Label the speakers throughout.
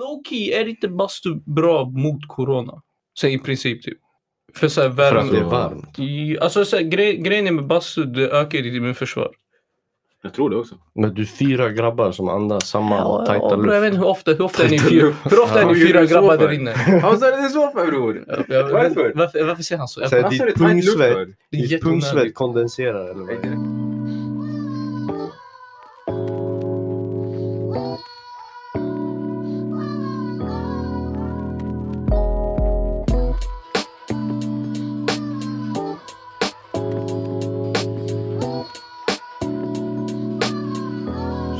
Speaker 1: Loki, är inte bastu bra mot corona? Så i princip typ. För såhär värme.
Speaker 2: För att det är varmt.
Speaker 1: I- Alltså så här, gre- grejen är med bastu, det ökar ditt immunförsvar.
Speaker 3: Jag tror det också.
Speaker 2: Men du är fyra grabbar som andas samma tajta
Speaker 1: Ja,
Speaker 2: luft.
Speaker 1: bror, jag vet inte hur ofta, hur ofta är ni
Speaker 3: Tajta
Speaker 1: fyra,
Speaker 3: luft.
Speaker 1: hur ofta är
Speaker 3: Ja.
Speaker 1: ni fyra
Speaker 3: Hur gör du
Speaker 1: grabbar
Speaker 3: så för?
Speaker 1: där inne?
Speaker 3: Han sa det är så för bror.
Speaker 1: Ja, jag-
Speaker 3: Varför?
Speaker 1: Varför, varför säger han så? Jag,
Speaker 2: Så här,
Speaker 1: det
Speaker 3: Han sa
Speaker 2: ditt
Speaker 3: det är tajt luft
Speaker 2: pungsvett-
Speaker 3: för.
Speaker 1: är
Speaker 2: Ditt
Speaker 1: jätteonödigt.
Speaker 2: pungsvett kondenserar eller vad är det?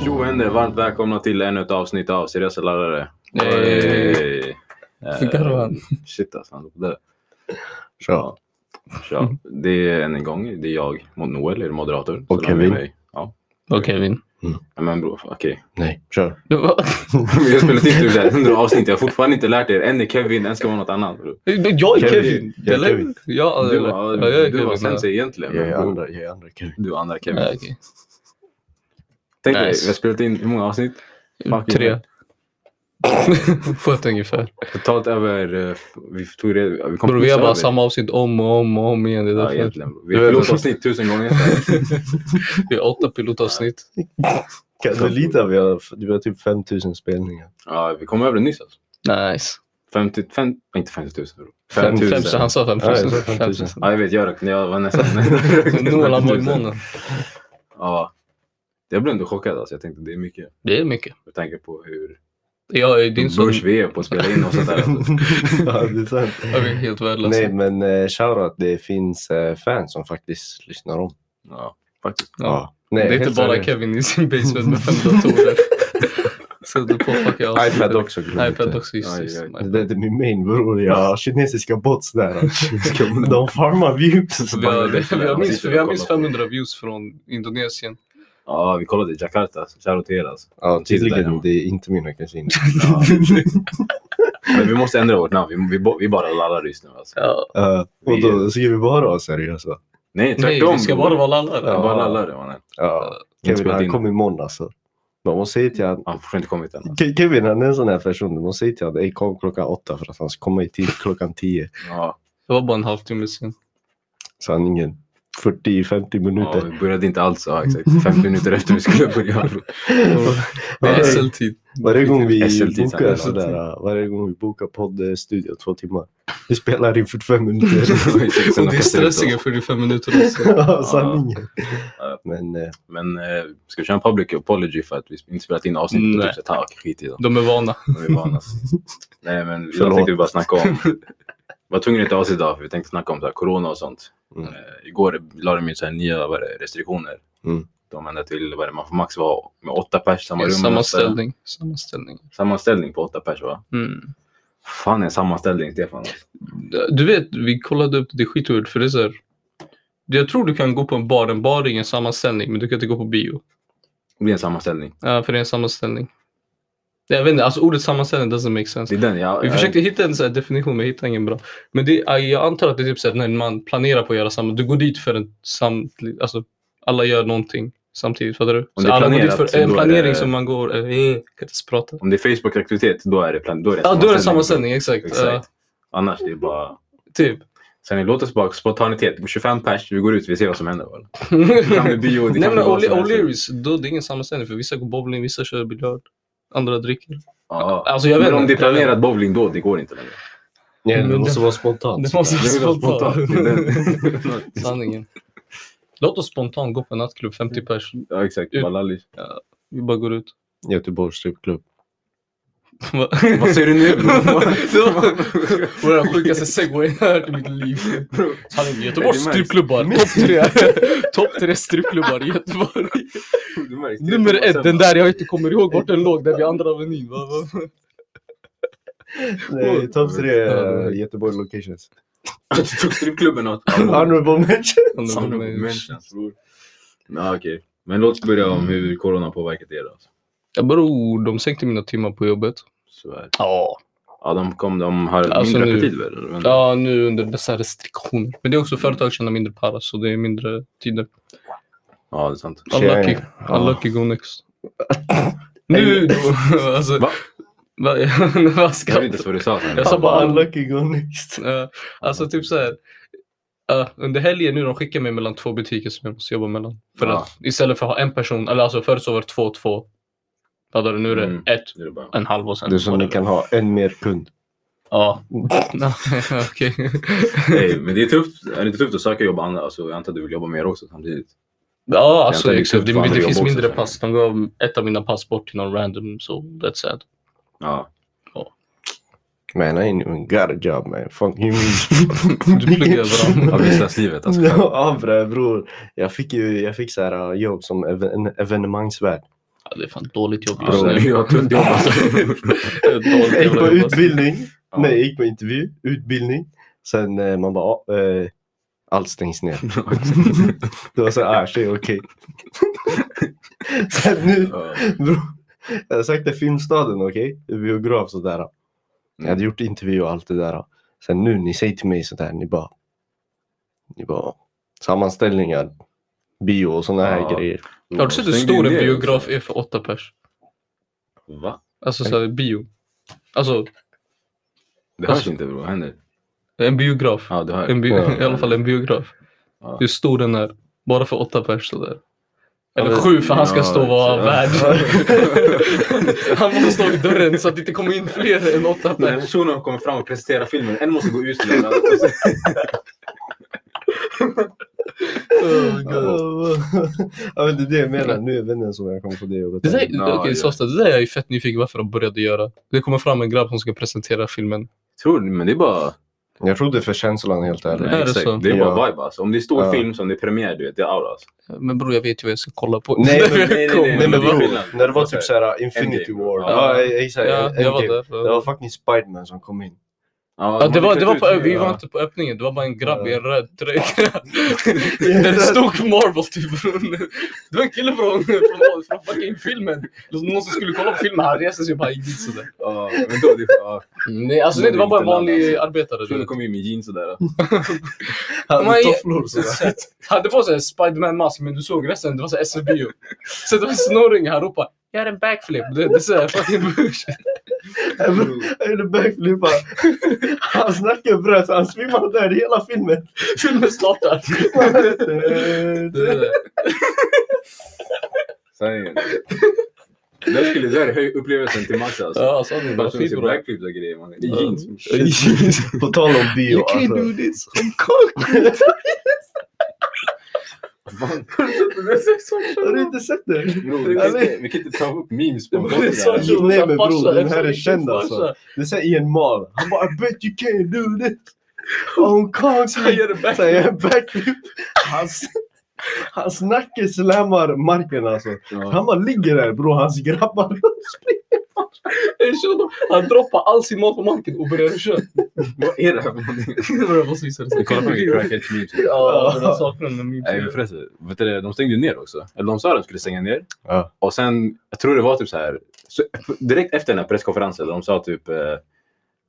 Speaker 3: Tjo och händer, varmt välkomna till ännu ett avsnitt av Seriösa lärare.
Speaker 1: Nej.
Speaker 3: Hey.
Speaker 1: Garvar han?
Speaker 3: Shit alltså, han hoppade.
Speaker 2: Så, Mm.
Speaker 3: Tja. Det är än en gång, det är jag mot Noel, är moderator.
Speaker 2: Och
Speaker 3: Så det är
Speaker 2: Kevin.
Speaker 3: mig. Ja.
Speaker 1: Och Kevin.
Speaker 3: Ja, Men bror, okej.
Speaker 2: nej, kör.
Speaker 3: Vi har spelat in typ så här 100 avsnitt, jag har fortfarande inte lärt er. En är Kevin, en ska vara något annat. bror.
Speaker 1: Jag är
Speaker 2: Kevin.
Speaker 1: Kevin.
Speaker 2: Jag är
Speaker 1: eller?
Speaker 2: Kevin.
Speaker 1: Ja,
Speaker 3: Du
Speaker 1: eller?
Speaker 3: var,
Speaker 1: ja, jag är
Speaker 3: du var
Speaker 1: Kevin.
Speaker 3: sensei egentligen.
Speaker 2: Jag är
Speaker 3: men-
Speaker 2: andra, jag är andra Kevin.
Speaker 3: Du och andra Kevin.
Speaker 1: Ja, okej.
Speaker 3: Tänk dig,
Speaker 1: Nice.
Speaker 3: vi har spelat in hur många avsnitt? Fuck
Speaker 1: Tre.
Speaker 3: you.
Speaker 1: På ett ungefär.
Speaker 3: Totalt över... eh, f- Vi tog det... Vi kom
Speaker 1: Bror, vi har
Speaker 3: över.
Speaker 1: bara samma avsnitt om och om och om igen. Det är
Speaker 3: Ja,
Speaker 1: därför.
Speaker 3: egentligen. bror. Vi
Speaker 2: Du
Speaker 3: har
Speaker 2: är-
Speaker 3: pilotavsnitt tusen gånger.
Speaker 1: Vi har åtta pilotavsnitt.
Speaker 2: Kan du lita vi har, vi har typ 5000 spelningar.
Speaker 3: Ja, vi kom över det nyss alltså.
Speaker 1: Nice.
Speaker 3: 50... Fem, inte 50 000 bror.
Speaker 1: Fem, fem,
Speaker 3: 5000.
Speaker 1: han sa fem
Speaker 2: Ja, jag sa
Speaker 1: tusen.
Speaker 2: fem
Speaker 1: Fem
Speaker 2: tusen.
Speaker 1: tusen.
Speaker 3: Ja, jag vet. Jag rökte. Jag var nästan...
Speaker 1: Noel han var i månen.
Speaker 3: Ja. Jag blev ändå chockad alltså. Jag tänkte det är mycket.
Speaker 1: Det är mycket.
Speaker 3: Med tanke på hur
Speaker 1: Jag är din
Speaker 3: din
Speaker 1: son.
Speaker 3: börs vi är på att spela in och sånt där. Alltså.
Speaker 2: ja, det är sant.
Speaker 1: Jag är helt värdelös.
Speaker 2: Nej, men eh, shoutout, det finns eh, fans som faktiskt lyssnar om.
Speaker 3: Ja, faktiskt.
Speaker 1: Ja.
Speaker 2: Nej,
Speaker 1: Det är
Speaker 2: helt
Speaker 1: inte bara
Speaker 2: seriöst.
Speaker 1: Kevin i sin basement med fem datorer. Sätter på fucking allt.
Speaker 2: iPad också. glöm
Speaker 1: iPad
Speaker 2: inte.
Speaker 1: också, just
Speaker 3: Aj,
Speaker 1: det.
Speaker 3: aj.
Speaker 1: Nej.
Speaker 2: Det där är min main bror. Jag har kinesiska bots där. De farmar views.
Speaker 1: Vi har, vi har minst, vi har minst
Speaker 3: Kolla på.
Speaker 1: 500 views från Indonesien.
Speaker 3: Ja, vi kollade i Jakarta. så Shoutout till er alltså.
Speaker 2: Ja, tydligen.
Speaker 3: Ja.
Speaker 2: Det är inte mina kusiner.
Speaker 3: Ja. Men vi måste ändra vårt namn. Vi, vi, bo- vi bara lallar just nu. Alltså.
Speaker 1: Ja.
Speaker 2: Eh, och då ska vi bara vara seriösa.
Speaker 3: Nej,
Speaker 1: Nej,
Speaker 3: tvärtom.
Speaker 1: vi ska bara vara lallare.
Speaker 3: Ja.
Speaker 2: Ja.
Speaker 3: Bara lallare, mannen.
Speaker 2: Ja.
Speaker 3: Vi har
Speaker 2: Kevin,
Speaker 3: spelat
Speaker 2: han
Speaker 3: in.
Speaker 2: kom imorgon alltså. Man måste säga till han,
Speaker 3: Han har inte kommit än. alltså.
Speaker 2: Ke- Kevin han är en sån här person, du måste säga till honom "Ey, kom klockan åtta för att han ska komma i tid klockan tio.
Speaker 3: Ja.
Speaker 1: Det var bara en halvtimme sen.
Speaker 2: Så han ingen 40-50
Speaker 3: ja,
Speaker 2: minuter.
Speaker 3: vi började inte alls. Ja, exakt. 50 minuter efter vi skulle börja.
Speaker 1: Det
Speaker 2: Varje-
Speaker 1: är SL-tid.
Speaker 2: varje gång vi
Speaker 3: SLT
Speaker 2: bokar
Speaker 3: samtidigt.
Speaker 2: sådär, varje gång vi bokar poddstudio två timmar. Vi spelar in 45 minuter.
Speaker 1: Och det är stressiga 45 minuter också.
Speaker 2: Ja, Sanningen.
Speaker 3: Ja.
Speaker 2: Men eh,
Speaker 3: Men eh, ska vi köra en public apology för att vi inte spelat in avsnittet?
Speaker 1: Nej.
Speaker 3: Nej. Typ, så här, "Ah, skit i dem.
Speaker 1: De är vana.
Speaker 3: De är vana." Nej, men idag
Speaker 2: Förlåt.
Speaker 3: tänkte vi bara snacka om... Vi var tvungna att ta oss idag för vi tänkte snacka om så här, corona och sånt.
Speaker 2: Mm.
Speaker 3: Eh, igår la de ut så här, nya vad är det, restriktioner.
Speaker 2: Mm.
Speaker 3: De ändrade till vad är det, man får max vara med åtta pers i samma rum.
Speaker 1: Samma ställning. Samma ställning.
Speaker 3: Sammanställning på åtta pers va?
Speaker 1: Mm.
Speaker 3: Fan är en sammanställning Stefan.
Speaker 1: Du vet, vi kollade upp det, det är skithårt för det är så här, Jag tror du kan gå på en bar, en bar är ingen sammanställning, men du kan inte gå på bio.
Speaker 3: Det blir en sammanställning.
Speaker 1: Ja, för det är en sammanställning. Jag vet inte, alltså ordet sammanställning doesn't make sense.
Speaker 3: Det är den jag...
Speaker 1: Vi
Speaker 3: jag-
Speaker 1: försökte hitta en så här definition, men jag hittade ingen bra. Men det, är- jag antar att det är typ så här, när man planerar på att göra samma, du går dit för en samtlig, alltså alla gör någonting samtidigt, fattar du?
Speaker 3: det
Speaker 1: Så
Speaker 3: är
Speaker 1: alla går dit
Speaker 3: planerat,
Speaker 1: för en
Speaker 3: då är
Speaker 1: planering
Speaker 3: det-
Speaker 1: som man går, eh, eh, kan inte ens prata.
Speaker 3: Om det är Facebook-aktivitet, då är det, plan... då är det
Speaker 1: Ja, då är det sammanställning, exakt. Ja,
Speaker 3: Exakt. Annars det är bara...
Speaker 1: typ.
Speaker 3: Sen låt oss bara spontanitet. 25 pers, vi går ut, vi ser vad som händer. va? Det kan bli bio, det
Speaker 1: Nej
Speaker 3: kan
Speaker 1: men
Speaker 3: bli vad
Speaker 1: O'Le-
Speaker 3: som helst.
Speaker 1: O'Learys, då det är ingen sammanställning för vissa går bowling, vissa kör biljard, andra dricker.
Speaker 3: Ja.
Speaker 1: Alltså jag vet
Speaker 3: Men om
Speaker 1: inte,
Speaker 3: det är
Speaker 1: jag vet
Speaker 3: planerat bowling då, det går inte längre.
Speaker 2: ja, det
Speaker 1: Men
Speaker 2: måste
Speaker 1: det-
Speaker 2: vara
Speaker 1: inte.
Speaker 2: spontant.
Speaker 1: Det måste
Speaker 3: Det
Speaker 1: vara
Speaker 3: är
Speaker 1: spontant.
Speaker 3: spontant.
Speaker 1: Sanningen. Låt oss spontant gå på en nattklubb, 50 pers.
Speaker 3: ja, exakt. Bara lallis.
Speaker 1: Vi bara går ut.
Speaker 2: Göteborgs strippklubb.
Speaker 1: Va?
Speaker 3: Vad säger du nu?
Speaker 1: Det var- var den sjukaste segwayen jag hört i mitt liv. Sanningen, Göteborgs
Speaker 3: Är det nice?
Speaker 1: strippklubbar, topp tre. Topp tre strippklubbar i Göteborg.
Speaker 3: Du märkte det.
Speaker 1: Nummer ett, den där jag inte kommer ihåg vart den låg, där vid Andra Avenyn. Va? va?
Speaker 2: Nej, topp tre
Speaker 1: Ja, det var-
Speaker 2: eh, Göteborg locations.
Speaker 3: Du tog strippklubben åt
Speaker 2: Honorable mention.
Speaker 3: Honorable mentions, bror. Ja, okej. Men låt oss börja
Speaker 1: Mm.
Speaker 3: om hur corona har påverkat er. Alltså.
Speaker 1: Jag bror, de sänkte mina timmar på jobbet.
Speaker 3: Så är det.
Speaker 1: Ja.
Speaker 3: Ja, de kom, de har
Speaker 1: Alltså
Speaker 3: mindre
Speaker 1: nu-
Speaker 3: appetit väl? Men-
Speaker 1: Ja, nu under dessa restriktioner. Men det är också företag tjänar mindre para, så det är mindre tider.
Speaker 3: ja, det är sant.
Speaker 2: Tjena.
Speaker 1: Unlucky,
Speaker 2: Ja.
Speaker 1: unlucky go next. Nu då, alltså,
Speaker 3: Va?
Speaker 1: Va- Vad
Speaker 3: Jag
Speaker 1: ska
Speaker 3: vet inte ens vad du sa. Sanna.
Speaker 1: Jag sa bara-
Speaker 2: unlucky go next.
Speaker 1: Eh, Alltså typ så här. eh, under helgen nu de skickar mig mellan två butiker som jag måste jobba mellan. För
Speaker 3: Ja.
Speaker 1: att istället för att ha en person, eller alltså förut så var det två, två. Fattar du? Nu är det
Speaker 3: Mm.
Speaker 1: ett,
Speaker 3: Nu är det bara-
Speaker 1: en halv och sen...
Speaker 2: Du som ni
Speaker 1: whatever.
Speaker 2: kan ha en mer kund.
Speaker 1: Ja. Okej.
Speaker 3: Nej, men det är tufft. Är det inte tufft att söka jobb? andra- Alltså, jag antar att du vill jobba mer också samtidigt.
Speaker 1: Ja, alltså
Speaker 3: antar det är
Speaker 1: exakt. Det,
Speaker 3: tufft för
Speaker 1: det,
Speaker 3: andra
Speaker 1: finns
Speaker 3: jobb också,
Speaker 1: mindre
Speaker 3: så här.
Speaker 1: pass. De gav ett av mina pass bort till någon random, så that's sad.
Speaker 3: Ja.
Speaker 2: Man, I ain't even got a job man. Fuck you
Speaker 1: Du pluggar överallt.
Speaker 3: Ja, Businesslivet alltså.
Speaker 2: Ja, bre, bror. Jag fick ju jag fick så här uh, jobb som ev- en evenemangsvärd.
Speaker 1: Ja, det är fan dåligt jobb.
Speaker 3: Ja,
Speaker 1: just
Speaker 3: så
Speaker 1: nu.
Speaker 3: det är ju ett tufft jobb alltså.
Speaker 1: Dåligt
Speaker 2: Jag gick
Speaker 1: jävla
Speaker 2: på
Speaker 1: jobb, alltså.
Speaker 2: utbildning.
Speaker 3: Ja.
Speaker 2: Nej, jag gick på intervju, utbildning. Sen eh, man bara, ja, eh, allt stängs ner. Det var så här, ah, tjej, okej. Sen nu,
Speaker 3: Ja.
Speaker 2: bro, jag sökte Filmstaden, okej? Biograf sådär. Jag hade gjort intervju och allt det där. Sen nu, ni säger till mig sådär, ni bara, ni bara, sammanställningar, bio och sådana här
Speaker 3: Ja.
Speaker 2: grejer.
Speaker 1: Har du sett hur
Speaker 3: Stängde ju
Speaker 1: stor en
Speaker 3: ner
Speaker 1: biograf
Speaker 3: också.
Speaker 1: är för åtta pers?
Speaker 3: Va?
Speaker 1: Alltså så här, bio. Alltså,
Speaker 3: Det hörs
Speaker 1: Alltså-
Speaker 3: inte bror, vad händer?
Speaker 1: en biograf.
Speaker 3: Ja, du hör.
Speaker 1: En bi-
Speaker 2: Ja.
Speaker 1: I alla fall en biograf.
Speaker 3: Ja.
Speaker 1: Hur stor den är. Bara för åtta pers sådär. Eller
Speaker 3: men-
Speaker 1: sju för han ska
Speaker 3: ja,
Speaker 1: stå och vara
Speaker 3: så-
Speaker 1: värd. han måste stå i dörren så att det inte kommer in fler än åtta
Speaker 3: När
Speaker 1: pers.
Speaker 3: personen kommer fram och presenterar filmen, en måste gå ut till den
Speaker 1: Oh, God.
Speaker 2: ja, men det är det jag menar. Nu är vännen som jag kommer få det jobbet.
Speaker 1: Det där,
Speaker 3: Ja,
Speaker 1: okej,
Speaker 3: ja.
Speaker 1: Sosta, det där är jag ju fett nyfiken varför de började göra. Det kommer fram en grabb som ska presentera filmen.
Speaker 3: Tror du? Men det är bara...
Speaker 2: Jag trodde för känslan helt ärligt.
Speaker 1: Är det
Speaker 3: exakt.
Speaker 1: så?
Speaker 3: det är bara
Speaker 2: Ja.
Speaker 3: vibe alltså. Om det är stor
Speaker 2: Ja.
Speaker 3: film som det är premiär, du vet, det är aura alltså.
Speaker 1: Men bror, jag vet ju vad jag ska kolla på.
Speaker 2: Nej,
Speaker 1: Därför
Speaker 2: men-
Speaker 1: jag
Speaker 3: nej, nej,
Speaker 1: kom.
Speaker 3: nej,
Speaker 2: Nej men
Speaker 3: det är
Speaker 2: bror,
Speaker 3: skillnad.
Speaker 2: när det var typ såhär Infinity
Speaker 3: Endgame.
Speaker 2: War.
Speaker 1: Ja.
Speaker 2: Ja, exakt.
Speaker 1: Ja, jag var
Speaker 2: Endgame.
Speaker 1: där.
Speaker 2: Det var fucking Spiderman som kom in.
Speaker 1: Ja, det var, det var på, vi
Speaker 2: ja.
Speaker 1: var inte på öppningen, det var bara en grabb i en
Speaker 2: Ja.
Speaker 1: röd tröja. Där det stod Marvel typ. Det var en kille från, från, från fucking filmen. Någon som skulle kolla på filmen, han reste sig och bara gick dit sådär.
Speaker 3: Ja, men då... Det, ja.
Speaker 1: Nej, alltså nej, det var bara en vanlig
Speaker 2: alltså.
Speaker 1: arbetare. du
Speaker 3: Personen
Speaker 1: vet.
Speaker 3: kom in med jeans alltså. sådär.
Speaker 2: Han
Speaker 1: Men-
Speaker 2: hade tofflor sådär.
Speaker 1: Han hade på sig en Spiderman-mask, men du såg resten, det var så SFBO. Så det var en snorring, han ropade ”Gör en backflip”. Det, det är såhär fucking bullshit.
Speaker 2: Jag gjorde backflipar. Han snackade bröt, han svimmade där i hela filmen.
Speaker 1: Filmen startar. Det är det.
Speaker 3: Sanningen. Där skulle, där är höj- upplevelsen till max alltså.
Speaker 1: Ja, så hade det bara
Speaker 3: Personen
Speaker 1: skit
Speaker 3: ser
Speaker 1: bra.
Speaker 3: backflips och grejer. man- I jeans.
Speaker 2: På tal om bio alltså.
Speaker 1: this, I'm cocked.
Speaker 2: Har du inte sett den?
Speaker 3: Bro, vi, kan inte, vi kan inte ta upp memes på en
Speaker 1: Det är
Speaker 3: podcast.
Speaker 1: så
Speaker 3: här.
Speaker 2: Jo, nej, men bror, den här är
Speaker 1: Farsa,
Speaker 2: känd, alltså. Det är såhär Ian Mal. Han bara I bet you can't do this. On
Speaker 1: Han
Speaker 2: concrete.
Speaker 1: gör en backflip.
Speaker 2: Säger en backflip. Hans, hans nacke slammar marken alltså.
Speaker 3: Ja.
Speaker 2: Han bara ligger där bror, hans grabbar.
Speaker 1: Jag känner- Han droppar all sin mat på marken och börjar köra.
Speaker 3: Vad är det här för någonting?
Speaker 1: Det var precis det.
Speaker 3: Vi kollar på vilka crackheads memes.
Speaker 1: Ja, den där saknaden med min
Speaker 3: Nej men förresten, vet du, det, de stängde ju ner också. Eller de sa att de skulle stänga ner.
Speaker 2: Ja.
Speaker 3: Och sen, jag tror det var typ så här. Så, direkt efter den här presskonferensen, de sa typ eh,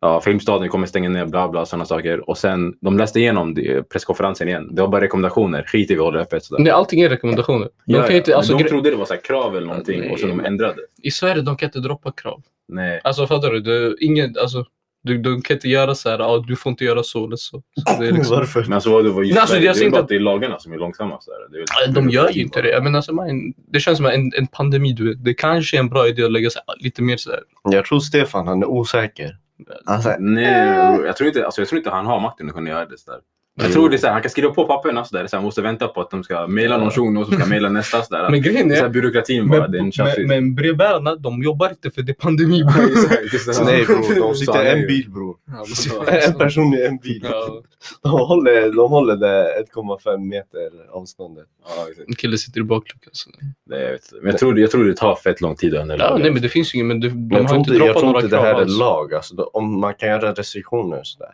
Speaker 3: ja, Filmstaden kommer stänga ner, bla bla, sådana saker. Och sen, de läste igenom det, presskonferensen igen. Det var bara rekommendationer. Skit i vi håller öppet. Sådär.
Speaker 1: Nej, allting är rekommendationer. De
Speaker 3: Ja,
Speaker 1: kan
Speaker 3: ja.
Speaker 1: ju inte,
Speaker 3: Men
Speaker 1: alltså,
Speaker 3: de
Speaker 1: gre-
Speaker 3: trodde det var så här krav eller någonting
Speaker 1: Nej.
Speaker 3: och sen de ändrade.
Speaker 1: I Sverige de kan inte droppa krav.
Speaker 3: Nej.
Speaker 1: Alltså fattar du? du ingen, alltså, du, de kan inte göra så här, ah, du får inte göra så eller så. så det är liksom...
Speaker 2: Varför?
Speaker 3: Men alltså, vad det var just
Speaker 1: Nej, alltså,
Speaker 3: det, det
Speaker 1: jag ser
Speaker 3: är
Speaker 1: inte
Speaker 3: bara
Speaker 1: att-
Speaker 3: att det är lagarna som är långsamma. Så här. Det är väl-
Speaker 1: Ja, De gör ju inte det. Men alltså, man, det känns som en, en pandemi, du vet. Det kanske är en bra idé att lägga så här, lite mer så här.
Speaker 2: Jag tror Stefan, han är osäker. Han
Speaker 3: Alltså,
Speaker 2: säger,
Speaker 3: Nej, jag tror, inte, alltså, jag tror inte han har makten att kunna göra det. Så där. Jag tror det är så här, han kan skriva på papperna så där, så han måste vänta på att de ska mejla någon shuno som ska mejla nästa. Så där.
Speaker 1: Men grejen
Speaker 3: det är så
Speaker 1: är,
Speaker 3: här, byråkratin bara, det är en
Speaker 1: men,
Speaker 3: tjafsig.
Speaker 1: men, men brevbärarna, de jobbar inte för det är pandemi.
Speaker 3: Ja, exakt, just det här.
Speaker 2: Nej bror, de
Speaker 3: Så
Speaker 2: sitter
Speaker 3: han är
Speaker 2: i
Speaker 3: ju-
Speaker 2: en bil bror.
Speaker 1: Ja,
Speaker 2: En person i en bil.
Speaker 1: Ja,
Speaker 2: De håller, de håller det 1,5 meter avståndet.
Speaker 3: Ja, exakt.
Speaker 1: en kille sitter i bakluckan. så-
Speaker 3: Nej, jag, vet. inte. Men jag, tror, jag tror det tar fett lång tid att ändra
Speaker 1: Ja,
Speaker 3: lagar.
Speaker 1: nej, men det finns ju ingen, men du, de
Speaker 2: Men jag
Speaker 1: har
Speaker 2: tror
Speaker 1: inte
Speaker 2: inte, jag
Speaker 1: droppat
Speaker 2: tror inte
Speaker 1: några
Speaker 2: det här
Speaker 1: krav
Speaker 2: är
Speaker 1: alls.
Speaker 2: lag. Alltså, då- om man kan göra restriktioner och sådär.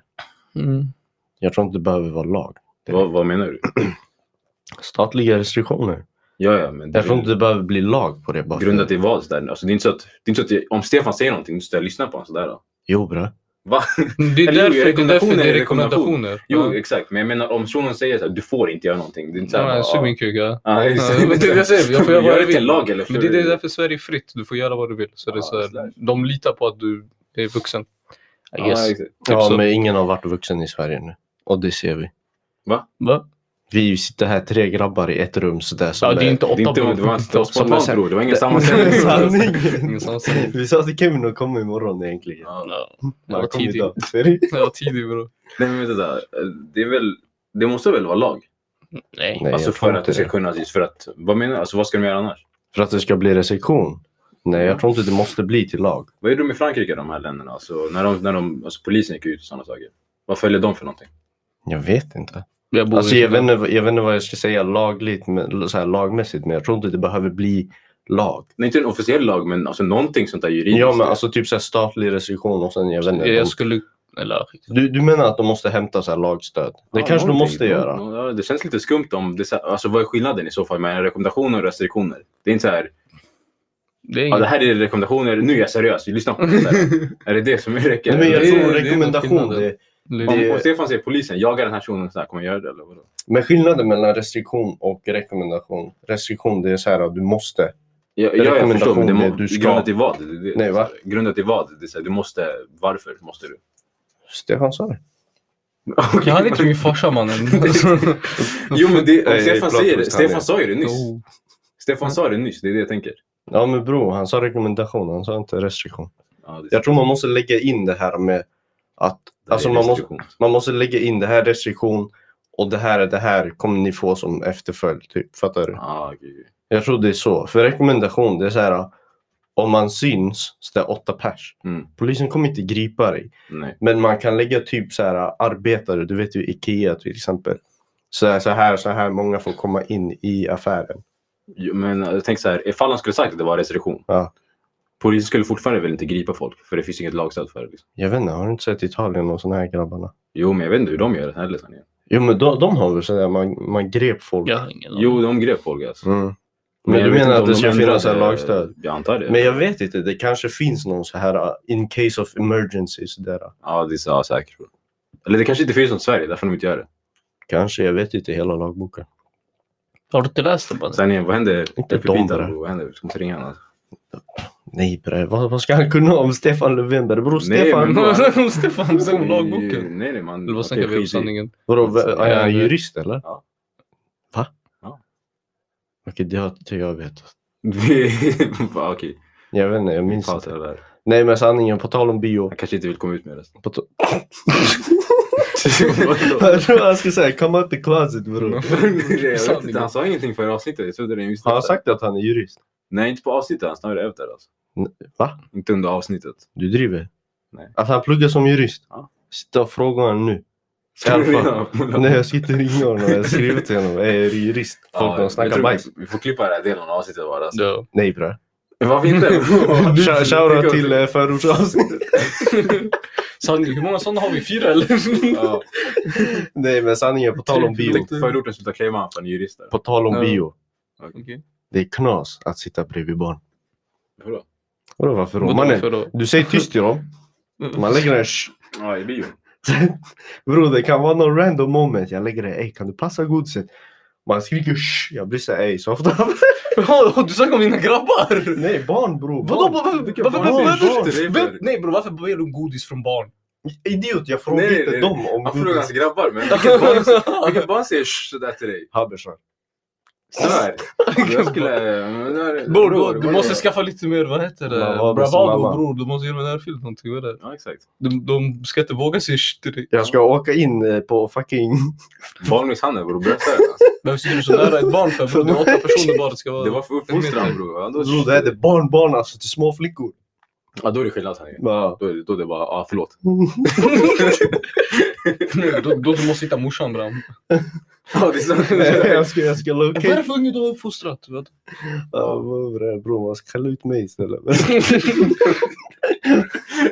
Speaker 1: Mm.
Speaker 2: Jag tror inte det behöver vara lag.
Speaker 3: vad, vad menar du?
Speaker 2: Statliga restriktioner.
Speaker 3: Ja, ja, men det
Speaker 2: Jag tror inte
Speaker 3: är
Speaker 2: det behöver bli lag på det. Bara för-
Speaker 1: Typ
Speaker 3: grundat i vad? Så där. Alltså, det är inte så att, det är inte så att om Stefan säger någonting så ska jag lyssna på honom. Så där, då.
Speaker 2: Jo bre.
Speaker 3: Va?
Speaker 1: Det är
Speaker 3: Eller jo,
Speaker 1: därför, det är därför det
Speaker 3: rekommendationer
Speaker 1: är
Speaker 3: är rekommendation.
Speaker 1: rekommendationer.
Speaker 3: Jo,
Speaker 1: ja.
Speaker 3: exakt. Men jag menar om personen säger så här, du får inte göra någonting. Det är inte så
Speaker 1: Ja,
Speaker 3: här,
Speaker 1: men, Sug
Speaker 3: bara, "Ah."
Speaker 1: min kuga.
Speaker 3: ja, exakt.
Speaker 1: Ja, men det är det jag säger, jag får göra vad
Speaker 3: Gör
Speaker 1: jag
Speaker 3: det till
Speaker 1: vill.
Speaker 3: lag eller
Speaker 1: Men det, det är därför Sverige är fritt. Du får göra vad du vill. Så det är
Speaker 3: Ja,
Speaker 1: så här,
Speaker 3: slash.
Speaker 1: de litar på att du är vuxen. I
Speaker 3: Ja,
Speaker 1: guess. Typ
Speaker 3: exakt.
Speaker 2: Ja,
Speaker 1: så.
Speaker 2: men ingen har varit vuxen i Sverige nu. Och det ser vi.
Speaker 1: Va?
Speaker 2: Vi sitter här tre grabbar i ett rum sådär som
Speaker 1: Ja, det är inte
Speaker 3: Det, är
Speaker 1: åtta
Speaker 3: inte,
Speaker 1: bror.
Speaker 3: det var inte
Speaker 2: Som jag
Speaker 3: spontant
Speaker 2: sa-
Speaker 3: bror, det var ingen
Speaker 2: är
Speaker 3: sammanställning.
Speaker 2: sanningen.
Speaker 1: Ingen sammanställning.
Speaker 2: Vi sa till Kevin att komma imorgon egentligen.
Speaker 3: Ja.
Speaker 1: Jag var
Speaker 2: Han kom
Speaker 1: tidig.
Speaker 2: idag. Sorry.
Speaker 1: Jag var tidig bror.
Speaker 3: Nej, men det, där, det, är väl, det måste väl vara lag?
Speaker 1: Nej.
Speaker 2: Nej,
Speaker 3: alltså
Speaker 2: jag tror
Speaker 3: för att
Speaker 2: inte
Speaker 3: det ska
Speaker 2: det.
Speaker 3: kunna... Just för att, vad menar du? Alltså, vad ska de göra annars?
Speaker 2: För att det ska bli restriktion? Nej, jag tror inte det måste bli till lag.
Speaker 3: Vad gjorde de i Frankrike, de här länderna? Alltså, när de, när de, alltså, polisen gick ut och sådana saker. Vad följer de för någonting?
Speaker 2: Jag vet inte.
Speaker 1: Jag borde
Speaker 2: Alltså,
Speaker 1: inte
Speaker 2: jag, vet
Speaker 1: gå.
Speaker 2: inte jag vet inte vad jag ska säga lagligt, men, så här, lagmässigt, men jag tror inte det behöver bli lag.
Speaker 3: Nej, inte en officiell lag, men alltså, någonting sånt där juridiskt.
Speaker 2: Ja, men alltså typ så här, statlig restriktion och sen jag vet inte.
Speaker 1: Jag
Speaker 2: de-
Speaker 1: skulle... Eller
Speaker 2: Du, du menar att de måste hämta så här lagstöd? Det
Speaker 3: Ja,
Speaker 2: kanske de
Speaker 3: någonting.
Speaker 2: måste göra.
Speaker 3: Ja, det känns lite skumt om... Det, är så här- alltså, vad är skillnaden i så fall mellan rekommendationer och restriktioner? Det är inte så här,
Speaker 1: det är
Speaker 3: ja,
Speaker 1: inget.
Speaker 3: det här är rekommendationer, nu är jag seriös, lyssna på det. här. är det det som räcker?
Speaker 2: Nej, men jag
Speaker 1: det är-
Speaker 2: tror
Speaker 1: det är
Speaker 2: rekommendation.
Speaker 1: skillnaden.
Speaker 2: Det är,
Speaker 3: Om,
Speaker 2: det-
Speaker 3: om Stefan säger polisen, jagar den här personen, så här, kommer jag göra det eller vadå?
Speaker 2: men skillnaden mellan restriktion och rekommendation. Restriktion, det är så här att du måste.
Speaker 3: Ja, ja, jag förstår, men det
Speaker 2: Rekommendation,
Speaker 3: må,
Speaker 2: det du ska-
Speaker 3: grundat i vad? Det, det,
Speaker 2: Nej, va?
Speaker 3: Grundat i vad? Det, är så här, du måste, varför måste du?
Speaker 2: Stefan sa det.
Speaker 1: Jag hade inte min farsa mannen.
Speaker 3: jo, men det, om
Speaker 2: Nej,
Speaker 3: Stefan
Speaker 2: plot
Speaker 3: säger det.
Speaker 2: twist, han är-
Speaker 3: Stefan sa ju det nyss.
Speaker 1: Jo.
Speaker 3: Stefan sa det nyss, det är det jag tänker.
Speaker 2: Ja, men bro, han sa rekommendation. Han sa inte restriktion.
Speaker 3: Ja, det är-
Speaker 2: Jag tror man måste lägga in det här med att
Speaker 3: det är
Speaker 2: alltså, man måste-
Speaker 3: restriktion.
Speaker 2: man måste lägga in det här restriktion och det här är det här kommer ni få som efterföljd. Typ. Fattar du?
Speaker 3: Ja, Ah, okej, okej.
Speaker 2: Jag tror det är så. För rekommendation, det är så här. Om man syns, så det är åtta pers.
Speaker 3: Mm.
Speaker 2: Polisen kommer inte gripa dig.
Speaker 3: Nej.
Speaker 2: Men man kan lägga typ så här arbetare, du vet ju Ikea till exempel. Så här, så här, så här många får komma in i affären.
Speaker 3: Jo, Men jag tänker så här, ifall han skulle sagt att det var restriktion.
Speaker 2: Ja.
Speaker 3: Polisen skulle fortfarande väl inte gripa folk, för det finns inget lagstöd för det. Liksom.
Speaker 2: Jag vet inte, har du inte sett Italien och såna här grabbarna?
Speaker 3: Jo, men jag vet inte hur de gör det liksom. heller. sanningen.
Speaker 2: Jo men de, de har väl sådär, man, man grep folk.
Speaker 1: Jag har ingen aning.
Speaker 3: Jo, de grep folk alltså.
Speaker 2: Mm. Men,
Speaker 3: jag
Speaker 2: du
Speaker 3: vet
Speaker 2: menar
Speaker 3: inte
Speaker 2: att
Speaker 3: om
Speaker 2: det
Speaker 3: de
Speaker 2: ska
Speaker 3: ändrade-
Speaker 2: finnas så här lagstöd?
Speaker 3: Jag antar det.
Speaker 2: Men jag vet inte, det kanske finns någon så här uh, in case of emergency uh. sådär.
Speaker 3: Ja, det är så, ja, säkert. Eller det kanske inte finns något i Sverige, därför de inte gör det.
Speaker 2: Kanske, jag vet inte hela lagboken.
Speaker 1: Har du inte läst den mannen?
Speaker 3: Sen igen, vad händer?
Speaker 2: Inte
Speaker 3: Pepita,
Speaker 2: de där.
Speaker 3: bro? Vad händer? Ska man inte ringa honom?
Speaker 2: Nej bre, vad, vad ska han kunna om Stefan Löfven bre? Bror
Speaker 3: Nej,
Speaker 2: Stefan,
Speaker 3: men-
Speaker 1: Stefan som lagboken.
Speaker 3: Nej, nej, man.
Speaker 1: Eller vad snackar vi om sanningen?
Speaker 2: vadå, v- är han
Speaker 1: Nej.
Speaker 2: jurist eller?
Speaker 3: Alltså, Ja.
Speaker 2: Va?
Speaker 3: Ja.
Speaker 2: Okej, det har- tycker jag vet.
Speaker 3: Bara, Okej,
Speaker 2: Jag vet inte, jag
Speaker 3: vi
Speaker 2: minns
Speaker 3: pausar
Speaker 2: inte.
Speaker 3: där.
Speaker 2: Nej men sanningen, på tal om bio.
Speaker 3: Han kanske inte vill komma ut med det.
Speaker 2: På to-
Speaker 3: Vadå?
Speaker 2: jag tror han skulle säga come out the closet bror.
Speaker 3: Mm. Jag vet inte,
Speaker 1: Sanningen.
Speaker 3: han sa ingenting förra avsnittet. Jag trodde det
Speaker 2: Har han
Speaker 3: visste.
Speaker 2: sagt att han är jurist?
Speaker 3: Nej, inte på avsnittet. Han snarare efter. Alltså.
Speaker 2: Va?
Speaker 3: Inte under avsnittet.
Speaker 2: Du driver?
Speaker 3: Nej.
Speaker 2: Att han pluggar som jurist?
Speaker 3: Ja.
Speaker 2: Sitta och fråga honom nu. I alla fall. Nej, jag sitter och ringer honom. Jag har skrivit till honom. Är du jurist? Folk
Speaker 3: Ja,
Speaker 2: de
Speaker 3: jag
Speaker 2: snackar
Speaker 3: tror
Speaker 2: bajs.
Speaker 3: Vi får klippa den här delen av avsnittet bara. Alltså.
Speaker 1: Ja.
Speaker 2: Nej bre.
Speaker 3: Varför inte?
Speaker 2: Shou- Shoutout till eh, förortsavsnittet.
Speaker 1: Sanningen, hur många sådana har vi? Fyra eller?
Speaker 3: Ja,
Speaker 2: Nej men sanningen, på tal om bio.
Speaker 3: tänk förorten slutar claima honom för han är jurist. där.
Speaker 2: På tal om
Speaker 1: Ja.
Speaker 2: bio.
Speaker 1: Okej.
Speaker 2: Det är knas att sitta bredvid barn.
Speaker 3: Vadå?
Speaker 2: Vadå varför då?
Speaker 1: Vadå
Speaker 2: Mannen,
Speaker 1: för då?
Speaker 2: du säger tyst till dem.
Speaker 3: Mm.
Speaker 2: Man lägger en sh-
Speaker 3: Ja, i bio.
Speaker 2: Bro, det kan vara någon random moment. Jag lägger det. Ey, kan du passa godiset? Man skriker shh. Jag blir såhär ey, softa.
Speaker 1: Ja, Du snackar om dina grabbar!
Speaker 2: Nej, barn bro. Barn.
Speaker 1: Vadå? Varför?
Speaker 2: Vilka
Speaker 1: Varför?
Speaker 2: barn?
Speaker 1: varför-
Speaker 2: Barn.
Speaker 1: varför-
Speaker 3: Det är för-
Speaker 1: varför- Nej bror, varför ber du om godis från barn?
Speaker 2: Idiot, jag frågar
Speaker 3: Nej,
Speaker 2: inte
Speaker 3: nej,
Speaker 2: dem om
Speaker 3: Han frågar hans
Speaker 2: godis.
Speaker 3: grabbar, men vilket barn, vilket barn säger "Shh" sådär till dig?
Speaker 2: Habersson.
Speaker 3: Snör. Jag skulle... men där-
Speaker 1: Bror,
Speaker 3: bror,
Speaker 1: du, du
Speaker 3: vad
Speaker 1: måste
Speaker 3: gör-
Speaker 1: skaffa lite mer, vad heter det?
Speaker 2: Bravado som mamma.
Speaker 1: Bravado bror, du måste göra en närfilm någonting. Vad är det?
Speaker 3: Ja, exakt.
Speaker 1: De, de ska inte våga sig shh till dig.
Speaker 2: Jag ska åka in eh, på fucking...
Speaker 3: Barnmisshandel bror, berätta det. Alltså.
Speaker 1: Varför sitter du så nära ett barn för? Bror, det är åtta personer bara. Det ska vara...
Speaker 3: Det var för uppfostran bror. Ja, då,
Speaker 2: Bro, det här är barnbarn alltså till små flickor.
Speaker 3: ja, då är det skillnad sanningen.
Speaker 2: Ja.
Speaker 3: Då är det, då är det bara, ja förlåt.
Speaker 1: då, då du måste hitta morsan bram.
Speaker 3: Ja, det är sant.
Speaker 2: jag ska, jag ska
Speaker 1: Vad är det
Speaker 2: locka
Speaker 1: för unge du har uppfostrat? vet du?
Speaker 2: Ja, vad bra, Bro, man ska kalla ut mig istället.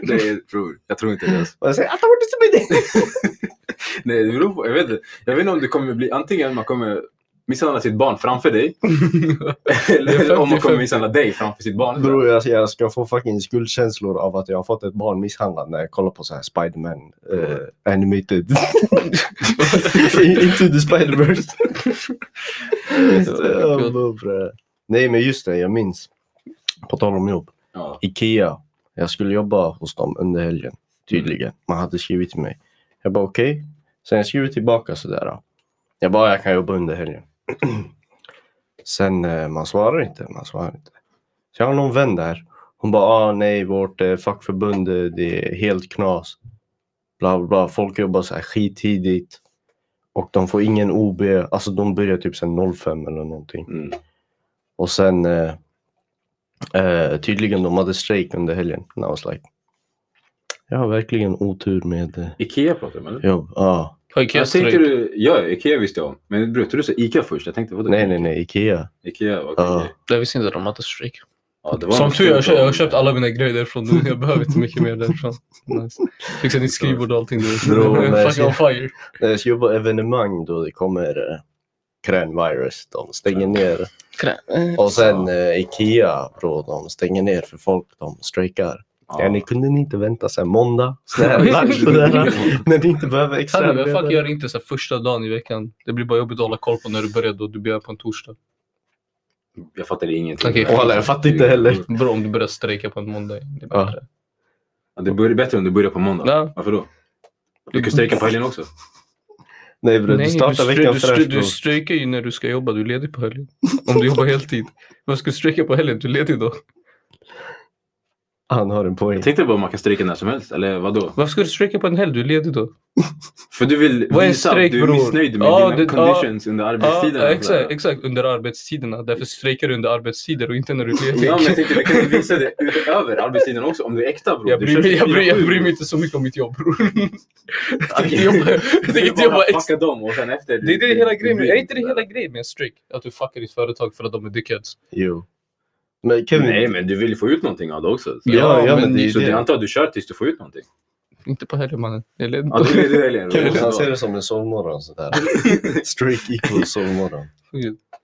Speaker 3: Nej bror, jag tror inte det. Alltså.
Speaker 2: Man säger att han inte med dig.
Speaker 3: Nej, det beror på, jag vet inte. Jag vet inte om det kommer bli, antingen man kommer misshandla sitt barn framför dig.
Speaker 1: Det är
Speaker 3: Eller om man kommer
Speaker 1: 50-50.
Speaker 3: misshandla dig framför sitt barn.
Speaker 2: Bror, jag, jag ska få fucking skuldkänslor av att jag har fått ett barn misshandlat när jag kollar på så här Spiderman eh, animated. Into the Spider-Verse.
Speaker 1: det är kul.
Speaker 2: Ja, men, bror. Nej, men just det, jag minns. På tal om jobb.
Speaker 3: Ja.
Speaker 2: Ikea. Jag skulle jobba hos dem under helgen. Tydligen. Man hade skrivit till mig. Jag bara okej. Sen jag skrev tillbaka sådär. Jag bara jag kan jobba under helgen. Sen eh, man svarar inte. Man svarar inte. Så jag har någon vän där. Hon bara ah, nej vårt eh, fackförbund eh, det är helt knas. Bla bla bla. Folk jobbar så här skittidigt. Och de får ingen OB. Alltså de börjar typ sen 05 eller någonting.
Speaker 3: Mm.
Speaker 2: Och sen eh, eh, tydligen de hade strejk under helgen. And I was like, jag har verkligen otur med eh,
Speaker 3: Ikea pratar du om eller?
Speaker 2: jobb. Ja.
Speaker 1: Har Ikea
Speaker 3: Jag tänkte
Speaker 1: strejk?
Speaker 3: du, ja, Ikea visste jag om. Men bror, tror du sa Ica först? Jag tänkte vadå?
Speaker 2: Nej, nej, nej. Ikea.
Speaker 3: Ikea, okej.
Speaker 2: Ja.
Speaker 3: okej.
Speaker 1: Jag visste inte att de hade strejk.
Speaker 3: Ja, det var
Speaker 1: Som
Speaker 3: något
Speaker 1: tur är, jag
Speaker 3: stort
Speaker 1: kö- jag har
Speaker 3: om-
Speaker 1: köpt alla mina grejer därifrån nu. Jag behöver inte mycket mer därifrån. Nice. Fixar ditt skrivbord och allting. du vet.
Speaker 2: Bro,
Speaker 1: Jag är
Speaker 2: men-
Speaker 1: Fucking on fire.
Speaker 2: När jag ska jobba evenemang då det kommer eh, coronavirus. De stänger ner. Och sen eh, Ikea, bro, de stänger ner för folk. De strejkar. Ja. ni kunde ni inte vänta sen måndag? Sådär, lunch och där, när ni inte behöver extra
Speaker 1: Sanne, vem fuck gör inte så här första dagen i veckan? Det blir bara jobbigt att hålla koll på när du börjar då. Du börjar på en torsdag.
Speaker 3: Jag fattar ingenting.
Speaker 1: Okej.
Speaker 2: Walla, jag fattar inte heller.
Speaker 1: Bra om du börjar strejka på en måndag. Det är
Speaker 2: Ja.
Speaker 1: bättre.
Speaker 3: Ja, Det börjar bättre om du börjar på måndag.
Speaker 1: Ja.
Speaker 3: Varför då? Du kan strejka på helgen också.
Speaker 2: Nej, bro,
Speaker 1: Nej,
Speaker 2: du
Speaker 1: du,
Speaker 2: startar
Speaker 1: stry-
Speaker 2: veckan
Speaker 1: du, stry-
Speaker 2: fräscht.
Speaker 1: du
Speaker 2: bro.
Speaker 1: strejkar ju när du ska jobba. Du är ledig på helgen. Om du jobbar heltid. Vad ska du strejka på helgen? Du är ledig då.
Speaker 2: Han har en poäng.
Speaker 3: Jag tänkte bara man kan strejka när som helst, eller vadå?
Speaker 1: Varför ska du strejka på en helg? Du är ledig då.
Speaker 3: För du vill
Speaker 1: Vad är en
Speaker 3: visa
Speaker 1: strejk,
Speaker 3: att du är
Speaker 1: bror?
Speaker 3: missnöjd med
Speaker 1: Ja,
Speaker 3: dina
Speaker 1: det- ja.
Speaker 3: conditions under
Speaker 1: Ja,
Speaker 3: arbetstiden.
Speaker 1: exakt, exakt. Under arbetstiderna. Därför strejkar du under arbetstider och inte när du är ledig.
Speaker 3: Ja, men jag tänkte vi kan ju visa det utöver arbetstiden också om du är äkta bror.
Speaker 1: Jag
Speaker 3: Du
Speaker 1: bryr,
Speaker 3: kör
Speaker 1: mig, jag, bryr, jag
Speaker 3: 24/7.
Speaker 1: bryr mig inte så mycket om mitt jobb bror. Jag
Speaker 3: Okej.
Speaker 1: tänkte jobba, jag
Speaker 3: Du vill
Speaker 1: tänkte jobba
Speaker 3: bara
Speaker 1: extra.
Speaker 3: packa dem och sen efter.
Speaker 1: Det är det hela grejen. med-
Speaker 3: blir
Speaker 1: Är inte det
Speaker 3: där.
Speaker 1: hela grejen med en streak? Att du fuckar ditt företag för att de är dickheads.
Speaker 2: Jo. Men Kevin,
Speaker 3: Nej, men du vill ju få ut någonting av det också. Så,
Speaker 2: Ja, ja, men det är ju
Speaker 3: så
Speaker 2: det.
Speaker 3: jag antar att du kör tills du får ut någonting.
Speaker 1: Inte på helgen mannen. Jag är ledig
Speaker 3: Ja,
Speaker 1: då.
Speaker 3: det är det helgen.
Speaker 2: Kevin han ser
Speaker 3: Eller
Speaker 2: det som en sovmorgon sådär. Streak equals sovmorgon.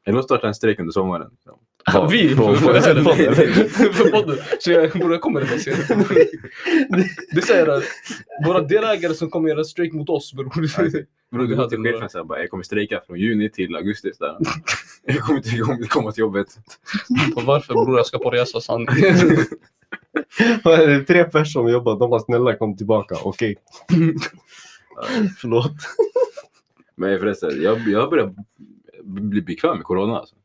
Speaker 3: att starta en strejk under sommaren.
Speaker 1: Vi?
Speaker 2: På-
Speaker 1: För,
Speaker 2: på-
Speaker 1: för,
Speaker 2: på-
Speaker 1: för, för, för podden. Så jag borde jag kommer redan senare. Det är så här att våra delägare som kommer göra streak mot oss bror.
Speaker 3: Bror, du
Speaker 1: Vi
Speaker 3: går
Speaker 1: hade
Speaker 3: till
Speaker 1: några-
Speaker 3: chefen och bara, jag kommer strejka från juni till augusti. Så där. Jag kommer inte igång- komma till jobbet.
Speaker 1: Och Varför bror jag ska på resa sanning.
Speaker 2: Vad är det, Tre personer som jobbar, de bara snälla kom tillbaka, okej. Förlåt.
Speaker 3: Men förresten, jag, jag börjar bli bekväm med corona. Alltså.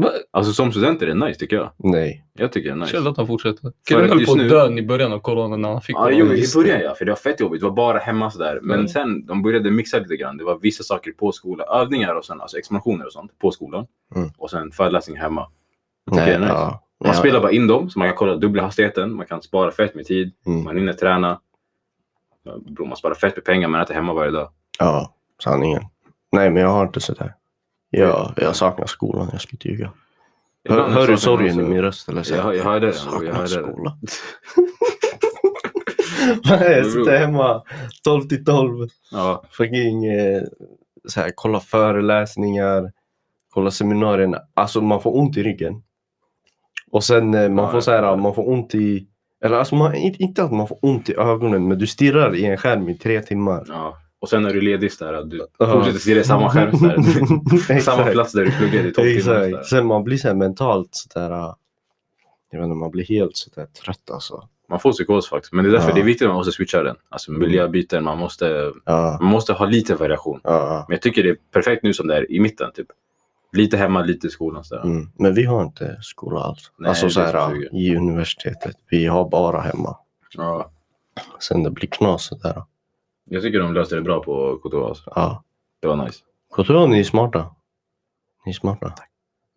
Speaker 1: Va?
Speaker 3: alltså som student är det nice tycker jag.
Speaker 2: Nej.
Speaker 3: Jag tycker det är nice.
Speaker 1: Kul att han fortsätter. Killen höll
Speaker 3: just
Speaker 1: på att
Speaker 3: nu-
Speaker 1: dö i början av corona när han fick
Speaker 3: Ja,
Speaker 1: corona.
Speaker 3: jo, i
Speaker 2: just
Speaker 3: början ja, för det var fett jobbigt. Det var bara hemma sådär. Men
Speaker 1: Mm.
Speaker 3: sen de började mixa lite grann. Det var vissa saker på skolan, övningar och sen alltså examinationer och sånt på skolan.
Speaker 2: Mm.
Speaker 3: Och sen föreläsningar hemma. Jag tycker det är nice.
Speaker 2: ja.
Speaker 3: Man
Speaker 2: Ja.
Speaker 3: spelar bara in dem så man kan kolla dubbla hastigheten. Man kan spara fett med tid.
Speaker 2: Mm.
Speaker 3: Man hinner träna. Ja, Bro, man sparar fett med pengar. Man äter hemma varje dag.
Speaker 2: Ja, sanningen. Nej, men jag har inte sådär. Ja, jag saknar skolan, jag ska inte ljuga. Hör,
Speaker 3: Ibland
Speaker 2: hör du
Speaker 3: saknar man
Speaker 2: sorgen i
Speaker 3: så-
Speaker 2: min röst? Eller så?
Speaker 3: Jag, hör- jag hörde
Speaker 2: jag
Speaker 3: det. Jag
Speaker 2: saknar
Speaker 3: hörde det.
Speaker 2: skolan. Nej, jag sitter hemma 12 till 12.
Speaker 3: Ja,
Speaker 2: fucking eh, så här, kolla föreläsningar, kolla seminarierna. Alltså man får ont i ryggen. Och sen eh, man
Speaker 3: Ja,
Speaker 2: får
Speaker 3: jag
Speaker 2: så här,
Speaker 3: fattar.
Speaker 2: man får ont i, eller alltså man, inte, inte att man får ont i ögonen, men du stirrar i en skärm i tre timmar.
Speaker 3: ja. Och sen när du är ledig så där, du
Speaker 2: Ja.
Speaker 3: fortsätter stirra i samma skärm. Så där. samma
Speaker 2: Exakt.
Speaker 3: plats där du pluggade i tolv timmar. så där.
Speaker 2: Exakt. Sen man blir så här mentalt så där, eh, jag vet inte, man blir helt så där trött alltså.
Speaker 3: Man får psykos faktiskt. Men det är därför
Speaker 2: Ja. Mm.
Speaker 3: det är viktigt att man måste switcha den. Alltså miljöbyten, man måste,
Speaker 2: Ja,
Speaker 3: man måste ha lite variation.
Speaker 2: ja,
Speaker 3: Men jag tycker det är perfekt nu som det är i mitten. Typ. Lite hemma, lite i skolan. Så
Speaker 2: ja.
Speaker 3: där.
Speaker 2: Mm. Men vi har inte skola alls.
Speaker 3: Nej,
Speaker 2: alltså så
Speaker 3: det är
Speaker 2: här,
Speaker 3: som
Speaker 2: eh,
Speaker 3: suger.
Speaker 2: i universitetet. Vi har bara hemma.
Speaker 3: Ja.
Speaker 2: Sen det blir knas så där.
Speaker 3: Jag tycker de löste det bra på KTH. Alltså.
Speaker 2: Ja.
Speaker 3: Det var nice.
Speaker 2: KTH, ni är smarta. Ni är smarta.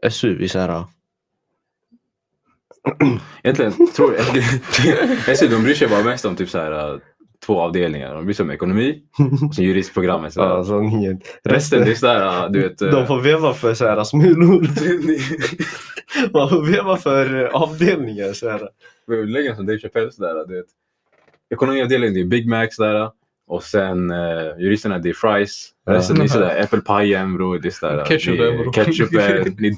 Speaker 2: SU, vi säger
Speaker 3: Egentligen tror jag... jag ser, de bryr sig bara mest om typ så här, äh, två avdelningar. De bryr sig om ekonomi och sen juristprogrammet. Så där.
Speaker 2: ja, alltså, sanningen.
Speaker 3: Resten, det är så där, äh, du vet... äh,
Speaker 2: De får veva för så här smulor.
Speaker 3: ni-
Speaker 2: Man får veva för eh, avdelningar. Så här.
Speaker 3: Vi lägger som Dave Chappelle sådär. Du vet. Ekonomiavdelningen, det är Big Macs där. Och sen eh, juristerna, det är fries.
Speaker 2: Ja.
Speaker 3: Resten är sådär äppelpajen bror. Det är sådär,
Speaker 1: Ketchup,
Speaker 3: det är
Speaker 1: bror.
Speaker 3: ketchupen, det är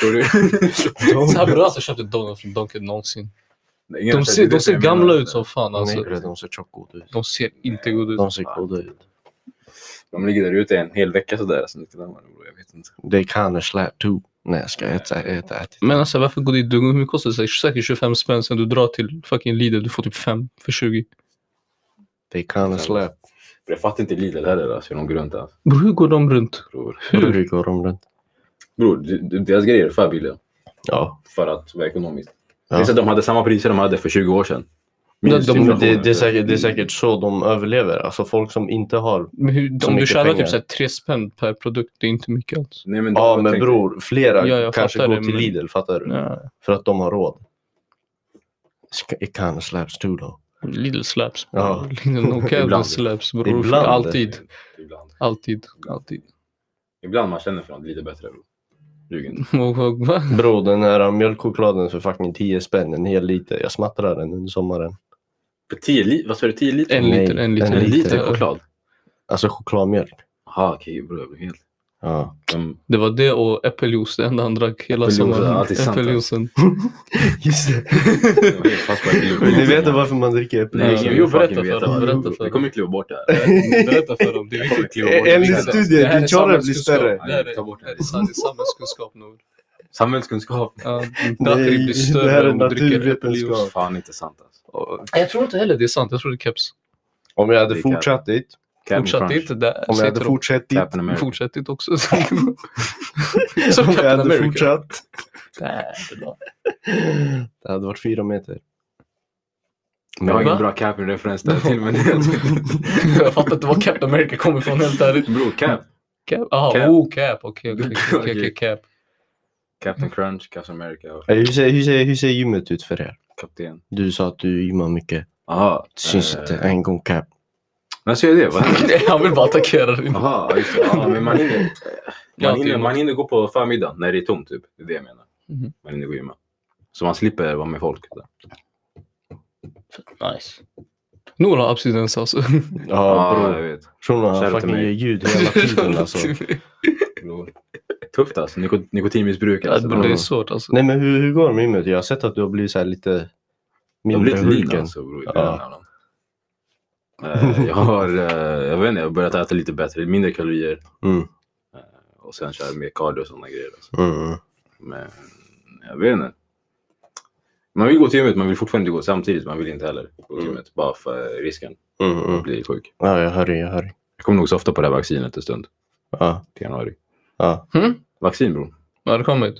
Speaker 3: bror.
Speaker 1: Så här bra att jag köpte donuts från Donken någonsin.
Speaker 3: Det är ingen-
Speaker 1: De ser,
Speaker 3: det är
Speaker 1: de
Speaker 3: det
Speaker 1: ser
Speaker 3: jag
Speaker 1: gamla
Speaker 3: menar.
Speaker 1: ut som fan alltså.
Speaker 2: Nej, de ser tjockt goda ut.
Speaker 1: De ser inte goda ut.
Speaker 2: De ser goda ut.
Speaker 3: De ligger där ute en hel vecka sådär. Så det kan vara, bror, jag vet inte.
Speaker 2: They kind of slap too. Nej, jag ska äta, äta, äta.
Speaker 1: Men alltså varför går dit? Du hur mycket kostar det? Så här, Säkert 25 spänn sen du drar till fucking Lidl. Du får typ 5 för 20.
Speaker 2: They kind of slap.
Speaker 3: För Jag fattar inte Lidl heller alltså, hur de går runt där.
Speaker 1: Bror, hur går de runt?
Speaker 3: Bror,
Speaker 1: Hur?
Speaker 2: Hur går de runt?
Speaker 3: bror d- d- deras grejer är för billiga.
Speaker 2: Ja.
Speaker 3: För att vara ekonomiskt.
Speaker 2: Ja.
Speaker 3: Det är så att de hade samma priser de hade för 20 år sedan.
Speaker 1: Nej, de-
Speaker 2: Men
Speaker 3: inflationen.
Speaker 2: det, det, är säkert, det är säkert så de överlever. Alltså folk som inte har...
Speaker 1: Men hur,
Speaker 2: Så
Speaker 1: om du
Speaker 2: mycket
Speaker 1: tjänar
Speaker 2: pengar.
Speaker 1: typ så här 3 spänn per produkt, det är inte mycket alls.
Speaker 3: Nej, men de-
Speaker 2: Ja,
Speaker 3: jag
Speaker 2: men
Speaker 3: tänkte-
Speaker 2: bror, flera
Speaker 1: Ja, jag
Speaker 2: kanske
Speaker 1: fattar
Speaker 2: går
Speaker 1: det,
Speaker 2: till
Speaker 1: men-
Speaker 2: Lidl, fattar du?
Speaker 1: Ja.
Speaker 2: För att de har råd. Ska- It kind of slaps too though.
Speaker 1: Lidl slaps.
Speaker 2: Ja.
Speaker 1: Lidl no
Speaker 3: Ibland.
Speaker 1: Lidl slaps bror.
Speaker 2: Ibland.
Speaker 1: Alltid.
Speaker 3: eh, Ibland.
Speaker 1: Alltid. Alltid.
Speaker 3: Ibland man känner för något lite bättre. bror. Ljug inte.
Speaker 1: Och, och, va?
Speaker 2: Bror, den här mjölkchokladen för fucking 10 spänn, en hel liter. Jag smattrar den under sommaren.
Speaker 3: För 10 li- vad sa du, 10 liter?
Speaker 1: En
Speaker 2: Nej,
Speaker 1: liter, en liter.
Speaker 2: en
Speaker 3: En liter
Speaker 2: liter.
Speaker 3: choklad?
Speaker 2: Alltså chokladmjölk.
Speaker 3: Jaha, okej bror. Jag blev helt...
Speaker 2: Ja.
Speaker 3: Mm.
Speaker 1: Det var det och äppeljuice, det enda han drack hela
Speaker 3: Äppeljuice,
Speaker 1: sommaren.
Speaker 3: ja, det är sant, alltså.
Speaker 1: Äppeljuicen.
Speaker 2: Just det.
Speaker 3: jag var helt fast på att
Speaker 2: Vill ni veta
Speaker 3: det var.
Speaker 2: varför man dricker
Speaker 3: Nej,
Speaker 1: Jo,
Speaker 3: jag
Speaker 2: äppeljuice?
Speaker 1: jo,
Speaker 3: vill
Speaker 1: berätta
Speaker 3: fucking
Speaker 1: för
Speaker 3: veta.
Speaker 1: dem,
Speaker 3: varför.
Speaker 1: berätta för
Speaker 3: Jag
Speaker 1: dem.
Speaker 3: kommer kliva bort det här.
Speaker 1: Berätta för dem. Det är
Speaker 3: Jag kommer
Speaker 1: viktigt.
Speaker 3: kliva bort det.
Speaker 2: Enligt
Speaker 3: Det här-
Speaker 2: studien.
Speaker 1: Det här är
Speaker 2: din chara blir
Speaker 1: samhällskunskap.
Speaker 2: större.
Speaker 1: Det här är-
Speaker 3: Ta bort det.
Speaker 1: det här är sam- det är samhällskunskap nu.
Speaker 3: Samhällskunskap.
Speaker 1: Ja,
Speaker 2: Nej,
Speaker 1: Bakri blir större
Speaker 2: det här är
Speaker 1: om du dricker äppeljuice.
Speaker 2: naturvetenskap.
Speaker 3: Fan inte sant alltså.
Speaker 1: Jag tror inte heller det är sant. Jag tror det är keps.
Speaker 2: Om jag hade
Speaker 3: Det kan-
Speaker 2: fortsatt dit.
Speaker 3: Captain
Speaker 1: Fortsätt
Speaker 3: Crunch.
Speaker 1: inte där.
Speaker 2: Om jag
Speaker 1: Säg till dem. Mm.
Speaker 2: hade fortsatt dit.
Speaker 3: Captain America.
Speaker 1: Fortsätt inte också. Som
Speaker 2: Om jag
Speaker 1: Captain
Speaker 2: hade
Speaker 1: America.
Speaker 2: fortsatt. Det hade varit fyra meter.
Speaker 3: Jag har
Speaker 1: Va?
Speaker 3: ingen bra Captain-referens där till men... Bror,
Speaker 1: Jag fattar inte var Captain America kommer ifrån helt ärligt.
Speaker 3: Cap.
Speaker 1: Cap? Jaha,
Speaker 3: Cap.
Speaker 1: oh cap. Okej, okej, okej, okej, okej, cap.
Speaker 3: Captain Crunch, Captain America och
Speaker 2: Eh, Hur ser, hur, ser, hur ser gymmet ut för er?
Speaker 3: kapten.
Speaker 2: Du sa att du gymmar mycket.
Speaker 3: Jaha.
Speaker 2: Syns
Speaker 3: eh,
Speaker 2: inte en gång cap.
Speaker 3: När ser jag det? Vad händer?
Speaker 1: Han vill bara attackera dig.
Speaker 3: Jaha, just det. Ja, men man hinner,
Speaker 1: Ja, typ.
Speaker 3: man,
Speaker 1: det är
Speaker 3: hinner,
Speaker 1: gott.
Speaker 3: man hinner gå på förmiddagen när det är tomt, typ. Det är det jag menar.
Speaker 1: Mhm.
Speaker 3: Man hinner gå och gymma. Så man slipper vara med folk. typ. Där.
Speaker 1: Nice. Noel har abstinens alltså.
Speaker 2: Ja, bror.
Speaker 3: jag vet.
Speaker 2: Tror nog
Speaker 3: Shout
Speaker 2: han
Speaker 3: out
Speaker 2: fucking
Speaker 3: till mig.
Speaker 2: gör ljud hela tiden alltså.
Speaker 3: Bror. Tufft alltså. Nikot- nikotinmissbruk.
Speaker 1: Ja,
Speaker 3: Alltså.
Speaker 1: bror, det är
Speaker 2: Mm.
Speaker 1: svårt alltså.
Speaker 2: Nej men hur, hur går det med gymmet? Jag har sett att du har blivit så här lite
Speaker 3: Jag
Speaker 2: mindre
Speaker 3: blir lite lin
Speaker 2: Hulken.
Speaker 3: alltså, bror.
Speaker 2: Ja.
Speaker 3: Ja. jag har, eh, jag vet inte, jag har börjat äta lite bättre, mindre kalorier
Speaker 2: Mm.
Speaker 3: och sen kör jag mer cardio och sådana grejer. Alltså.
Speaker 2: Mm.
Speaker 3: Men jag vet inte. Man vill gå till gymmet, man vill fortfarande inte gå samtidigt. Man vill inte heller gå till
Speaker 2: Mm.
Speaker 3: gymmet, bara för risken
Speaker 2: Mm.
Speaker 3: att
Speaker 2: Mm.
Speaker 3: bli sjuk.
Speaker 2: Ja, jag hör dig, jag hör dig.
Speaker 3: Jag kommer nog softa på det här vaccinet en stund
Speaker 2: Ja,
Speaker 3: till januari.
Speaker 2: ja.
Speaker 1: Mm?
Speaker 3: Vaccin bror.
Speaker 1: Har det kommit?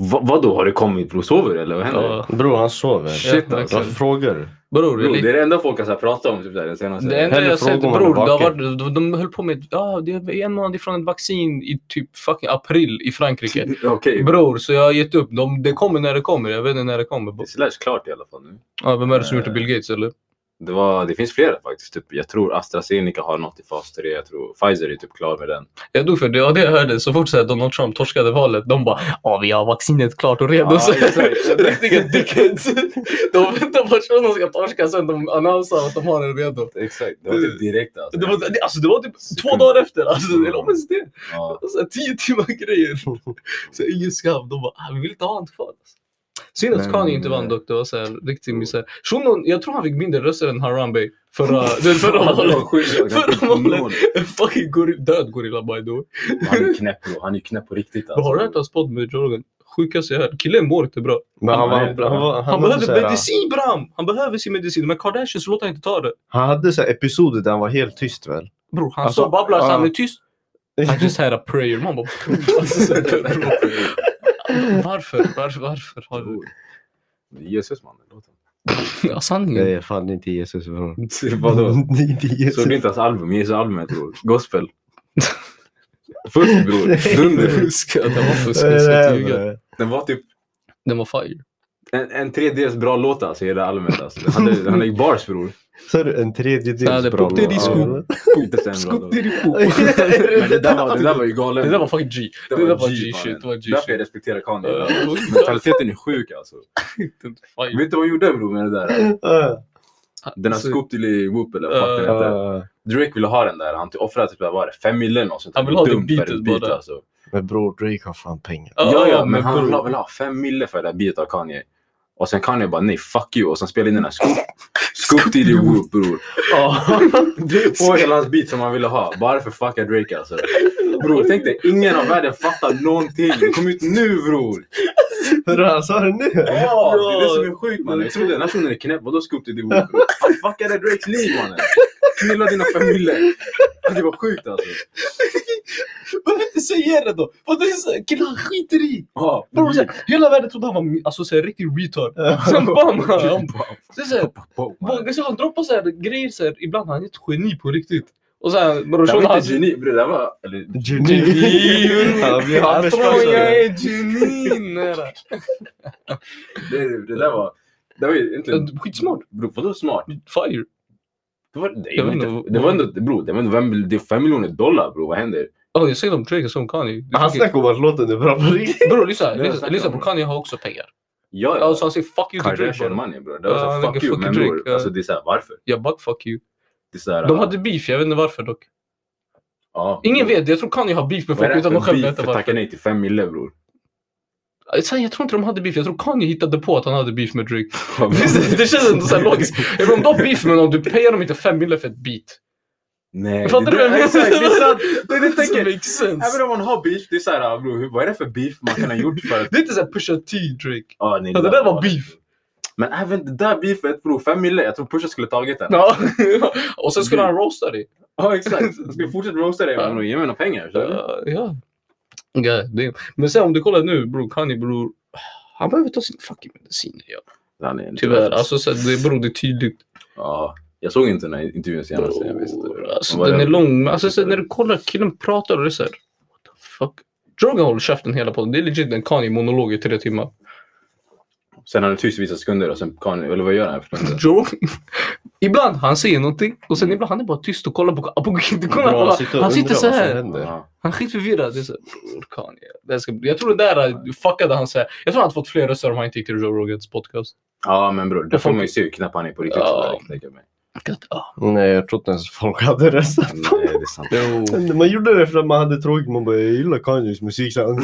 Speaker 3: Va, vadå har det kommit bror? Sover du eller vad händer?
Speaker 1: Ja.
Speaker 2: Bror han sover.
Speaker 3: Shit
Speaker 1: Ja,
Speaker 3: alltså.
Speaker 1: verkligen.
Speaker 2: Varför frågar du?
Speaker 1: Bror,
Speaker 3: Bror,
Speaker 1: jag
Speaker 3: det är det enda folk har så här pratat om typ där, den senaste.
Speaker 1: Det enda
Speaker 2: Hellre
Speaker 1: jag sett,
Speaker 2: fråga om han är
Speaker 1: bror, det har
Speaker 2: vaken.
Speaker 1: varit, de, de höll på med ja, det är en månad ifrån ett vaccin i typ fucking april i Frankrike.
Speaker 3: Okej.
Speaker 1: Bror, så jag har gett upp. De, det kommer när det kommer. Jag vet inte när det kommer.
Speaker 3: Det är
Speaker 1: bror.
Speaker 3: slash klart i alla fall nu.
Speaker 1: Ja, vem är det som gjort det? Bill Gates eller?
Speaker 3: Det, var, det finns flera faktiskt. Typ, jag tror AstraZeneca har något i fas 3. Jag tror Pfizer är typ klar med den.
Speaker 1: Jag dog för det. Ja, det jag hörde. Så fort så här, Donald Trump torskade valet, de bara ja, vi har vaccinet klart och redo.
Speaker 3: Ja,
Speaker 1: Så-
Speaker 3: exakt.
Speaker 1: Riktiga dickheads. De väntar på att någon ska torska sen de annonserar att de har det redo.
Speaker 3: Exakt. Det var typ direkt alltså.
Speaker 1: Det var, det- alltså, det var typ två
Speaker 3: Sekund.
Speaker 1: dagar efter. Alltså, eller om ens det.
Speaker 3: Ja.
Speaker 1: Så här, tio timmar grejer. Så här, ingen skam. De bara, ah, vi vill inte ha han kvar. Alltså. Synd att
Speaker 3: Men-
Speaker 1: Kanye inte vann dock. Det var så här, riktig misär. Shunon, jag tror han fick mindre röster än Harambe förra, den förra valet. Förra valet. En fucking gorilla, död gorilla by the way.
Speaker 3: Han är knäpp bro. Han är knäpp på riktigt alltså.
Speaker 1: Har du hört hans podd med Joe Rogan? Sjukaste jag hört. Killen mår inte bra.
Speaker 2: Men han, var,
Speaker 3: Han-
Speaker 2: han, var, han, var,
Speaker 1: Han,
Speaker 2: han, hade så
Speaker 1: behöver
Speaker 2: här,
Speaker 1: medicin bram! Han behöver sin medicin. Men Kardashian så låter han inte ta det.
Speaker 2: han hade så här episoder där han var helt tyst väl?
Speaker 1: Bror, han
Speaker 2: Alltså,
Speaker 1: står och babblar så
Speaker 2: ja.
Speaker 1: han är tyst. I just had a prayer. Man bara... Alltså, så här, varför? Varför? Varför? Har du...
Speaker 3: Bror. Det är Jesus mannen. Låt honom.
Speaker 1: Ja, sanningen.
Speaker 2: Det är fan inte Jesus bror.
Speaker 3: Vadå?
Speaker 2: Mm. Det är inte Jesus.
Speaker 3: Såg du inte hans album? Jesu albumet bror. Gospel. Fusk bror.
Speaker 1: Det
Speaker 3: Dunder.
Speaker 1: fuskar, det var fusk.
Speaker 2: Det är
Speaker 1: så att
Speaker 2: det
Speaker 1: ljuga.
Speaker 2: här,
Speaker 3: Den var typ
Speaker 1: Den var fire.
Speaker 3: en, en tredjedels bra låt alltså i hela albumet. Alltså. Den hade, den hade ju bars bror.
Speaker 2: Så är det en
Speaker 1: Ja, det
Speaker 2: tredjedels
Speaker 1: är
Speaker 2: bra
Speaker 1: pop, det är disco.
Speaker 2: Ja.
Speaker 3: Inte så en bra låt. Men det
Speaker 1: Det
Speaker 3: där var, det där var ju
Speaker 1: det
Speaker 3: galen.
Speaker 1: där var fucking G. Det där var G-shit. Det var
Speaker 3: Därför jag
Speaker 1: G-shit.
Speaker 3: respekterar Kanye.
Speaker 1: Ja.
Speaker 3: Mentaliteten är sjuk alltså.
Speaker 1: Den var fire.
Speaker 3: Vet du vad han gjorde bror med det där?
Speaker 2: Ja.
Speaker 3: Den här
Speaker 1: Alltså-
Speaker 3: Scoop Dilly Whoop eller vad fuck den
Speaker 1: Ja.
Speaker 3: heter.
Speaker 2: Uh,
Speaker 3: Drake ville ha den där. Han typ offrade typ vad var det, fem miljoner eller något sånt. där.
Speaker 1: Han vill ha det
Speaker 3: Dumt för
Speaker 1: beatet
Speaker 3: ett beat,
Speaker 1: bara.
Speaker 3: Alltså.
Speaker 2: men bror, Drake har fan pengar.
Speaker 1: Ja,
Speaker 3: ja, ja, men,
Speaker 1: men
Speaker 3: han
Speaker 1: bror.
Speaker 3: la väl ha fem mille för det där beatet av Kanye. Och sen Kanye bara nej, fuck you. Och sen spelade in den här Scoop, Scoop Dilly Whoop bror. Och hela hans beat som han ville ha. Bara för fucka Drake alltså. Bror, tänk dig, ingen av världen fattar någonting. Det kom ut nu bror.
Speaker 2: Hörru, han sa det nu!
Speaker 3: Ja, det är det som är sjukt mannen. Jag trodde den här personen är knäpp. Vadå Scoop Diddy Woo? bror? Han fuckade Drakes liv mannen. Knullade dina familjer. Det var sjukt alltså.
Speaker 1: Varför inte säga det då? Vad det är så- Killen han skiter i!
Speaker 3: Ja.
Speaker 1: Bror, så här, hela världen trodde han var mi- alltså, så här, riktig retard. Sen bam! Han, så här, så här, vågar- så han droppar så här, grejer så här, ibland han är ett geni på riktigt. Och sen
Speaker 3: Det
Speaker 1: brorsan
Speaker 3: var
Speaker 1: han...
Speaker 3: inte geni bror. Det var... Eller,
Speaker 1: Geni!
Speaker 2: Ja, vi har
Speaker 1: Han
Speaker 2: Anders
Speaker 1: tror
Speaker 2: Persson.
Speaker 1: jag är geni! nära.
Speaker 3: det, det där var... Det var ju egentligen...
Speaker 1: Skitsmart.
Speaker 3: Bror, vadå smart?
Speaker 1: Fire.
Speaker 3: Det var, det,
Speaker 1: Jag
Speaker 3: var
Speaker 1: vet
Speaker 3: inte,
Speaker 1: inte.
Speaker 3: det var ändå... Bror, det var ändå... vem- Det är fem miljoner dollar bror. Vad händer?
Speaker 1: Ja, jag säger om Drake är som Kanye. Det är
Speaker 2: Han
Speaker 1: fucking-
Speaker 2: snackar om att låten är bra på riktigt.
Speaker 1: Bror lyssna,
Speaker 3: Det är
Speaker 1: lyssna,
Speaker 3: snack
Speaker 1: lyssna
Speaker 3: om.
Speaker 1: bror Kanye har också pengar.
Speaker 3: Ja, ja.
Speaker 1: Alltså han säger fuck you till Drake
Speaker 3: Kardashian
Speaker 1: bara.
Speaker 3: money bror. Det var
Speaker 1: Ja,
Speaker 3: såhär fuck
Speaker 1: lägger
Speaker 3: you.
Speaker 1: fuck
Speaker 3: Men
Speaker 1: Drake,
Speaker 3: bror,
Speaker 1: ja.
Speaker 3: alltså det är såhär varför?
Speaker 1: Jag bara fuck you.
Speaker 3: Det är så här,
Speaker 1: De
Speaker 3: ja.
Speaker 1: hade beef, jag vet inte varför dock.
Speaker 3: Ja.
Speaker 1: Ingen vet, jag tror Kanye har beef med
Speaker 3: Vad är
Speaker 1: folk
Speaker 3: det
Speaker 1: utan de
Speaker 3: här för
Speaker 1: själva
Speaker 3: beef
Speaker 1: vet
Speaker 3: för att tacka
Speaker 1: varför.
Speaker 3: nej till fem mille bror?
Speaker 1: Alltså, jag tror inte de hade beef, jag tror Kanye hittade på att han hade beef med Drake. Det- det känns ändå så här logiskt. Jag menar, om du har beef med någon, du payar dem inte fem miljoner för ett beat.
Speaker 3: Nej.
Speaker 1: Fattar du
Speaker 3: det-
Speaker 1: vad jag menar?
Speaker 3: Exakt, det är sant. Det är det jag
Speaker 1: Det
Speaker 3: tänker.
Speaker 1: Alltså, makes sense.
Speaker 3: Även om man har beef, det är såhär bror, hur- vad är det för beef man kan ha gjort för att...
Speaker 1: Det är inte såhär pusha T Drake.
Speaker 3: Ja, nej,
Speaker 1: Ja, det där var beef.
Speaker 3: Men även det där beefet bror, fem mille. Jag tror Pusha skulle tagit den.
Speaker 1: Ja. Och sen skulle han roasta dig.
Speaker 3: Ja exakt. Jag skulle fortsätta roasta dig
Speaker 1: Ja.
Speaker 3: men ge mig några pengar. Så.
Speaker 1: Ja, ja. God damn. Men sen om du kollar nu bror, Kanye bror. Han behöver ta sin fucking medicin. Ja.
Speaker 3: Ja, nej, nej.
Speaker 1: Tyvärr, alltså så, det beror det är tydligt.
Speaker 3: Ja. Jag såg inte den här intervjun senast. Jag visste inte.
Speaker 1: Bror, alltså,
Speaker 3: Vad
Speaker 1: den
Speaker 3: det-
Speaker 1: är lång, men alltså, så, när du kollar killen pratar och det är såhär, what the fuck. Drogan håller käften hela podden, det är legit en Kanye-monolog i tre timmar.
Speaker 3: Sen han är tyst i vissa sekunder och sen kan... Eller vad gör han? Jag förstår inte.
Speaker 1: Drogan, ibland han säger någonting och sen ibland han är bara tyst och kollar på, på, på kollar,
Speaker 2: Bra,
Speaker 1: han,
Speaker 2: han
Speaker 1: sitter,
Speaker 2: sitter och
Speaker 1: han sitter
Speaker 2: undrar
Speaker 1: så
Speaker 2: vad som
Speaker 1: här.
Speaker 2: händer.
Speaker 3: Ja.
Speaker 1: han är skitförvirrad. Det är så här, bror, Kanye. Det här ska, bli- jag tror det där eh, fuckade han så här. Jag tror han fått fler röster om han inte gick till Joe Rogans podcast.
Speaker 3: Ja men bror, då
Speaker 1: Jag
Speaker 3: får
Speaker 1: får-
Speaker 3: man ju se hur knäpp han är på riktigt.
Speaker 1: Ja.
Speaker 3: så där, kan jag tänka mig.
Speaker 1: God, ah.
Speaker 2: Nej, jag tror inte ens folk hade röstat.
Speaker 3: Nej eh, det är sant.
Speaker 2: Man gjorde det för att man hade tråkigt. Man bara, jag gillar Kanyes musik. Så han-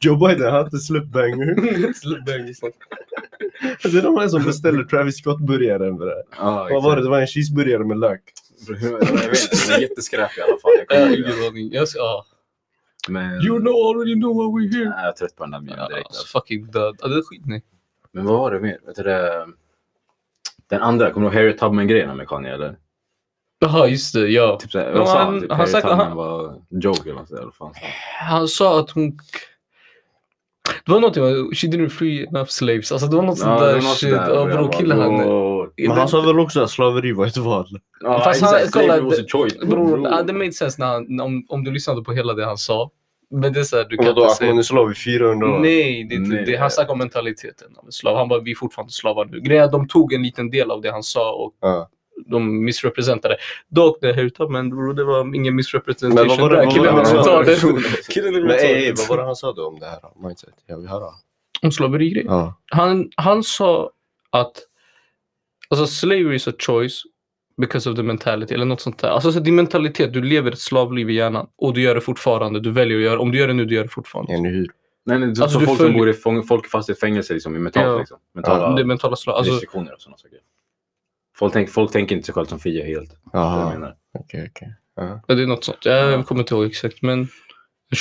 Speaker 2: Joe Biden, han har inte släppt banger.
Speaker 1: Släpp den, snart.
Speaker 2: Det är de här som beställer Travis Scott-burgaren. för det.
Speaker 3: Ja,
Speaker 2: Vad var det? Det var en cheeseburgare med lök.
Speaker 3: exakt. Jag vet inte, den är jätteskräpig i alla fall. Jag kommer
Speaker 1: Jag har
Speaker 3: ihåg det.
Speaker 1: ingen aning. Jag ska- ah.
Speaker 3: Men
Speaker 1: You know already know why we're here.
Speaker 3: Nej, jag är trött på den där memen direkt.
Speaker 1: Alltså,
Speaker 3: Alltså.
Speaker 1: fucking död. Ja, det är skit nej.
Speaker 3: Men vad var det mer? Vet du det? Den andra, kommer du ihåg Harriet Tubman-grejerna med Kanye eller?
Speaker 1: Jaha, just det. Ja.
Speaker 3: Typ såhär,
Speaker 1: Ja,
Speaker 3: vad sa
Speaker 1: han-
Speaker 3: han? Typ,
Speaker 1: han
Speaker 3: Harriet
Speaker 1: sagt-
Speaker 3: Tubman
Speaker 1: han-
Speaker 3: var joke eller nåt sånt där, vad fan sa han?
Speaker 1: Han sa att hon... Det var någonting med she didn't free enough slaves. Alltså det var något sånt
Speaker 3: Ja, det
Speaker 1: där
Speaker 3: var något
Speaker 1: shit.
Speaker 3: sånt där,
Speaker 1: Ja,
Speaker 3: och jag
Speaker 1: bror,
Speaker 3: bara,
Speaker 1: killen han...
Speaker 2: Men han sa väl också att slaveri var ett val?
Speaker 3: Ja,
Speaker 1: Fast han-
Speaker 3: exakt.
Speaker 1: kolla,
Speaker 3: Slavery was a choice.
Speaker 1: Bror, ja, det made sense när han, om, om du lyssnade på hela det han sa. Men det är såhär, du kan
Speaker 2: Vadå,
Speaker 1: inte
Speaker 2: att man
Speaker 1: säga...
Speaker 2: är slav i 400 år?
Speaker 1: Nej, det, det,
Speaker 3: Nej.
Speaker 1: det, han snackade om mentaliteten av en slav. Han bara, vi är fortfarande slavar nu. Grejen är att de tog en liten del av det han sa och
Speaker 2: Ja.
Speaker 1: de missrepresentade. Dock, det här utan, men bror, det var ingen missrepresentation.
Speaker 2: Men vad var det-
Speaker 1: där.
Speaker 2: vad
Speaker 1: Killen
Speaker 2: var det-
Speaker 1: med
Speaker 2: vad var det-
Speaker 1: retarden. Killen
Speaker 2: Men
Speaker 1: med
Speaker 2: ey, ey,
Speaker 1: retarden.
Speaker 2: vad var det han sa då om det här? Mindset? Jag vill höra.
Speaker 1: Om slaveri
Speaker 2: Ja.
Speaker 1: han, han sa att alltså, slavery is a choice because of the mentality eller något sånt där. Alltså, så din mentalitet, du lever ett slavliv i hjärnan och du gör det fortfarande. Du väljer att göra Om du gör det nu, du gör det fortfarande.
Speaker 2: Eller hur?
Speaker 3: Nej, nej,
Speaker 1: Alltså,
Speaker 3: alltså,
Speaker 1: du
Speaker 3: folk som
Speaker 1: följer-
Speaker 3: bor i fång, folk är fast i ett fängelse liksom, i mentalt,
Speaker 1: Ja.
Speaker 3: liksom. mentala
Speaker 1: Det är mentala slav. Alltså,
Speaker 3: restriktioner och sådana saker. Folk, tänk, folk tänker inte sig själva som fria helt. Det är vad jag
Speaker 2: Jaha,
Speaker 3: menar.
Speaker 2: okej okej.
Speaker 1: det är något sånt. Jag kommer inte ihåg exakt, men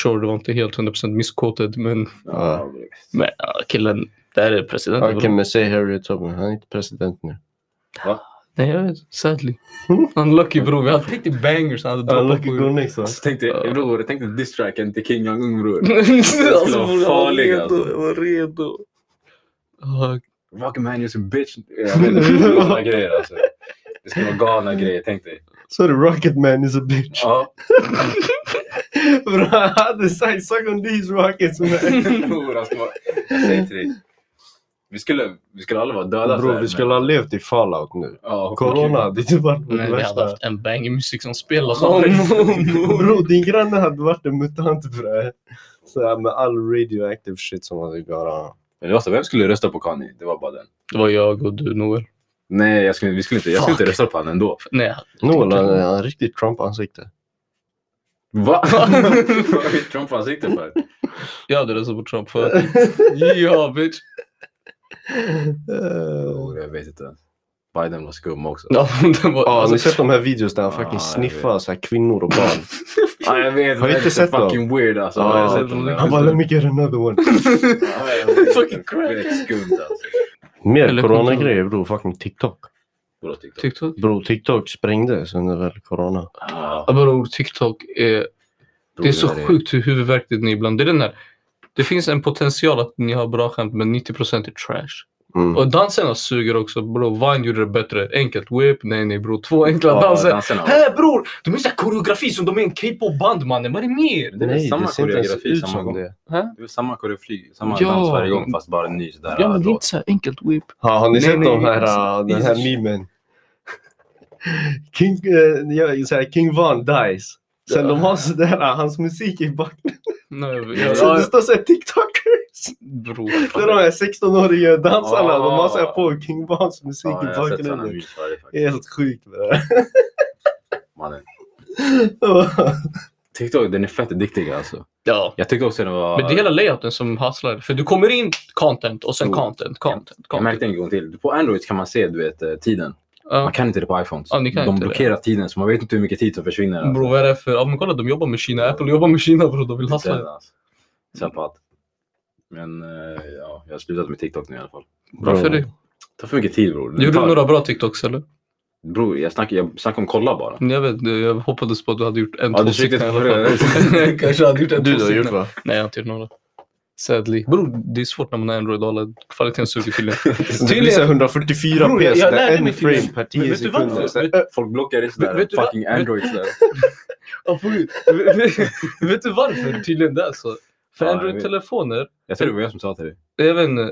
Speaker 1: sure, det var inte helt 100% misskåtet, men
Speaker 2: Ja.
Speaker 3: Ja,
Speaker 1: men, ja, killen, där är presidenten.
Speaker 2: Okej men säg Harriet Tubman, han är inte president nu.
Speaker 1: Nej, jag vet. Sadly. Unlucky bror. Vi hade tänkt i bangers. Han hade droppat på-
Speaker 2: next va?
Speaker 3: Alltså, tänk dig,
Speaker 1: Ja.
Speaker 3: bror, tänk dig diss-tracken till King Young-Un bror.
Speaker 1: alltså,
Speaker 3: vara
Speaker 1: bror, jag var
Speaker 3: farlig,
Speaker 1: redo.
Speaker 3: alltså.
Speaker 1: Jag var redo. Ah,
Speaker 3: Rockman is a bitch. Jag vet inte, galna grejer alltså. Det skulle vara galna grejer, tänk dig.
Speaker 2: Sorry, Rocket Man is a bitch.
Speaker 3: Ja,
Speaker 2: Bro, han hade sagt suck on these rockets.
Speaker 3: bror, alltså, vad- jag säger till dig. Vi skulle, vi skulle alla vara döda. så
Speaker 2: Bro,
Speaker 3: här,
Speaker 2: vi skulle ha levt i fallout nu.
Speaker 3: Ja,
Speaker 2: Corona, det hade varit
Speaker 1: Nej,
Speaker 2: det
Speaker 1: vi hade
Speaker 2: värsta.
Speaker 1: haft en banger musik som spelas
Speaker 3: Ja,
Speaker 1: om
Speaker 3: exakt.
Speaker 1: och om. och om.
Speaker 2: Bro, din granne hade varit en mutant bre. Så här med all radioactive shit som hade gått.
Speaker 3: Men det var så, vem skulle rösta på Kanye? Det var bara den.
Speaker 1: Det var jag och du Noel.
Speaker 3: Nej, jag skulle, vi skulle inte, jag skulle inte rösta på honom ändå.
Speaker 1: Nej.
Speaker 2: Noel, han han har riktigt Trump-ansikte.
Speaker 3: Va? Vad har Trump ansikte för?
Speaker 1: Jag hade röstat på Trump för. ja, bitch.
Speaker 2: Eh,
Speaker 3: Oh, jag vet inte. Biden var skum också.
Speaker 1: Ja, den var,
Speaker 2: Ja, har ni
Speaker 1: alltså,
Speaker 2: sett de här videos där han fucking
Speaker 3: Ah, jag
Speaker 2: sniffar så här kvinnor och barn?
Speaker 3: Ja, jag vet.
Speaker 2: Har
Speaker 3: det
Speaker 2: inte
Speaker 3: är lite
Speaker 2: sett dem?
Speaker 3: fucking weird alltså.
Speaker 2: Ja,
Speaker 3: Har jag
Speaker 2: jag har
Speaker 3: sett dem?
Speaker 2: Han bara, let me get another one.
Speaker 3: Ja, jag vet.
Speaker 1: Fucking crack.
Speaker 3: Det är skumt alltså.
Speaker 2: Mer
Speaker 1: Eller
Speaker 2: coronagrejer bror, fucking TikTok.
Speaker 3: Vadå, TikTok?
Speaker 1: TikTok.
Speaker 2: Bror, TikTok sprängdes under väl corona.
Speaker 3: Ja,
Speaker 1: Ja, Bror, TikTok är... Det är så
Speaker 3: där
Speaker 1: sjukt hur huvudvärket ni ibland... Det är den här... Det finns en potential att ni har bra skämt men 90% är trash.
Speaker 2: Mm.
Speaker 1: Och danserna suger också. Bro, Vine gjorde det bättre. Enkelt whip. Nej, nej bror. Två enkla
Speaker 3: Ja,
Speaker 1: danser.
Speaker 3: danserna.
Speaker 1: Hä bror! De är såhär koreografi som de är en K-pop-band mannen. Vad är det mer?
Speaker 3: Det är väl
Speaker 2: Nej,
Speaker 3: samma
Speaker 2: det ser inte ens
Speaker 3: koreografi
Speaker 2: ut
Speaker 3: samma
Speaker 2: som
Speaker 3: gång.
Speaker 2: det.
Speaker 3: Det är väl samma koreografi, samma
Speaker 1: Ja.
Speaker 3: dans varje gång fast bara en ny sådär alltså,
Speaker 1: Ja men det är
Speaker 3: låt.
Speaker 1: inte såhär enkelt whip.
Speaker 2: Ja, har ni
Speaker 1: Nej,
Speaker 2: sett
Speaker 1: nej,
Speaker 2: de här,
Speaker 1: alltså,
Speaker 2: uh, den
Speaker 1: det är
Speaker 2: här
Speaker 1: så-
Speaker 2: memen? King, uh, ja, så här, King Von dies. Sen
Speaker 1: Ja.
Speaker 2: de har sådär, uh, hans musik i backen.
Speaker 1: Nej, jag,
Speaker 2: Så det
Speaker 1: jag,
Speaker 2: står såhär TikTokers.
Speaker 1: bror.
Speaker 2: Det är de här 16-åriga dansarna. De har såhär
Speaker 3: Ah.
Speaker 2: på King Vans musik
Speaker 3: Ja,
Speaker 2: i
Speaker 3: jag har sett sådana
Speaker 2: bakgrunden.
Speaker 3: memes varje faktiskt.
Speaker 2: Helt sjukt med det
Speaker 3: Mannen.
Speaker 2: här.
Speaker 3: TikTok, den är fett addicting alltså.
Speaker 1: Ja.
Speaker 3: Jag tyckte också den var...
Speaker 1: Men det är hela layouten som hustlar. För du kommer in content och sen
Speaker 3: Jo.
Speaker 1: content, content,
Speaker 3: Jag
Speaker 1: content.
Speaker 3: märkte en gång till. På Android kan man se du vet, eh, tiden.
Speaker 1: Ja.
Speaker 3: Man kan inte det på iPhones.
Speaker 1: Ja, ni kan
Speaker 3: de
Speaker 1: inte det.
Speaker 3: blockerar tiden så man vet inte hur mycket tid som försvinner. alltså.
Speaker 1: Bro, vad är det för... Ja men kolla, de jobbar med Kina. Apple jobbar med Kina bror. De vill
Speaker 3: Sen,
Speaker 1: hustla.
Speaker 3: alltså. Sen på allt. Men eh, ja, jag har slutat med TikTok nu i alla fall.
Speaker 1: Bra för dig.
Speaker 3: Det tar för mycket tid bror. Det
Speaker 1: Gjorde
Speaker 3: tar-
Speaker 1: du några bra TikToks eller?
Speaker 3: Bror, jag snackar, jag snackar om kolla bara.
Speaker 1: Jag vet Jag hoppades på att du hade gjort en,
Speaker 3: Ja,
Speaker 1: två
Speaker 3: du siktar
Speaker 1: stycken i alla
Speaker 3: på det.
Speaker 1: fall. Jag kanske hade gjort en,
Speaker 2: Du
Speaker 1: två
Speaker 2: har gjort
Speaker 1: stycken.
Speaker 2: va?
Speaker 1: Nej, jag har inte gjort några. Sadly. Bror, det är svårt när man är Android och alla kvaliteten suger tydligen.
Speaker 2: Det blir såhär 144
Speaker 1: Bror,
Speaker 2: p,
Speaker 1: jag- jag lärde
Speaker 2: sådär
Speaker 1: mig
Speaker 2: en
Speaker 1: tydligen.
Speaker 2: frame per
Speaker 1: Men
Speaker 2: 10
Speaker 1: vet du varför?
Speaker 2: sekunder.
Speaker 1: Vet-
Speaker 2: Sådär,
Speaker 3: Folk blockerar det sådär.
Speaker 1: Vet du vad-
Speaker 3: fucking
Speaker 1: vet-
Speaker 3: Android sådär.
Speaker 1: Ja, på gud. Vet- vet- Vet du varför tydligen det är så? För
Speaker 3: Ja, jag vet.
Speaker 1: Android-telefoner,
Speaker 3: Jag tror det var jag som sa till dig.
Speaker 1: jag vet inte,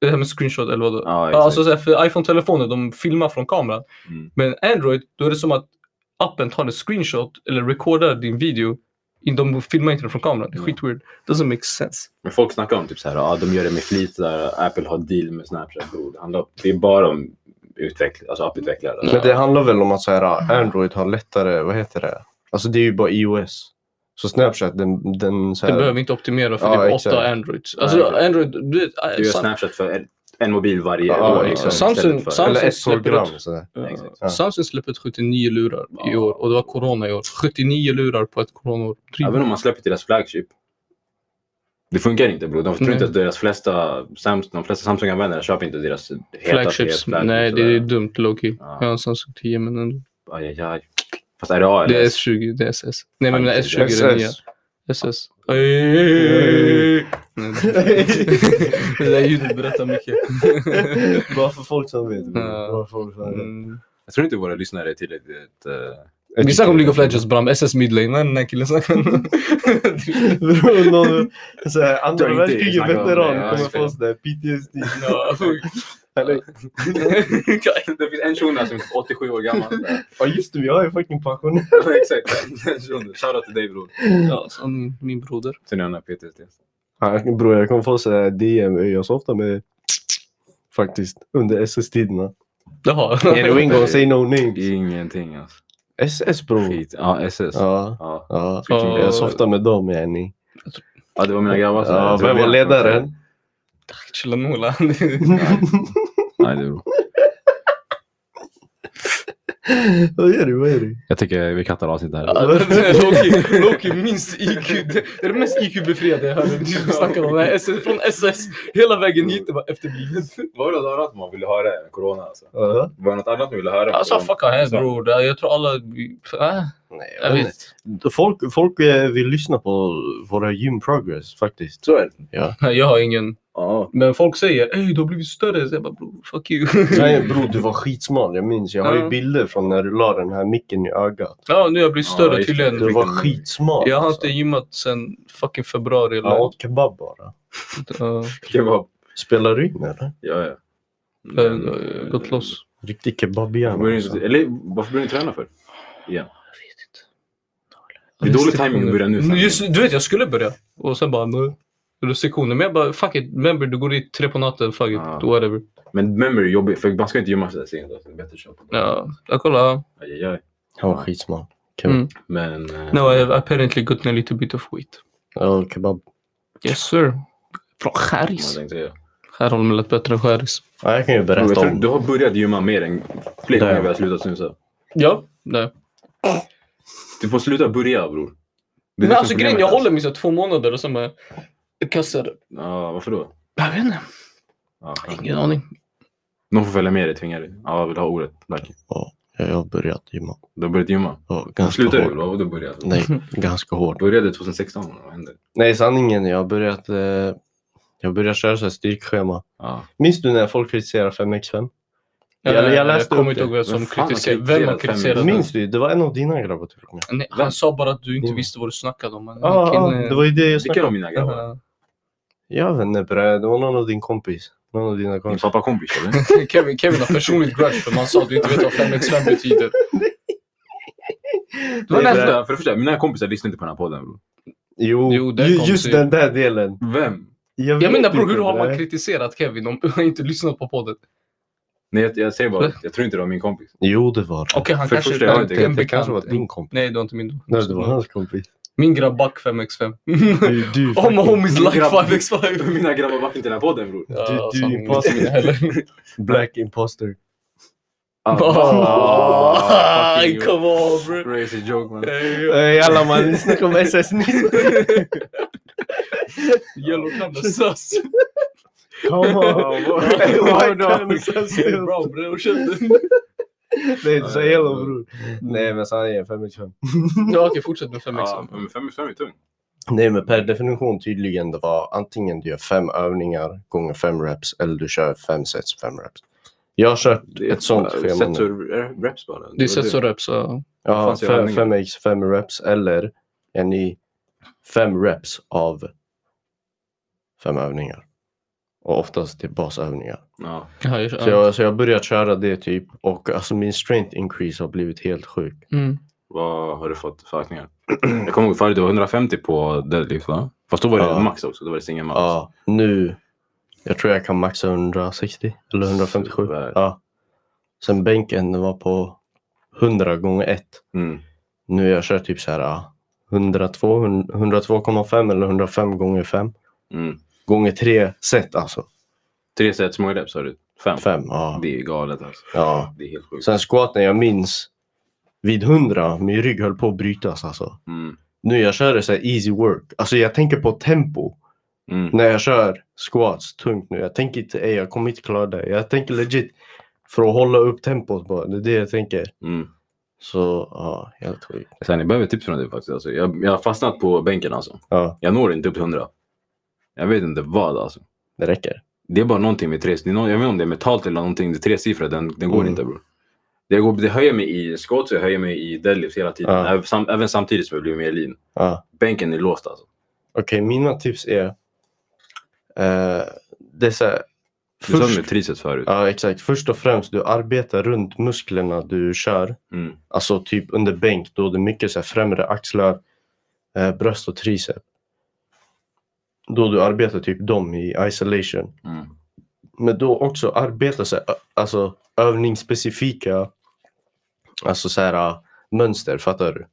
Speaker 1: det här med screenshot eller vadå?
Speaker 3: Ja,
Speaker 1: Ja,
Speaker 3: exakt.
Speaker 1: alltså så här, för iPhone-telefoner de filmar från kameran.
Speaker 3: Mm.
Speaker 1: Men Android, då är det som att appen tar en screenshot eller recordar din video. In- De filmar inte den från kameran. Det är
Speaker 3: Ja.
Speaker 1: skitweird. Doesn't make sense.
Speaker 3: Men folk snackar om typ så här, ja de gör det med flit, så här, Apple har deal med Snapchat. Och det, handlar, det är bara om utveckl- alltså apputvecklare.
Speaker 1: Mm.
Speaker 2: Men det handlar väl om att så här, äh, Android har lättare, vad heter det? Alltså det är ju bara iOS. Så Snapchat, den... den, så
Speaker 1: Det
Speaker 2: här,
Speaker 1: behöver inte optimera för
Speaker 2: Ja,
Speaker 1: det är
Speaker 2: exakt.
Speaker 1: åtta Androids. Alltså
Speaker 3: exakt.
Speaker 1: Android, du vet, eh,
Speaker 3: Du gör
Speaker 1: Sam-
Speaker 3: Snapchat för en- en mobil varje
Speaker 2: Ja,
Speaker 3: år. liksom,
Speaker 2: exakt.
Speaker 1: Samsung-
Speaker 3: istället för-
Speaker 1: Samsung-
Speaker 2: eller ett
Speaker 1: släpper
Speaker 2: program.
Speaker 1: upp-
Speaker 2: Sådär.
Speaker 1: Ja,
Speaker 3: Exakt.
Speaker 2: Ja.
Speaker 1: Samsung släppte ut 79 lurar i
Speaker 3: Ja.
Speaker 1: år och det var corona i år. 79 lurar på ett coronaår.
Speaker 3: Även om man släpper till deras flagship. Det funkar inte bror. De tror
Speaker 1: Nej.
Speaker 3: inte att deras flesta, Samsung, de flesta Samsung-användare köper inte deras heta
Speaker 1: Flagships.
Speaker 3: flagship,
Speaker 1: Nej, det är
Speaker 3: sådär.
Speaker 1: dumt Loki.
Speaker 3: Ja.
Speaker 1: Jag har en Samsung 10 men ändå.
Speaker 3: Aj, aj, aj. Fast är det A
Speaker 1: Det
Speaker 3: eller
Speaker 1: är
Speaker 3: S?
Speaker 1: S20, det är SS. Nej men
Speaker 3: Ja,
Speaker 1: S20
Speaker 3: precis.
Speaker 1: är det nya.
Speaker 2: SS.
Speaker 1: SS. Nej, Det där ljudet berättar mycket.
Speaker 2: Bara för folk som vet.
Speaker 3: Mm.
Speaker 1: Ja.
Speaker 2: Bara för folk som vet.
Speaker 1: Mm.
Speaker 3: Jag tror inte våra lyssnare är tillräckligt... eh,
Speaker 1: Vi snackar om League of Legends Bram, SS midlane, vad är den här killen snackar om?
Speaker 2: Bror, någon så här, andra
Speaker 3: Jag inte
Speaker 2: världskriget
Speaker 3: snackar om det,
Speaker 2: veteran
Speaker 3: ja,
Speaker 2: kommer
Speaker 3: just
Speaker 2: få
Speaker 3: det.
Speaker 2: sådär PTSD.
Speaker 1: Ja, sjukt.
Speaker 2: Eller,
Speaker 3: det finns en shuno som är 87 år gammal.
Speaker 2: ja just det, vi har ju fucking pensionär.
Speaker 3: Exakt. En shuno. Shoutout till dig bror.
Speaker 1: Ja, så min- Min broder.
Speaker 3: Sen är han här PTSD.
Speaker 2: Bror jag kommer få sådär DM, jag softar med faktiskt under SS-tiderna.
Speaker 1: Jaha.
Speaker 2: Är det Wingo, say no names.
Speaker 3: Ingenting alltså.
Speaker 2: SS bror.
Speaker 3: Skit. Ja, SS. Ja.
Speaker 2: Ja.
Speaker 3: Ja.
Speaker 2: Ja,
Speaker 1: Ja.
Speaker 2: jag softar med dem yani.
Speaker 3: det var mina grabbar. så
Speaker 2: Ja,
Speaker 3: jag tror
Speaker 2: vem
Speaker 3: det
Speaker 2: var
Speaker 3: är-
Speaker 2: ledaren?
Speaker 1: Chilla Nola.
Speaker 3: Nej, det är bra.
Speaker 2: Vad gör du? Vad gör du?
Speaker 3: Jag tycker vi kattar avsnitt här.
Speaker 1: Loki, Loki minst IQ. Det det är det mest IQ-befriade jag hörde. Vi snackar om det här. SS, från SS hela vägen hit. Det var efterblivet.
Speaker 3: Var det något annat man ville höra än corona? Alltså?
Speaker 2: Ja.
Speaker 3: Var det något annat man ville höra?
Speaker 1: Alltså fuck our hands bror. Det- Jag tror alla... Äh,
Speaker 2: Nej,
Speaker 1: jag vet.
Speaker 2: inte. Folk, folk eh, vill lyssna på våra gym progress faktiskt.
Speaker 3: Så är det.
Speaker 1: Nej, Jag har ingen.
Speaker 3: Ja.
Speaker 1: Men folk säger ey du har blivit större. Så jag bara bror, fuck you.
Speaker 2: Nej bror, du var skitsmal. Jag minns. Jag har
Speaker 1: Ja.
Speaker 2: ju bilder från när du la den här micken i ögat.
Speaker 1: Ja, nu har jag blivit
Speaker 3: Ja,
Speaker 1: större
Speaker 3: just det.
Speaker 1: tydligen.
Speaker 2: Du var skitsmal.
Speaker 1: Jag har
Speaker 2: alltså.
Speaker 1: inte gymmat sen fucking februari. Eller?
Speaker 2: Jag åt kebab bara.
Speaker 1: Ja,
Speaker 3: Kebab.
Speaker 2: Spelar du in eller?
Speaker 3: Ja, ja.
Speaker 1: jag har gått loss.
Speaker 2: Riktig
Speaker 3: Varför börjar
Speaker 2: kebabhjärna.
Speaker 3: ni
Speaker 2: alltså.
Speaker 3: inte- Eller varför börjar ni träna för?
Speaker 1: Jag vet inte.
Speaker 3: Det är dålig timing att börja nu.
Speaker 1: Men Just, du vet, jag skulle börja. Och sen bara, nej. Restriktioner. Men jag bara, fuck it. Remember, du går dit tre på natten. Fuck it.
Speaker 3: Ja.
Speaker 1: Whatever.
Speaker 3: Men memory är jobbigt, för man ska inte gömma sig sent. Alltså, det är bättre att köra på.
Speaker 1: Ja, jag kollar.
Speaker 3: Aj, aj, aj.
Speaker 2: Han var skitsmart.
Speaker 3: Men... eh,
Speaker 1: No, I have apparently gotten a little bit of weight.
Speaker 2: Ja, kebab.
Speaker 1: Yes sir. Från
Speaker 3: vad
Speaker 1: Skäris.
Speaker 3: tänkte jag?
Speaker 1: Skärholmen lät bättre än Skäris.
Speaker 2: Ja, jag kan ju
Speaker 3: Jag
Speaker 2: berätta
Speaker 3: tror
Speaker 2: om.
Speaker 3: du har börjat gymma mer än fler
Speaker 2: Det har
Speaker 3: gånger
Speaker 2: jag.
Speaker 3: vi har slutat snusa.
Speaker 1: Ja, det.
Speaker 3: Du får sluta börja bror. Det är
Speaker 1: Men
Speaker 3: det
Speaker 1: alltså
Speaker 3: som
Speaker 1: grejen,
Speaker 3: problemet
Speaker 1: jag
Speaker 3: är.
Speaker 1: håller mig så här två månader och sen bara... Jag kastar det.
Speaker 3: Ja, varför då?
Speaker 1: Jag vet inte.
Speaker 3: Ja, skönt.
Speaker 1: Ingen aning.
Speaker 3: Någon får följa med dig, tvinga dig. Ja, vill du ha ordet? Tack.
Speaker 2: Ja, jag har börjat gymma.
Speaker 3: Du har börjat gymma.
Speaker 2: Ja, ganska
Speaker 3: Slutar du?
Speaker 2: hårt.
Speaker 3: Vad du började?
Speaker 2: Nej, ganska hårt.
Speaker 3: Började 2016? Vad hände?
Speaker 2: Nej, sanningen. Jag har börjat, eh, jag har börjat köra så här styrkeschema.
Speaker 3: Ja.
Speaker 2: Minns du när folk kritiserar 5x5? Jag- jag
Speaker 1: Jag,
Speaker 2: läste
Speaker 1: kommer
Speaker 2: upp
Speaker 1: inte ihåg
Speaker 2: det.
Speaker 1: vem som
Speaker 3: Men fan, han
Speaker 1: kritiserade. Vem har
Speaker 3: kritiserat fem
Speaker 1: kritiserat
Speaker 3: minuter.
Speaker 1: det?
Speaker 2: Minns du? Det var en av dina grabbar tror jag.
Speaker 1: Nej,
Speaker 3: Vem?
Speaker 1: han sa bara att du inte
Speaker 2: Din.
Speaker 1: visste vad du snackade om. Men
Speaker 2: Ja, ah,
Speaker 1: killen-
Speaker 2: det var ju det jag snackade
Speaker 3: Vilken
Speaker 2: om.
Speaker 3: av mina grabbar?
Speaker 2: Jag vet inte bre, det var någon av din kompis. Någon av dina
Speaker 3: Din
Speaker 2: kompisar.
Speaker 3: pappa kompis eller?
Speaker 1: Kevin, Kevin har personligt grudge för man sa att du inte vet vad 5x5 betyder.
Speaker 3: Det var
Speaker 2: Nej,
Speaker 3: nästa,
Speaker 2: bre.
Speaker 3: för det första, mina kompisar lyssnar inte på den här podden. Bro.
Speaker 2: Jo,
Speaker 1: Jo, den
Speaker 2: ju-
Speaker 1: kompis
Speaker 2: just
Speaker 1: är-
Speaker 2: den där delen.
Speaker 3: Vem?
Speaker 2: Jag,
Speaker 1: Jag
Speaker 2: vet
Speaker 1: menar bror,
Speaker 2: inte,
Speaker 1: hur har man
Speaker 2: bre.
Speaker 1: kritiserat Kevin om han inte lyssnat på podden?
Speaker 3: Nej, jag, jag säger bara, jag tror inte det var min kompis.
Speaker 2: Jo, det var
Speaker 1: Okej, han
Speaker 3: För
Speaker 1: kanske
Speaker 3: första,
Speaker 1: det
Speaker 3: jag
Speaker 1: var
Speaker 3: vet inte,
Speaker 1: en
Speaker 2: det. Det kanske var
Speaker 1: bekant.
Speaker 2: din kompis.
Speaker 1: Nej, det var inte min.
Speaker 2: Nej, det var hans kompis.
Speaker 1: Min grabb back 5x5.
Speaker 2: Du, du,
Speaker 1: Om
Speaker 2: fucking-
Speaker 1: homies like
Speaker 3: Grabb-
Speaker 1: 5x5.
Speaker 3: Mina grabbar backar inte den här podden bror.
Speaker 1: Ja, alltså,
Speaker 2: Du- du
Speaker 1: sanningen,
Speaker 2: är imposter.
Speaker 1: inte mina heller.
Speaker 2: Black imposter.
Speaker 3: Ah, fucking
Speaker 1: Aj, Come on bro.
Speaker 3: Crazy joke man.
Speaker 2: Ey alla Eh, man, ni snackar om SS-nisse.
Speaker 1: Yellow kind of sus.
Speaker 2: Come on. Ey, why can't you say still?
Speaker 1: Bra bror,
Speaker 2: Nej, du sa yellow bror. Nej men sanningen, 5x5.
Speaker 1: Okej, fortsätt med 5x5.
Speaker 3: Ja, men fem fem är tung.
Speaker 2: Nej men per definition tydligen det var antingen du gör fem övningar gånger fem reps eller du kör fem sets fem reps. Jag har kört
Speaker 3: Det är
Speaker 2: ett sånt
Speaker 3: bara-
Speaker 2: schema
Speaker 3: Sets
Speaker 2: nu.
Speaker 3: och reps bara.
Speaker 1: Det är
Speaker 3: var
Speaker 1: sets och reps. ja.
Speaker 2: Ja,
Speaker 3: fanns ju
Speaker 2: fem,
Speaker 3: övningar.
Speaker 2: fem x fem reps eller är ni fem reps av fem övningar. Och oftast det är basövningar.
Speaker 3: Ja.
Speaker 1: Ja, jag-
Speaker 2: Så jag, så jag har börjat köra det typ och alltså min strength increase har blivit helt sjuk.
Speaker 1: Mm.
Speaker 3: Vad har du fått för ökningar? Jag kommer ihåg förut, det var 150 på deadlift va? Fast då var det
Speaker 2: Ja.
Speaker 3: max också, då var det singel max.
Speaker 2: Ja, nu. Jag tror jag kan maxa 160 eller 157.
Speaker 3: Super.
Speaker 2: Ja. Sen bänken den var på 100 gånger 1.
Speaker 3: Mm.
Speaker 2: Nu jag kör typ så här ja, 102, 102,5 eller 105 gånger 5.
Speaker 3: Mm.
Speaker 2: Gånger 3 set alltså.
Speaker 3: Tre sets, hur många reps har du? Fem?
Speaker 2: 5. Ja.
Speaker 3: Det är galet alltså.
Speaker 2: ja.
Speaker 3: Det är helt sjukt.
Speaker 2: Sen squaten jag minns vid 100, min rygg höll på att brytas alltså.
Speaker 3: Mm.
Speaker 2: Nu jag kör det så här easy work. Alltså jag tänker på tempo.
Speaker 3: Mm.
Speaker 2: när jag kör squats tungt nu. Jag tänker inte, ey, jag kommer inte klara det. Jag tänker legit för att hålla upp tempot bara. Det är det jag tänker.
Speaker 3: Mm.
Speaker 2: Så ja, helt sjukt.
Speaker 3: Sen, jag behöver tips från dig faktiskt. Alltså. Jag, jag har fastnat på bänken alltså.
Speaker 2: Ja,
Speaker 3: Jag når inte upp till 100. Jag vet inte vad alltså.
Speaker 2: det räcker.
Speaker 3: Det är bara någonting med tre... det är nå- Jag vet inte om det är metalt eller någonting. Det är tresiffrigt. Den, den går
Speaker 2: Mm.
Speaker 3: inte bror. Det, går, det höjer mig i skott, jag höjer mig i deadlifts hela tiden.
Speaker 2: Ja.
Speaker 3: Även, sam, även samtidigt som jag blir mer lean.
Speaker 2: Ja.
Speaker 3: Bänken är låst alltså.
Speaker 2: Okej, mina tips är. Eh, det är så här,
Speaker 3: Du sa
Speaker 2: först,
Speaker 3: med triceps förut.
Speaker 2: ja, exakt. Först och främst, du arbetar runt musklerna du kör.
Speaker 3: Mm.
Speaker 2: Alltså typ under bänk då det är mycket så här främre axlar, eh, bröst och tricep. Då du arbetar typ dem i isolation.
Speaker 3: Mm.
Speaker 2: Men då också arbeta så här, ö- alltså övningsspecifika alltså så här, äh, mönster, fattar du?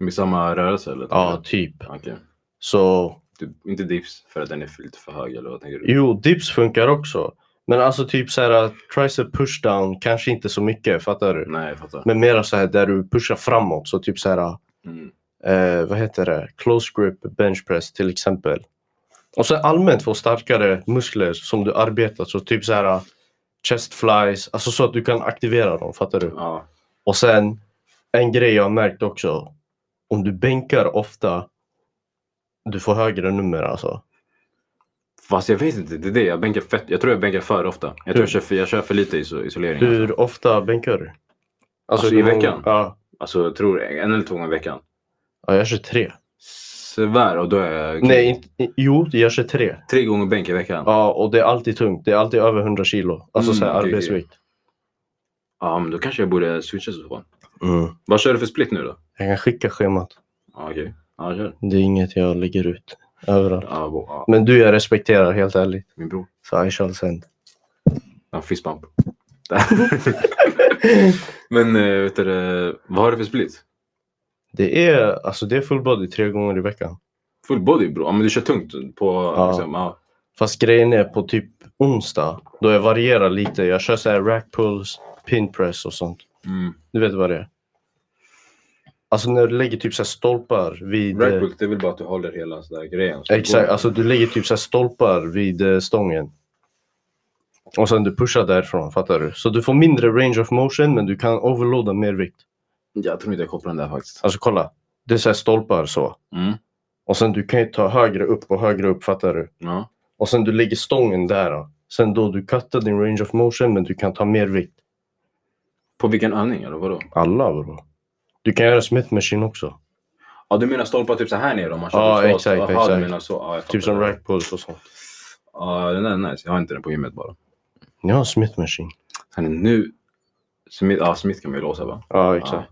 Speaker 3: Med samma rörelse eller?
Speaker 2: Ja, typ.
Speaker 3: Okej.
Speaker 2: Så
Speaker 3: Typ, inte dips för att den är för- lite för hög eller vad tänker du?
Speaker 2: jo, dips funkar också. Men alltså typ så här äh, tricep pushdown, kanske inte så mycket, fattar du?
Speaker 3: Nej, jag fattar.
Speaker 2: Men mera så här där du pushar framåt, så typ så här,
Speaker 3: Mm.
Speaker 2: äh, eh, vad heter det, close grip bench press till exempel. Och sen allmänt få starkare muskler som du arbetar, så typ så här äh, chest flies, alltså så att du kan aktivera dem, fattar du?
Speaker 3: Ja.
Speaker 2: Och sen en grej jag har märkt också. Om du bänkar ofta, du får högre nummer alltså.
Speaker 3: Fast jag vet inte, det är det. Jag, bänkar fett. jag tror jag bänkar för ofta. Jag tror jag kör för, jag kör för lite iso- isolering. alltså.
Speaker 2: Hur ofta bänkar du?
Speaker 3: Alltså,
Speaker 2: hur
Speaker 3: i
Speaker 2: många-
Speaker 3: veckan?
Speaker 2: Ja.
Speaker 3: Alltså jag tror en eller två gånger i veckan.
Speaker 2: ja, jag kör tre.
Speaker 3: Svär och då är jag...
Speaker 2: Nej, inte, i- jo, jag kör tre.
Speaker 3: Tre gånger bänk i veckan. Ja.
Speaker 2: Ja, och det är alltid tungt. Det är alltid över 100 kilo. Alltså
Speaker 3: Mm,
Speaker 2: så här
Speaker 3: okej, okej.
Speaker 2: arbetsvikt.
Speaker 3: men då kanske jag borde switcha så fall.
Speaker 2: Mm.
Speaker 3: Vad kör du för split nu då?
Speaker 2: Jag kan skicka schemat.
Speaker 3: Ja, okej. Ja, kör.
Speaker 2: Det är inget jag lägger ut överallt.
Speaker 3: Ja, bo, ja,
Speaker 2: Men du, jag respekterar helt ärligt.
Speaker 3: min bror.
Speaker 2: Så I shall send.
Speaker 3: Ja, fist bump. Men eh, vet du, det, vad har du för split?
Speaker 2: Det är, alltså det är full body tre gånger i veckan.
Speaker 3: Full body bro. Ja, men du kör tungt på...
Speaker 2: Ja.
Speaker 3: Liksom, ja.
Speaker 2: Fast grejen är på typ onsdag, då jag varierar lite. Jag kör så här rack pulls, pin press och sånt.
Speaker 3: Mm.
Speaker 2: Du vet vad det är? Alltså när du lägger typ så här stolpar vid...
Speaker 3: Rack pull, det är väl bara att du håller hela så där grejen. Så
Speaker 2: Exakt,
Speaker 3: går-
Speaker 2: alltså du lägger typ så här stolpar vid eh, stången. Och sen du pushar därifrån, fattar du? Så du får mindre range of motion men du kan overloada mer vikt.
Speaker 3: Jag tror inte jag kopplar den där faktiskt.
Speaker 2: Alltså kolla, det är så här stolpar så.
Speaker 3: Mm.
Speaker 2: Och sen du kan ju ta högre upp och högre upp, fattar du?
Speaker 3: Ja.
Speaker 2: Och sen du lägger stången där. Då. Sen då du cuttar din range of motion men du kan ta mer vikt.
Speaker 3: På vilken övning eller vadå?
Speaker 2: Alla bro. Du kan göra Smith Machine också.
Speaker 3: Ja, du menar stolpar typ så här nere om man kör
Speaker 2: Ja,
Speaker 3: på slott?
Speaker 2: exakt,
Speaker 3: Jaha,
Speaker 2: exakt.
Speaker 3: du menar så. Ja, jag fattar
Speaker 2: Typ som
Speaker 3: det.
Speaker 2: rack pulls och sånt.
Speaker 3: Ja, den där är nice. Jag har inte den på gymmet bara.
Speaker 2: Ja, Smith Machine.
Speaker 3: Han är nu... Smith, ja, Smith kan man ju låsa va?
Speaker 2: Ja, exakt.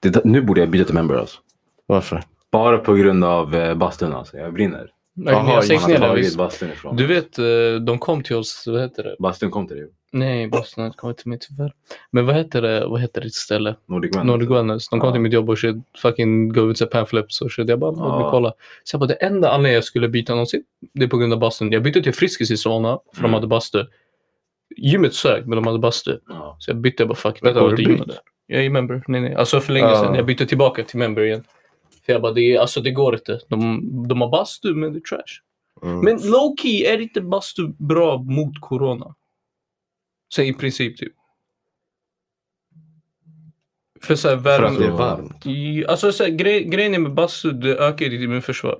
Speaker 3: Det, där- nu borde jag byta till member alltså.
Speaker 2: Varför?
Speaker 3: Bara på grund av eh, bastun alltså. Jag brinner.
Speaker 1: Nej,
Speaker 2: Jaha,
Speaker 1: ni har sänkt
Speaker 3: Man
Speaker 1: ner
Speaker 3: har
Speaker 1: den
Speaker 3: tagit
Speaker 1: visst.
Speaker 3: bastun ifrån.
Speaker 1: Du vet, eh, de kom till oss, vad heter det?
Speaker 3: Bastun kom till dig.
Speaker 1: Nej, Boston kom inte till mig tyvärr. Men vad heter det, vad heter ditt ställe?
Speaker 3: Nordic Man.
Speaker 1: Nordic Wellness. De kom
Speaker 3: Ja.
Speaker 1: till mitt jobb och shit, fucking gav ut sig panflips och shit. Jag bara, låt mig
Speaker 3: Ja.
Speaker 1: kolla. Så jag bara, det enda anledningen jag skulle byta någonsin, det är på grund av bastun. Jag bytte till Friskis i Solna, för
Speaker 3: Mm.
Speaker 1: de hade bastu. Gymmet sög, men de hade bastu.
Speaker 3: Ja.
Speaker 1: Så jag bytte, jag bara fuck,
Speaker 2: Vänta,
Speaker 1: jag går
Speaker 2: har du
Speaker 1: till gymmet
Speaker 2: bytt?
Speaker 1: där. Jag är member, nej nej. Alltså för länge
Speaker 2: Ja.
Speaker 1: sedan. Jag bytte tillbaka till member igen. För jag bara, det, är, alltså, det går inte. De, de har bastu, men det är trash.
Speaker 2: Mm.
Speaker 1: Men low key, är inte bastu bra mot corona? Så i princip typ. För såhär
Speaker 2: För att det är
Speaker 1: värme...
Speaker 2: varmt.
Speaker 1: I- Alltså så här, gre- grejen är med bastu, det ökar ju ditt immunförsvar.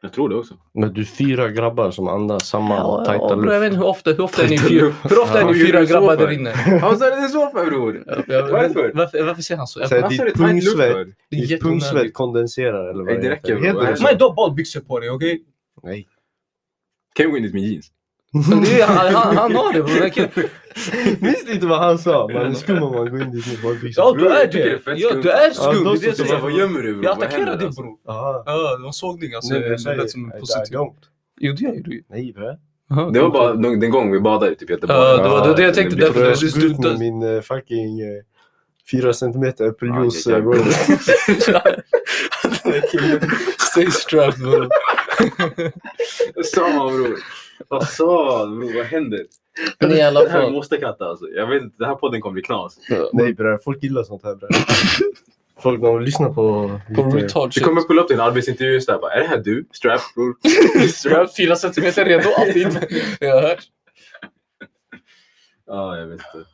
Speaker 3: Jag tror det också.
Speaker 2: Men du är fyra grabbar som andas samma tajta
Speaker 1: ja, bro, jag
Speaker 2: luft.
Speaker 1: vet inte hur ofta, hur ofta är ni
Speaker 3: Tajta
Speaker 1: fyra,
Speaker 3: luft.
Speaker 1: hur ofta är
Speaker 3: Ja.
Speaker 1: ni
Speaker 3: Vad gör
Speaker 1: fyra
Speaker 3: du så
Speaker 1: grabbar
Speaker 3: för?
Speaker 1: där inne?
Speaker 3: Han sa det är så för bror.
Speaker 1: Jag- jag-
Speaker 3: Varför?
Speaker 1: Varför, varför säger han så? Jag,
Speaker 2: Så här,
Speaker 1: det
Speaker 2: ditt
Speaker 3: sa det, tajt luft
Speaker 2: pungsvett-
Speaker 3: för.
Speaker 1: är
Speaker 2: Ditt pungsvett
Speaker 1: jätteonödigt.
Speaker 2: kondenserar eller vad
Speaker 3: Nej, det räcker, bro.
Speaker 2: Heter det så?
Speaker 1: Men du har badbyxor på dig, okej?
Speaker 2: Nej.
Speaker 3: Kan jag gå in dit med jeans?
Speaker 1: Så det är- Han, han, han har det bror. Jag kan-
Speaker 2: Minns ni inte vad han sa? Man är skum om man går in dit med badbyxor.
Speaker 1: Ja, du
Speaker 3: Bror,
Speaker 1: är
Speaker 3: jag tycker det är
Speaker 1: det.
Speaker 3: fett
Speaker 1: Ja,
Speaker 3: skumt.
Speaker 1: du är
Speaker 3: Ja,
Speaker 1: skum.
Speaker 2: då
Speaker 1: det är det jag
Speaker 2: så-
Speaker 3: Så
Speaker 1: säger.
Speaker 3: bara, vad gömmer du bror?
Speaker 1: Jag
Speaker 3: Vad
Speaker 1: attackerade
Speaker 3: händer,
Speaker 1: dig
Speaker 3: alltså?
Speaker 1: bror.
Speaker 2: Ja.
Speaker 1: Ja, de såg dig alltså.
Speaker 2: Nej,
Speaker 1: Jag
Speaker 2: jag
Speaker 1: jag lät som
Speaker 2: säger,
Speaker 1: en
Speaker 2: I
Speaker 1: positiv.
Speaker 2: don't.
Speaker 1: Jo, det gör ju du.
Speaker 2: Nej, bro.
Speaker 1: Aha,
Speaker 3: Det var
Speaker 1: okej.
Speaker 3: bara den den gången vi badade typ i Göteborg.
Speaker 1: Ja, det var- det var det jag
Speaker 3: Ja,
Speaker 1: tänkte,
Speaker 3: blir-
Speaker 1: därför-
Speaker 2: För jag
Speaker 1: det är
Speaker 2: såg ut med
Speaker 1: stuntas.
Speaker 2: min eh, fucking eh, fyra centimeter äppeljuice
Speaker 3: Ja,
Speaker 2: eh,
Speaker 3: jag- jag-
Speaker 2: roll.
Speaker 1: Stay strapped bror.
Speaker 3: Vad sa man bror? Vad sa man, bror? Vad händer?
Speaker 1: Men i alla
Speaker 3: Det här
Speaker 1: fall.
Speaker 3: måste katta alltså. Jag vet inte, den här podden kommer bli knas.
Speaker 2: Nej bror, folk gillar sånt här bror. Folk de lyssnar på...
Speaker 1: På
Speaker 2: lite-
Speaker 1: retard
Speaker 3: Du
Speaker 1: shit.
Speaker 3: kommer pulla upp till en arbetsintervju och bara, är det här du? Strap bror? Strap?
Speaker 1: Strapped, fyra centimeter redo alltid. Jag har hört.
Speaker 3: Ja, jag vet inte.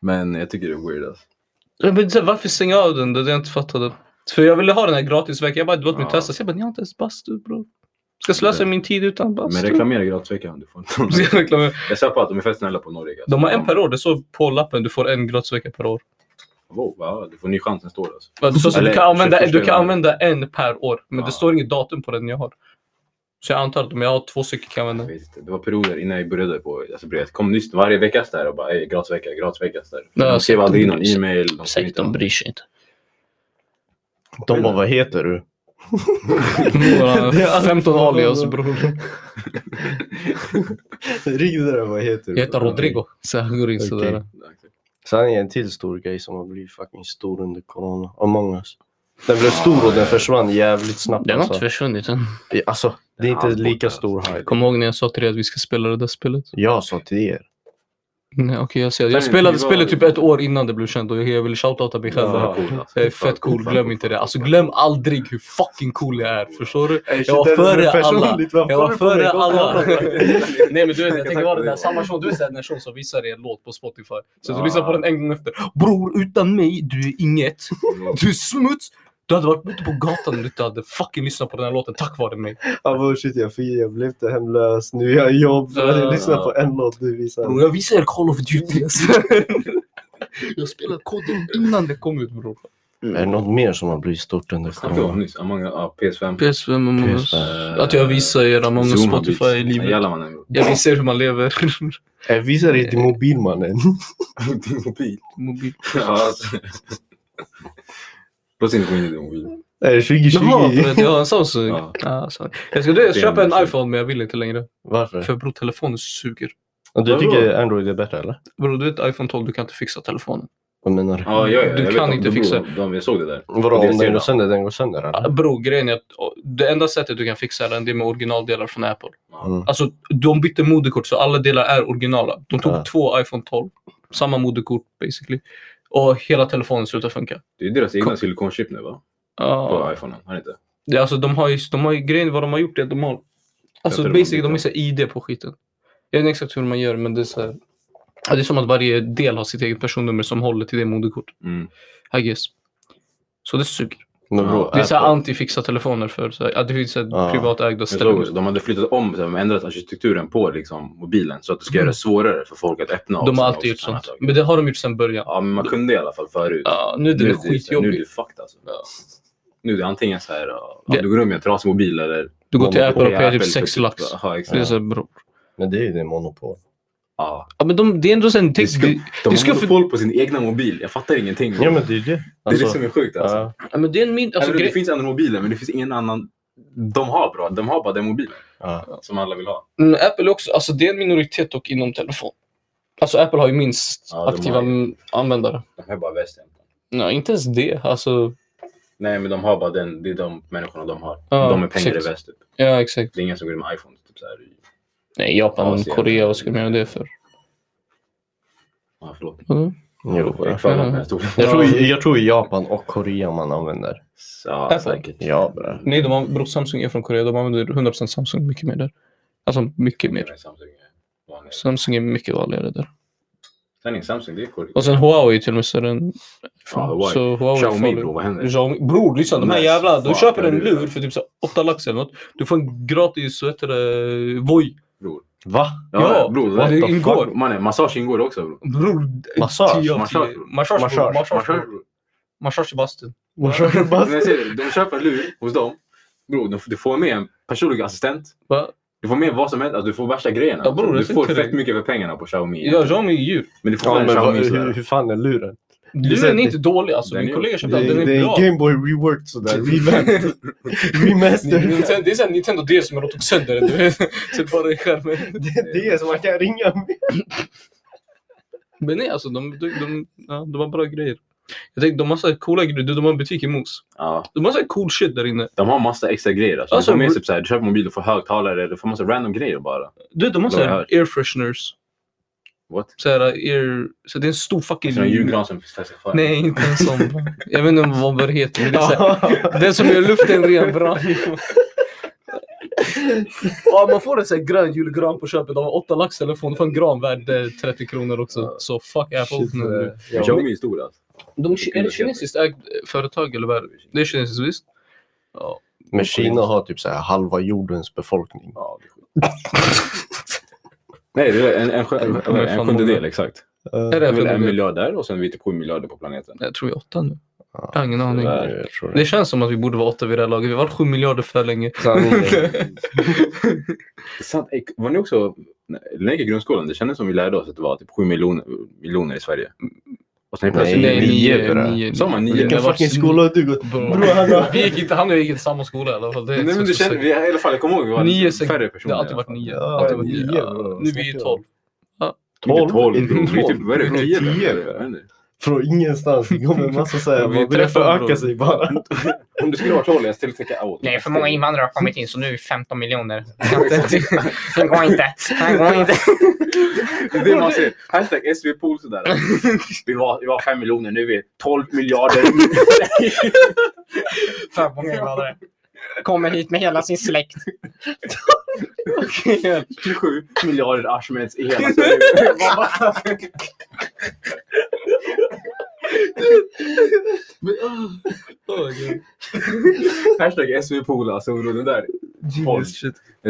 Speaker 3: Men jag tycker det är weird alltså.
Speaker 1: Jag vet inte, varför stänga av den? Det är det jag inte fattade. För jag ville ha den här gratisveckan. Jag bara, låt mig
Speaker 3: Ja.
Speaker 1: testa. Så jag bara, ni har inte ens bastu bror. Ska slösa
Speaker 3: Men-
Speaker 1: min tid utan bastu.
Speaker 3: Men reklamera gratisveckan om du får
Speaker 1: Ska
Speaker 3: inte.
Speaker 1: jag reklamera?
Speaker 3: Jag svär på att de är fett snälla på Norge. alltså.
Speaker 1: De har en per år. Det står på lappen. Du får en gratisvecka per år.
Speaker 3: Wow, wow, du får ny chans nästa år alltså.
Speaker 1: Ja, det står så
Speaker 3: Eller
Speaker 1: du, kan använda, du
Speaker 3: 21
Speaker 1: kan använda en per år, men
Speaker 3: Ja.
Speaker 1: det står inget datum på den jag har. Så jag antar att om jag har två stycken kan jag
Speaker 3: Jag
Speaker 1: använda.
Speaker 3: vet inte. Det var perioder innan jag började på, alltså började, kom nyss varje vecka så där och bara, ey gratisvecka, gratisvecka. så där.
Speaker 1: Ja,
Speaker 3: De skrev
Speaker 1: säkert
Speaker 3: aldrig in
Speaker 1: de-
Speaker 3: någon e-mail. de skrev
Speaker 1: Säkert,
Speaker 3: inte
Speaker 1: de
Speaker 3: någon-
Speaker 1: bryr sig inte.
Speaker 2: De bara, vad heter du? Det är
Speaker 1: Några
Speaker 2: allt.
Speaker 1: 15 alias bror.
Speaker 2: Ring det där, vad heter du?
Speaker 1: Jag heter Rodrigo. Så jag går in
Speaker 2: Okej.
Speaker 1: sådär.
Speaker 2: Sen är en till stor grej som har blivit fucking stor under corona. Among us. Den blev stor och den försvann jävligt snabbt.
Speaker 1: Den har inte
Speaker 2: Alltså,
Speaker 1: försvunnit än.
Speaker 2: alltså det är inte
Speaker 3: Den är
Speaker 2: lika
Speaker 3: borta.
Speaker 2: stor hype.
Speaker 1: Kom ihåg när jag sa till dig att vi ska spela det där spelet?
Speaker 2: Jag sa till er.
Speaker 1: Nej, okej jag ser.
Speaker 3: Nej,
Speaker 1: Jag spelade
Speaker 3: vi var-
Speaker 1: spelet typ ett år innan det blev känt och jag ville shoutouta mig själv.
Speaker 2: Ja.
Speaker 3: alltså.
Speaker 1: Jag är fett cool, glöm inte det. Alltså glöm aldrig hur fucking cool jag är, förstår du?
Speaker 2: Jag
Speaker 1: var före alla. Jag var före alla.
Speaker 3: alla.
Speaker 1: Nej men du vet, jag
Speaker 3: Tack
Speaker 1: tänker vara
Speaker 3: för
Speaker 1: den där
Speaker 3: det.
Speaker 1: samma person, du vet den som visar dig en låt på Spotify. Så
Speaker 3: Ja.
Speaker 1: du lyssnar på den en gång efter. Bror, utan mig, du är inget. Du är smuts. Du hade varit ute på gatan om du inte hade fucking lyssnat på den här låten tack vare mig.
Speaker 2: Ja, men shit, jag, fick, jag blev inte hemlös. Nu har jag jobb.
Speaker 1: Ja.
Speaker 2: Jag lyssnar på en låt du
Speaker 1: Bror,
Speaker 2: visar.
Speaker 1: jag visar er Call of Duty. alltså. jag spelade koden innan det kom ut bror.
Speaker 2: Är det något mer som har blivit stort under
Speaker 3: Snackade vi om
Speaker 2: corona?
Speaker 3: nyss? Among ja, PS5.
Speaker 1: PS5 och
Speaker 2: Mångas.
Speaker 1: Att jag visar er många
Speaker 3: Eh, Zoom har
Speaker 1: Spotify i
Speaker 3: blivit-
Speaker 1: livet.
Speaker 3: Jalla mannen.
Speaker 1: Jag visar er hur man lever.
Speaker 2: Jag visar dig till mobilmannen.
Speaker 3: Din mobil.
Speaker 1: Mobil.
Speaker 3: Ja, alltså. Låt oss inte gå in i din mobil.
Speaker 2: Är det
Speaker 1: Jaha, för
Speaker 2: 2020?
Speaker 1: att jag har en Samsung.
Speaker 3: Ja.
Speaker 1: Ah, sorry. jag ska du, vet, köpa en iPhone men jag vill inte längre.
Speaker 2: Varför?
Speaker 1: För bror, telefonen suger.
Speaker 2: Och Du
Speaker 3: Vadå?
Speaker 2: tycker Android är bättre eller?
Speaker 1: Bro, du vet iPhone 12, du kan inte fixa telefonen.
Speaker 2: Vad menar du?
Speaker 3: Ja, ja, ja,
Speaker 1: Du
Speaker 3: jag
Speaker 1: kan
Speaker 3: vet,
Speaker 1: inte
Speaker 3: de-
Speaker 1: fixa-
Speaker 3: De, de, jag såg det där.
Speaker 2: Vadå,
Speaker 3: Det
Speaker 2: om
Speaker 3: ser
Speaker 2: den går
Speaker 3: jag.
Speaker 2: sönder, den går sönder eller?
Speaker 1: Bro, grejen är att och, det enda sättet du kan fixa den det är med originaldelar från Apple.
Speaker 2: Mm.
Speaker 1: Alltså, de bytte moderkort så alla delar är originala. De tog
Speaker 2: Ja.
Speaker 1: två iPhone 12, samma moderkort basically. Och hela telefonen slutade funka.
Speaker 3: Det är deras egna
Speaker 1: Kom-
Speaker 3: silikonchip nu va?
Speaker 1: Ja.
Speaker 3: På iPhonen, har ni inte?
Speaker 1: Det, alltså, de har ju, de har ju grejen vad de har gjort är att de har... Alltså
Speaker 3: tror de har
Speaker 1: basically, de har
Speaker 3: bytt
Speaker 1: så här ID på skiten. Jag vet inte exakt hur man gör men det är så här, ja, Det är som att varje del har sitt eget personnummer som håller till det moderkort.
Speaker 3: Mm.
Speaker 1: I guess. Så det suger.
Speaker 2: Men
Speaker 3: Ja,
Speaker 2: bror,
Speaker 1: Det är så här
Speaker 2: Apple-
Speaker 1: anti-fixa telefoner för så här, ja, det finns så här
Speaker 2: Ja.
Speaker 1: privatägda
Speaker 3: Jag såg också,
Speaker 1: ställen.
Speaker 3: de hade flyttat om, så här, de ändrat arkitekturen på liksom, mobilen så att det ska göra det svårare för folk att öppna. och
Speaker 1: Mm. De har
Speaker 3: sådana-
Speaker 1: alltid gjort
Speaker 3: och sådana
Speaker 1: sånt.
Speaker 3: saker.
Speaker 1: Men det har de gjort sedan början.
Speaker 3: Ja, men man kunde i alla fall förut.
Speaker 1: Ja, nu är det
Speaker 3: nu,
Speaker 1: väl
Speaker 3: det, nu är
Speaker 1: skitjobbigt.
Speaker 3: det fucked alltså. Nu är det antingen så här, ja,
Speaker 1: Det-
Speaker 3: du går runt med en trasig mobil eller...
Speaker 1: Du går till
Speaker 2: Monopol.
Speaker 1: Apple och payar typ
Speaker 3: Apple för
Speaker 1: 6 lax.
Speaker 3: Ja,
Speaker 1: Det är
Speaker 3: exakt.
Speaker 1: så här, bror.
Speaker 2: Men det är ju det monopol.
Speaker 3: Ja.
Speaker 1: Ja, men de, det är ändå så här,
Speaker 3: Det
Speaker 1: tänk,
Speaker 3: ska,
Speaker 1: det,
Speaker 3: de har
Speaker 1: ska för-
Speaker 3: monopol på sin egna mobil. Jag fattar ingenting.
Speaker 2: Ja men det är ju det.
Speaker 3: det är
Speaker 2: Alltså,
Speaker 3: det som är sjukt alltså.
Speaker 2: ja,
Speaker 1: ja, men det är en min... Alltså,
Speaker 3: Även om det
Speaker 1: grej,
Speaker 3: finns andra mobiler, men det finns ingen annan. De har bra. De har bara den mobilen
Speaker 2: ja.
Speaker 3: som alla vill ha.
Speaker 1: Mm, Apple också, alltså det är en minoritet dock inom telefon. Alltså Apple har ju minst
Speaker 3: Ja, de
Speaker 1: aktiva
Speaker 3: har ju-
Speaker 1: m- användare.
Speaker 3: De har bara väst egentligen.
Speaker 1: Nej, inte ens det. Alltså,
Speaker 3: Nej, men de har bara den. Det är de människorna de har.
Speaker 1: Ja,
Speaker 3: de med pengar
Speaker 1: exakt.
Speaker 3: i väst. Typ.
Speaker 1: ja exakt.
Speaker 3: Det är ingen som går in med iPhone. Typ, så här. i-
Speaker 1: Nej, Japan,
Speaker 3: Asien.
Speaker 1: Korea, vad ska man göra det för?
Speaker 3: Ja, förlåt.
Speaker 1: Mm.
Speaker 2: Jo,
Speaker 3: Jag
Speaker 2: ja.
Speaker 3: gick för långt med den här stolen.
Speaker 2: jag, tror, jag tror i Japan och Korea man använder.
Speaker 3: Ja,
Speaker 1: Apple.
Speaker 3: säkert.
Speaker 2: Ja bra.
Speaker 1: Nej, de har, bro, Samsung är från Korea. De använder 100% Samsung mycket mer där. Alltså mycket mer.
Speaker 3: Samsung är vanligare.
Speaker 1: Samsung är mycket vanligare där.
Speaker 3: Sen är Samsung, det är korrekt.
Speaker 1: Och sen Huawei är till och med större än...
Speaker 3: Ja, Hawaii.
Speaker 1: Så Huawei är
Speaker 3: Xiaomi
Speaker 1: farlig.
Speaker 3: bror, vad händer?
Speaker 1: Xiaomi. Bror, lyssna. De här
Speaker 3: Nej,
Speaker 1: jävla... Du
Speaker 3: fan,
Speaker 1: köper
Speaker 3: jag
Speaker 1: en
Speaker 3: lurar.
Speaker 1: lur för typ 8 lax eller något. Du får en gratis, vad heter det, Voi.
Speaker 2: Va?
Speaker 1: Ja,
Speaker 3: bror.
Speaker 1: vad det
Speaker 3: what the
Speaker 1: ingår.
Speaker 3: fuck? Mannen, massage ingår också bror.
Speaker 1: Bror,
Speaker 2: Massage,
Speaker 1: 10 av
Speaker 3: massage.
Speaker 1: 10. Massage.
Speaker 2: Massage,
Speaker 1: Massage.
Speaker 3: Massage
Speaker 1: Massage.
Speaker 3: bror.
Speaker 1: Massage i bastun.
Speaker 2: Vad kör du
Speaker 3: Men jag säger det, de köper en lur hos dem. Bror, de- du får med en personlig assistent.
Speaker 1: Va?
Speaker 3: Du får med vad som helst. Alltså, du får värsta grejerna.
Speaker 1: Ja, bror,
Speaker 3: du
Speaker 1: jag
Speaker 3: får
Speaker 1: tycker
Speaker 3: fett
Speaker 1: det.
Speaker 3: mycket för pengarna på Xiaomi.
Speaker 1: Ja, Xiaomi är djur.
Speaker 3: Men du får
Speaker 2: Ja,
Speaker 3: ja, en
Speaker 2: men vad,
Speaker 3: Xiaomi
Speaker 2: hur,
Speaker 3: sådär.
Speaker 2: hur fan är luren? så-
Speaker 1: Luren är inte dålig alltså.
Speaker 3: Den
Speaker 1: Min
Speaker 3: är-
Speaker 1: kollega köpte
Speaker 2: Det
Speaker 1: den.
Speaker 2: är,
Speaker 1: Den
Speaker 2: det
Speaker 1: är
Speaker 2: är en
Speaker 1: bra.
Speaker 2: Gameboy reworked sådär. Revamped. Remastered.
Speaker 1: Nintendo, det är såhär Nintendo DS som har tagit sönder den. du vet. Så bara i skärmen.
Speaker 2: Det, det är som man kan ringa med.
Speaker 1: Men nej alltså, de, de, de, ja, de har bra grejer. Jag tänkte, de har så här coola grejer. Du, De har en butik i Mos.
Speaker 3: Ja,
Speaker 1: De har så här cool shit där inne.
Speaker 3: de har massa extra grejer. Alltså.
Speaker 1: Alltså,
Speaker 3: du, får med,
Speaker 1: bro-
Speaker 3: typ, såhär, du köper mobil, du får högtalare, du får massa random grejer bara.
Speaker 1: Du vet, de har så
Speaker 3: Bra
Speaker 1: här
Speaker 3: här.
Speaker 1: air fresheners.
Speaker 3: What? Alltså,
Speaker 1: Så här, air... Så det är en stor fucking...
Speaker 3: Sådana julgran som finns testat för.
Speaker 1: Mm. Nej, inte en sån. Jag vet inte vad det heter. Men det är så här, den som gör luften ren bra. Ja, man får en sån här grön julgran på köpet av 8 lax telefon. Du får en gran värd eh, 30 kronor också. Så fuck Apple.
Speaker 2: Shit,
Speaker 1: nu, du.
Speaker 2: eh,
Speaker 3: Men
Speaker 2: ja.
Speaker 3: Xiaomi är stor alltså.
Speaker 1: De, är det kinesiskt ägt företag eller vad är det? Det är kinesiskt visst? Ja.
Speaker 2: Men Kina har typ så här halva jordens befolkning.
Speaker 3: Ja, det är sjukt. Nej, det är en, en, en, en, en sjundedel exakt.
Speaker 1: Är
Speaker 2: Eh,
Speaker 3: Det
Speaker 1: det
Speaker 3: är väl en
Speaker 1: för
Speaker 3: miljard där och sen är vi typ sju miljarder på planeten.
Speaker 1: Jag tror vi är åtta nu.
Speaker 2: Ja.
Speaker 1: Jag har ingen aning.
Speaker 3: Sådär.
Speaker 2: Jag tror
Speaker 1: Det
Speaker 2: det.
Speaker 1: känns som att vi borde vara åtta vid det här laget. Vi har varit sju miljarder för länge.
Speaker 2: Sanningen.
Speaker 3: Det är sant. Ey, Var ni också, när jag gick i grundskolan, det kändes som vi lärde oss att det var typ sju miljoner, miljoner i Sverige. Och sen helt
Speaker 2: Nej,
Speaker 3: plötsligt,
Speaker 2: nio,
Speaker 1: nio,
Speaker 2: bra.
Speaker 1: nio,
Speaker 3: Sa man nio?
Speaker 1: Det
Speaker 2: Vilken
Speaker 1: har varit
Speaker 2: fucking
Speaker 1: sn-
Speaker 2: skola har du gått?
Speaker 1: Bro.
Speaker 2: Bro, han har-
Speaker 1: Vi gick inte, han och jag gick inte samma skola i alla fall. Det, är
Speaker 3: Nej, men
Speaker 1: så-
Speaker 3: du
Speaker 1: så-
Speaker 3: känner, vi, i alla fall, jag kommer ihåg, vi var
Speaker 1: Nio, sex-
Speaker 3: färre
Speaker 1: det
Speaker 3: personer.
Speaker 1: har alltid
Speaker 3: i alla
Speaker 1: varit
Speaker 3: fall.
Speaker 1: nio.
Speaker 2: Ja,
Speaker 1: alltid varit nio.
Speaker 2: nio, bro.
Speaker 1: Nu är vi ju tolv.
Speaker 3: Inte
Speaker 2: Tolv?
Speaker 3: tolv,
Speaker 2: Inte
Speaker 3: bro. Vi är typ,
Speaker 2: tolv.
Speaker 3: vad är det,
Speaker 2: Vi
Speaker 3: tio?
Speaker 2: är
Speaker 3: eller?
Speaker 2: tio.
Speaker 3: Jag vet inte.
Speaker 2: Från ingenstans. Det kommer en massa så här.
Speaker 1: Vi
Speaker 2: Man börjar
Speaker 1: träffar
Speaker 2: föröka
Speaker 1: bror.
Speaker 2: sig bara.
Speaker 3: Om det skulle vara tolv, jag skulle tänka åh.
Speaker 4: Nej, för många invandrare har kommit in så nu är vi 15 miljoner. Det går inte. Det går inte.
Speaker 3: Det är det man ser. Hashtag SVPool sådär. Vi var, vi var fem miljoner, nu är vi tolv miljarder.
Speaker 4: För många invandrare. Kommer hit med hela sin släkt.
Speaker 3: 27 miljarder Ashmeds i hela Sverige. Vad bara-
Speaker 1: Oh, gud.
Speaker 3: Hashtag SVPool alltså, bro, den där. Tolv.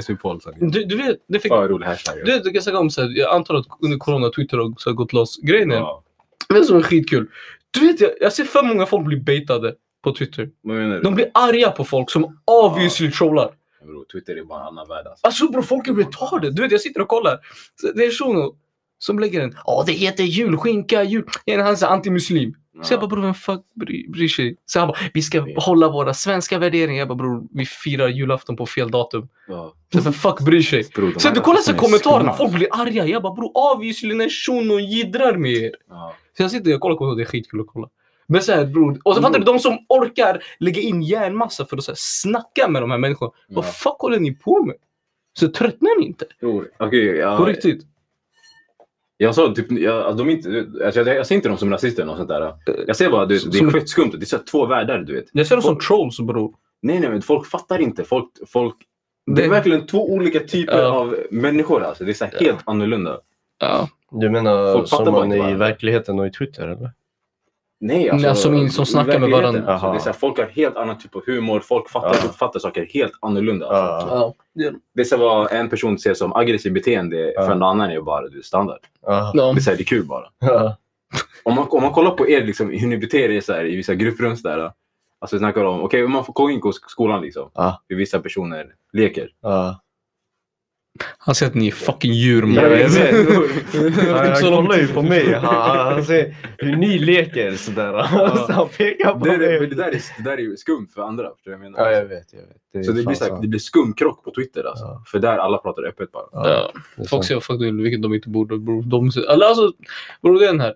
Speaker 3: SVPool. så.
Speaker 1: du, du vet, det fick...
Speaker 3: Fan rolig hashtag.
Speaker 1: Du vet, du kan säga om så här, jag antar att under corona Twitter har så här gått loss. Grejen är,
Speaker 3: Ja.
Speaker 1: vet du som är skitkul? Du vet, jag, jag ser för många folk bli baitade på Twitter.
Speaker 3: Vad menar du?
Speaker 1: De blir arga på folk som obviously trollar.
Speaker 3: Bro, Twitter är bara en annan värld alltså.
Speaker 1: Alltså bror, folk är retarded. Du vet, jag sitter och kollar. Så Det är Shuno som lägger en. Ja, det heter julskinka, jul... En, han är så här antimuslim. Så jag bara bror, vem fuck bry- bryr sig? Så han bara, vi ska
Speaker 3: Ja.
Speaker 1: hålla våra svenska värderingar. Jag bara bror, vi firar julafton på fel datum.
Speaker 3: Ja.
Speaker 1: Så vem fuck bryr sig?
Speaker 3: Bror, de
Speaker 1: Så
Speaker 3: här
Speaker 1: du kollar så
Speaker 3: nazisterna är
Speaker 1: kommentarerna,
Speaker 3: skumma.
Speaker 1: folk blir arga. Jag bara bror, obviously den här shunon jiddrar med er.
Speaker 3: Ja.
Speaker 1: Så jag sitter och kollar på det, det är skitkul att kolla. Men såhär bror, och så fattar du
Speaker 3: Mm.
Speaker 1: de som orkar lägga in hjärnmassa för att så här, snacka med de här människorna.
Speaker 3: Ja.
Speaker 1: Vad fuck håller ni på med? Så tröttnar ni inte?
Speaker 3: Bror, okej,
Speaker 1: På
Speaker 3: jag,
Speaker 1: riktigt?
Speaker 3: jag sa typ, jag, alltså, de är inte, alltså, jag, jag ser inte dem som rasister och sånt där. Jag ser bara, du vet, det
Speaker 1: Eh, Som-
Speaker 3: är skitskumt. Det är så här två världar, du vet.
Speaker 1: Jag ser dem som
Speaker 3: Folk-
Speaker 1: trolls bror.
Speaker 3: Nej, nej, men folk fattar inte. Folk, folk, det är
Speaker 1: Det-
Speaker 3: verkligen två olika typer
Speaker 1: Ja.
Speaker 3: av människor. Alltså. Det är så här helt annorlunda.
Speaker 1: Ja.
Speaker 2: Du menar
Speaker 3: Folk fattar
Speaker 2: som
Speaker 3: bara
Speaker 2: man
Speaker 3: inte
Speaker 2: i
Speaker 3: varandra.
Speaker 2: verkligheten och i Twitter eller?
Speaker 3: Nej, alltså,
Speaker 1: Nej,
Speaker 2: Alltså,
Speaker 1: som in- som
Speaker 3: i
Speaker 1: snackar med
Speaker 3: verkligheten,
Speaker 1: varandra.
Speaker 3: Alltså, det är så här, folk har helt annan typ av humor. Folk fattar,
Speaker 2: Ja.
Speaker 3: fattar saker helt annorlunda. Alltså.
Speaker 2: Ja.
Speaker 3: Det är så här, vad en person ser som aggressivt beteende
Speaker 2: Ja.
Speaker 3: för en annan är bara du, vet, standard.
Speaker 2: Ja.
Speaker 3: Det är, så här, det är kul bara.
Speaker 2: Ja.
Speaker 3: Om man, om man kollar på er, liksom, hur ni beter er så här, i vissa grupprum. så där, Alltså vi snackar om, okej, man får gå in på sk- skolan liksom.
Speaker 2: Ja.
Speaker 3: Hur vissa personer leker.
Speaker 2: Ja.
Speaker 1: Han säger att ni är fucking djur
Speaker 2: Ja,
Speaker 1: mannen.
Speaker 2: jag vet.
Speaker 1: Jag
Speaker 2: Han
Speaker 1: fick så långt.
Speaker 2: kollar ju på mig. Han, han ser hur ni leker sådär. Så han pekar på
Speaker 3: Det, är-
Speaker 2: mig.
Speaker 3: det, där är, det där är ju skumt för andra. Förstår du vad jag menar?
Speaker 2: Ja, jag vet. Jag vet. är
Speaker 3: så det
Speaker 2: fan
Speaker 3: blir, så här,
Speaker 2: sant.
Speaker 3: det blir skumkrock på Twitter alltså.
Speaker 2: Ja.
Speaker 3: För där alla pratar öppet bara.
Speaker 1: Ja,
Speaker 2: det är
Speaker 1: folk
Speaker 2: sant.
Speaker 1: säger fuck du, vilket de inte borde. Bror, de, eller alltså, bror det är den här.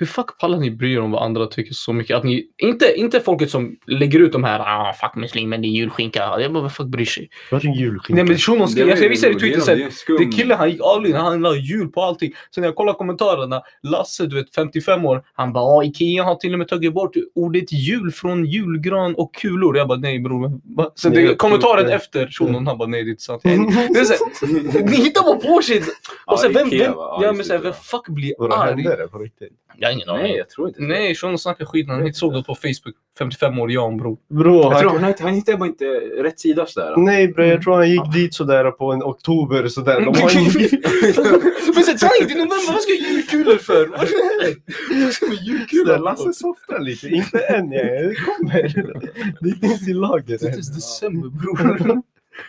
Speaker 1: Hur fuck pallar ni bry er om vad andra tycker så mycket? Att ni, inte, inte folket som lägger ut de här ah, fuck muslimen, det är julskinka. Jag bara, vem fuck bryr sig?
Speaker 2: Vad är en
Speaker 1: Nej
Speaker 2: julskinka?
Speaker 1: men shunon skrev, jag visade i Twitter
Speaker 3: det är-
Speaker 1: sen.
Speaker 3: det är en skum-
Speaker 1: Det är killen han gick all in, han la jul på allting. Sen när jag kollar kommentarerna, Lasse du vet 55 år, han bara "Ja, Ikea har till och med tagit bort ordet jul från julgran och kulor. Jag bara nej bror. va?" Sen det,
Speaker 2: Nej,
Speaker 1: kommentaren
Speaker 2: nej.
Speaker 1: efter shunon, han bara nej det är inte sant. Det är så här, ni hittar bara på shit!
Speaker 3: Ja,
Speaker 1: Och sen vem,
Speaker 3: Ikea,
Speaker 1: vem,
Speaker 3: va?
Speaker 1: ja, men
Speaker 3: just
Speaker 1: så här,
Speaker 3: det,
Speaker 1: vem
Speaker 3: ja.
Speaker 1: fuck blir
Speaker 2: Vadå,
Speaker 1: arg?
Speaker 2: hände det på riktigt?
Speaker 1: Jag har ingen
Speaker 3: Nej, jag tror inte det.
Speaker 1: Nej, shunon snackar skit när han inte såg det på Facebook. 55 år, jag och en bror.
Speaker 2: Bro,
Speaker 3: Jag
Speaker 2: han
Speaker 3: tror han, hitt- han hittade bara inte rätt sida sådär.
Speaker 2: Nej bre, jag tror han gick dit sådär på en oktober sådär. De har ingen...
Speaker 1: Men sen ta inte i november, vad ska jag julkulor för? Vad är det? Vad ska man julkulor
Speaker 2: Sådär,
Speaker 1: för?
Speaker 2: Lasse softar lite, inte än jag, det kommer. Det finns i lager.
Speaker 1: Det är inte december bror.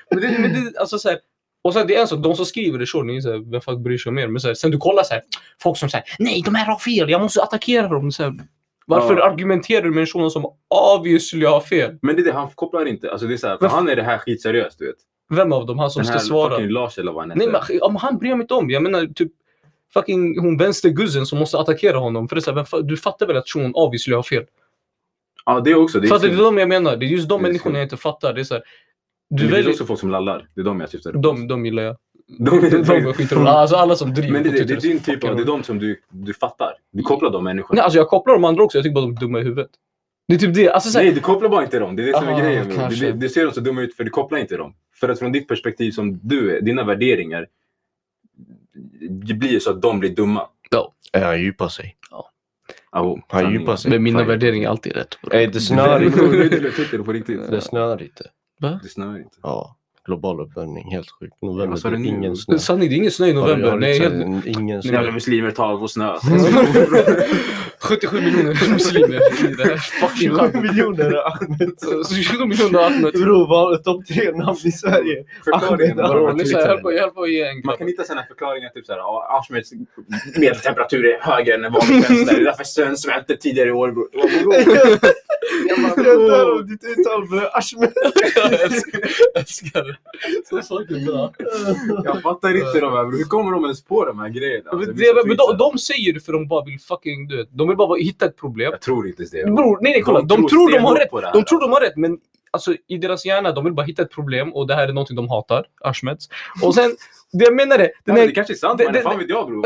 Speaker 1: men det, men det, alltså så här, och sen det är en sak, de som skriver det så, ni är så här, vem fuck bryr sig om er? Men så här, sen du kollar så här, folk som säger nej de här har fel, jag måste attackera dem. Så här, varför
Speaker 3: Ja.
Speaker 1: argumenterar du med en shuno som obviously har fel?
Speaker 3: Men det är det, han kopplar inte. Alltså, det är så här, för
Speaker 1: Men-
Speaker 3: han är det här skitseriöst du vet.
Speaker 1: Vem av dem? Han som
Speaker 3: Den
Speaker 1: ska
Speaker 3: här
Speaker 1: svara?
Speaker 3: fucking Lars eller vad han
Speaker 1: Nej
Speaker 3: heter.
Speaker 1: men om han bryr mig inte om. Jag menar typ fucking hon vänsterguzzen som måste attackera honom. För det är så här, vem fa- du fattar väl att shunon obviously har fel?
Speaker 3: Ja det är också. Det är,
Speaker 1: Fattar du? Det
Speaker 3: synd.
Speaker 1: är de jag menar. Det är just de
Speaker 3: Det är
Speaker 1: människorna
Speaker 3: synd.
Speaker 1: jag inte fattar. Det är så här,
Speaker 3: Men
Speaker 1: du
Speaker 3: det finns
Speaker 1: väljer...
Speaker 3: också folk som lallar. Det är de jag syftar på.
Speaker 1: De, de gillar jag.
Speaker 3: de,
Speaker 1: De, de är skitroliga. Alltså alla som driver
Speaker 3: Men det,
Speaker 1: på
Speaker 3: det,
Speaker 1: Twitter
Speaker 3: det är
Speaker 1: så
Speaker 3: din typ
Speaker 1: fucking
Speaker 3: av, det är
Speaker 1: roligt.
Speaker 3: de som du, du fattar. Du kopplar de människorna.
Speaker 1: Nej, alltså jag kopplar de andra också. Jag tycker bara de är dumma i huvudet. Det är typ det. Alltså, så här,
Speaker 3: Nej, du kopplar bara inte dem. Det är det som
Speaker 1: Ah,
Speaker 3: är grejen. bro.
Speaker 1: kanske.
Speaker 3: Du, du ser dem så dumma ut för du kopplar inte dem. För att från ditt perspektiv som du är, dina värderingar, det blir så att de blir dumma.
Speaker 2: Han djupar sig.
Speaker 3: Oh,
Speaker 2: Han djupar sig.
Speaker 1: men mina värderingar är alltid rätt.
Speaker 2: Nej, det
Speaker 3: Snör
Speaker 2: snöar
Speaker 3: inte.
Speaker 2: inte.
Speaker 3: Du tittar på riktigt.
Speaker 2: Det snöar inte.
Speaker 1: Va?
Speaker 3: Det snör inte.
Speaker 2: Ja, global uppvärmning, helt sjukt. November, typ
Speaker 3: Vad sa du nu?
Speaker 2: ingen snö.
Speaker 1: Men Sanning, det är ingen snö i
Speaker 2: Har du-
Speaker 1: november.
Speaker 2: har du
Speaker 1: Nej,
Speaker 2: inte
Speaker 1: helt...
Speaker 2: sett en- Ingen
Speaker 1: Nej,
Speaker 2: snö.
Speaker 3: Jävla muslimer tar vår snö.
Speaker 1: 77 miljoner muslimer i det här fucking landet.
Speaker 2: miljoner Ahmed.
Speaker 1: Så 20 miljoner Ahmed.
Speaker 2: Bro, vad- topp tre namn i Sverige.
Speaker 3: Förklaringen
Speaker 2: Ahmed,
Speaker 3: bara
Speaker 2: Ahmed.
Speaker 3: var
Speaker 1: Nu så här, jag höll på- jag höll på att ge en
Speaker 3: Man
Speaker 1: grabb.
Speaker 3: kan hitta sådana förklaringar, typ såhär, ja, Ashmeds medeltemperatur är högre än en vanlig svensk. Det är därför snön smälte tidigare i år. bror. Jag bara, bror,
Speaker 2: Jag dör av ditt uttal bre. Ahmed.
Speaker 1: Jag älskar- jag älskar det. Så saker bra.
Speaker 3: Jag fattar inte de här bror. Hur kommer de ens på de här grejerna?
Speaker 1: Men
Speaker 3: Alltså, det
Speaker 1: det-
Speaker 3: är så
Speaker 1: men
Speaker 3: tweets
Speaker 1: de-
Speaker 3: här.
Speaker 1: De säger det för de bara vill fucking du vet, De vill bara hitta ett problem.
Speaker 3: Jag tror inte ens det.
Speaker 1: Bror, nej nej kolla. De tror de har
Speaker 3: stenhårt
Speaker 1: rätt.
Speaker 3: på det här.
Speaker 1: De tror de har rätt, men alltså, i deras hjärna, de vill bara hitta ett problem och det här är någonting de hatar, Ashmeds. Och sen, det jag menar är...
Speaker 3: Ja,
Speaker 1: Den
Speaker 3: men
Speaker 1: här,
Speaker 3: det kanske är sant,
Speaker 1: det-
Speaker 3: men det,
Speaker 1: det-
Speaker 3: fan vet jag bror.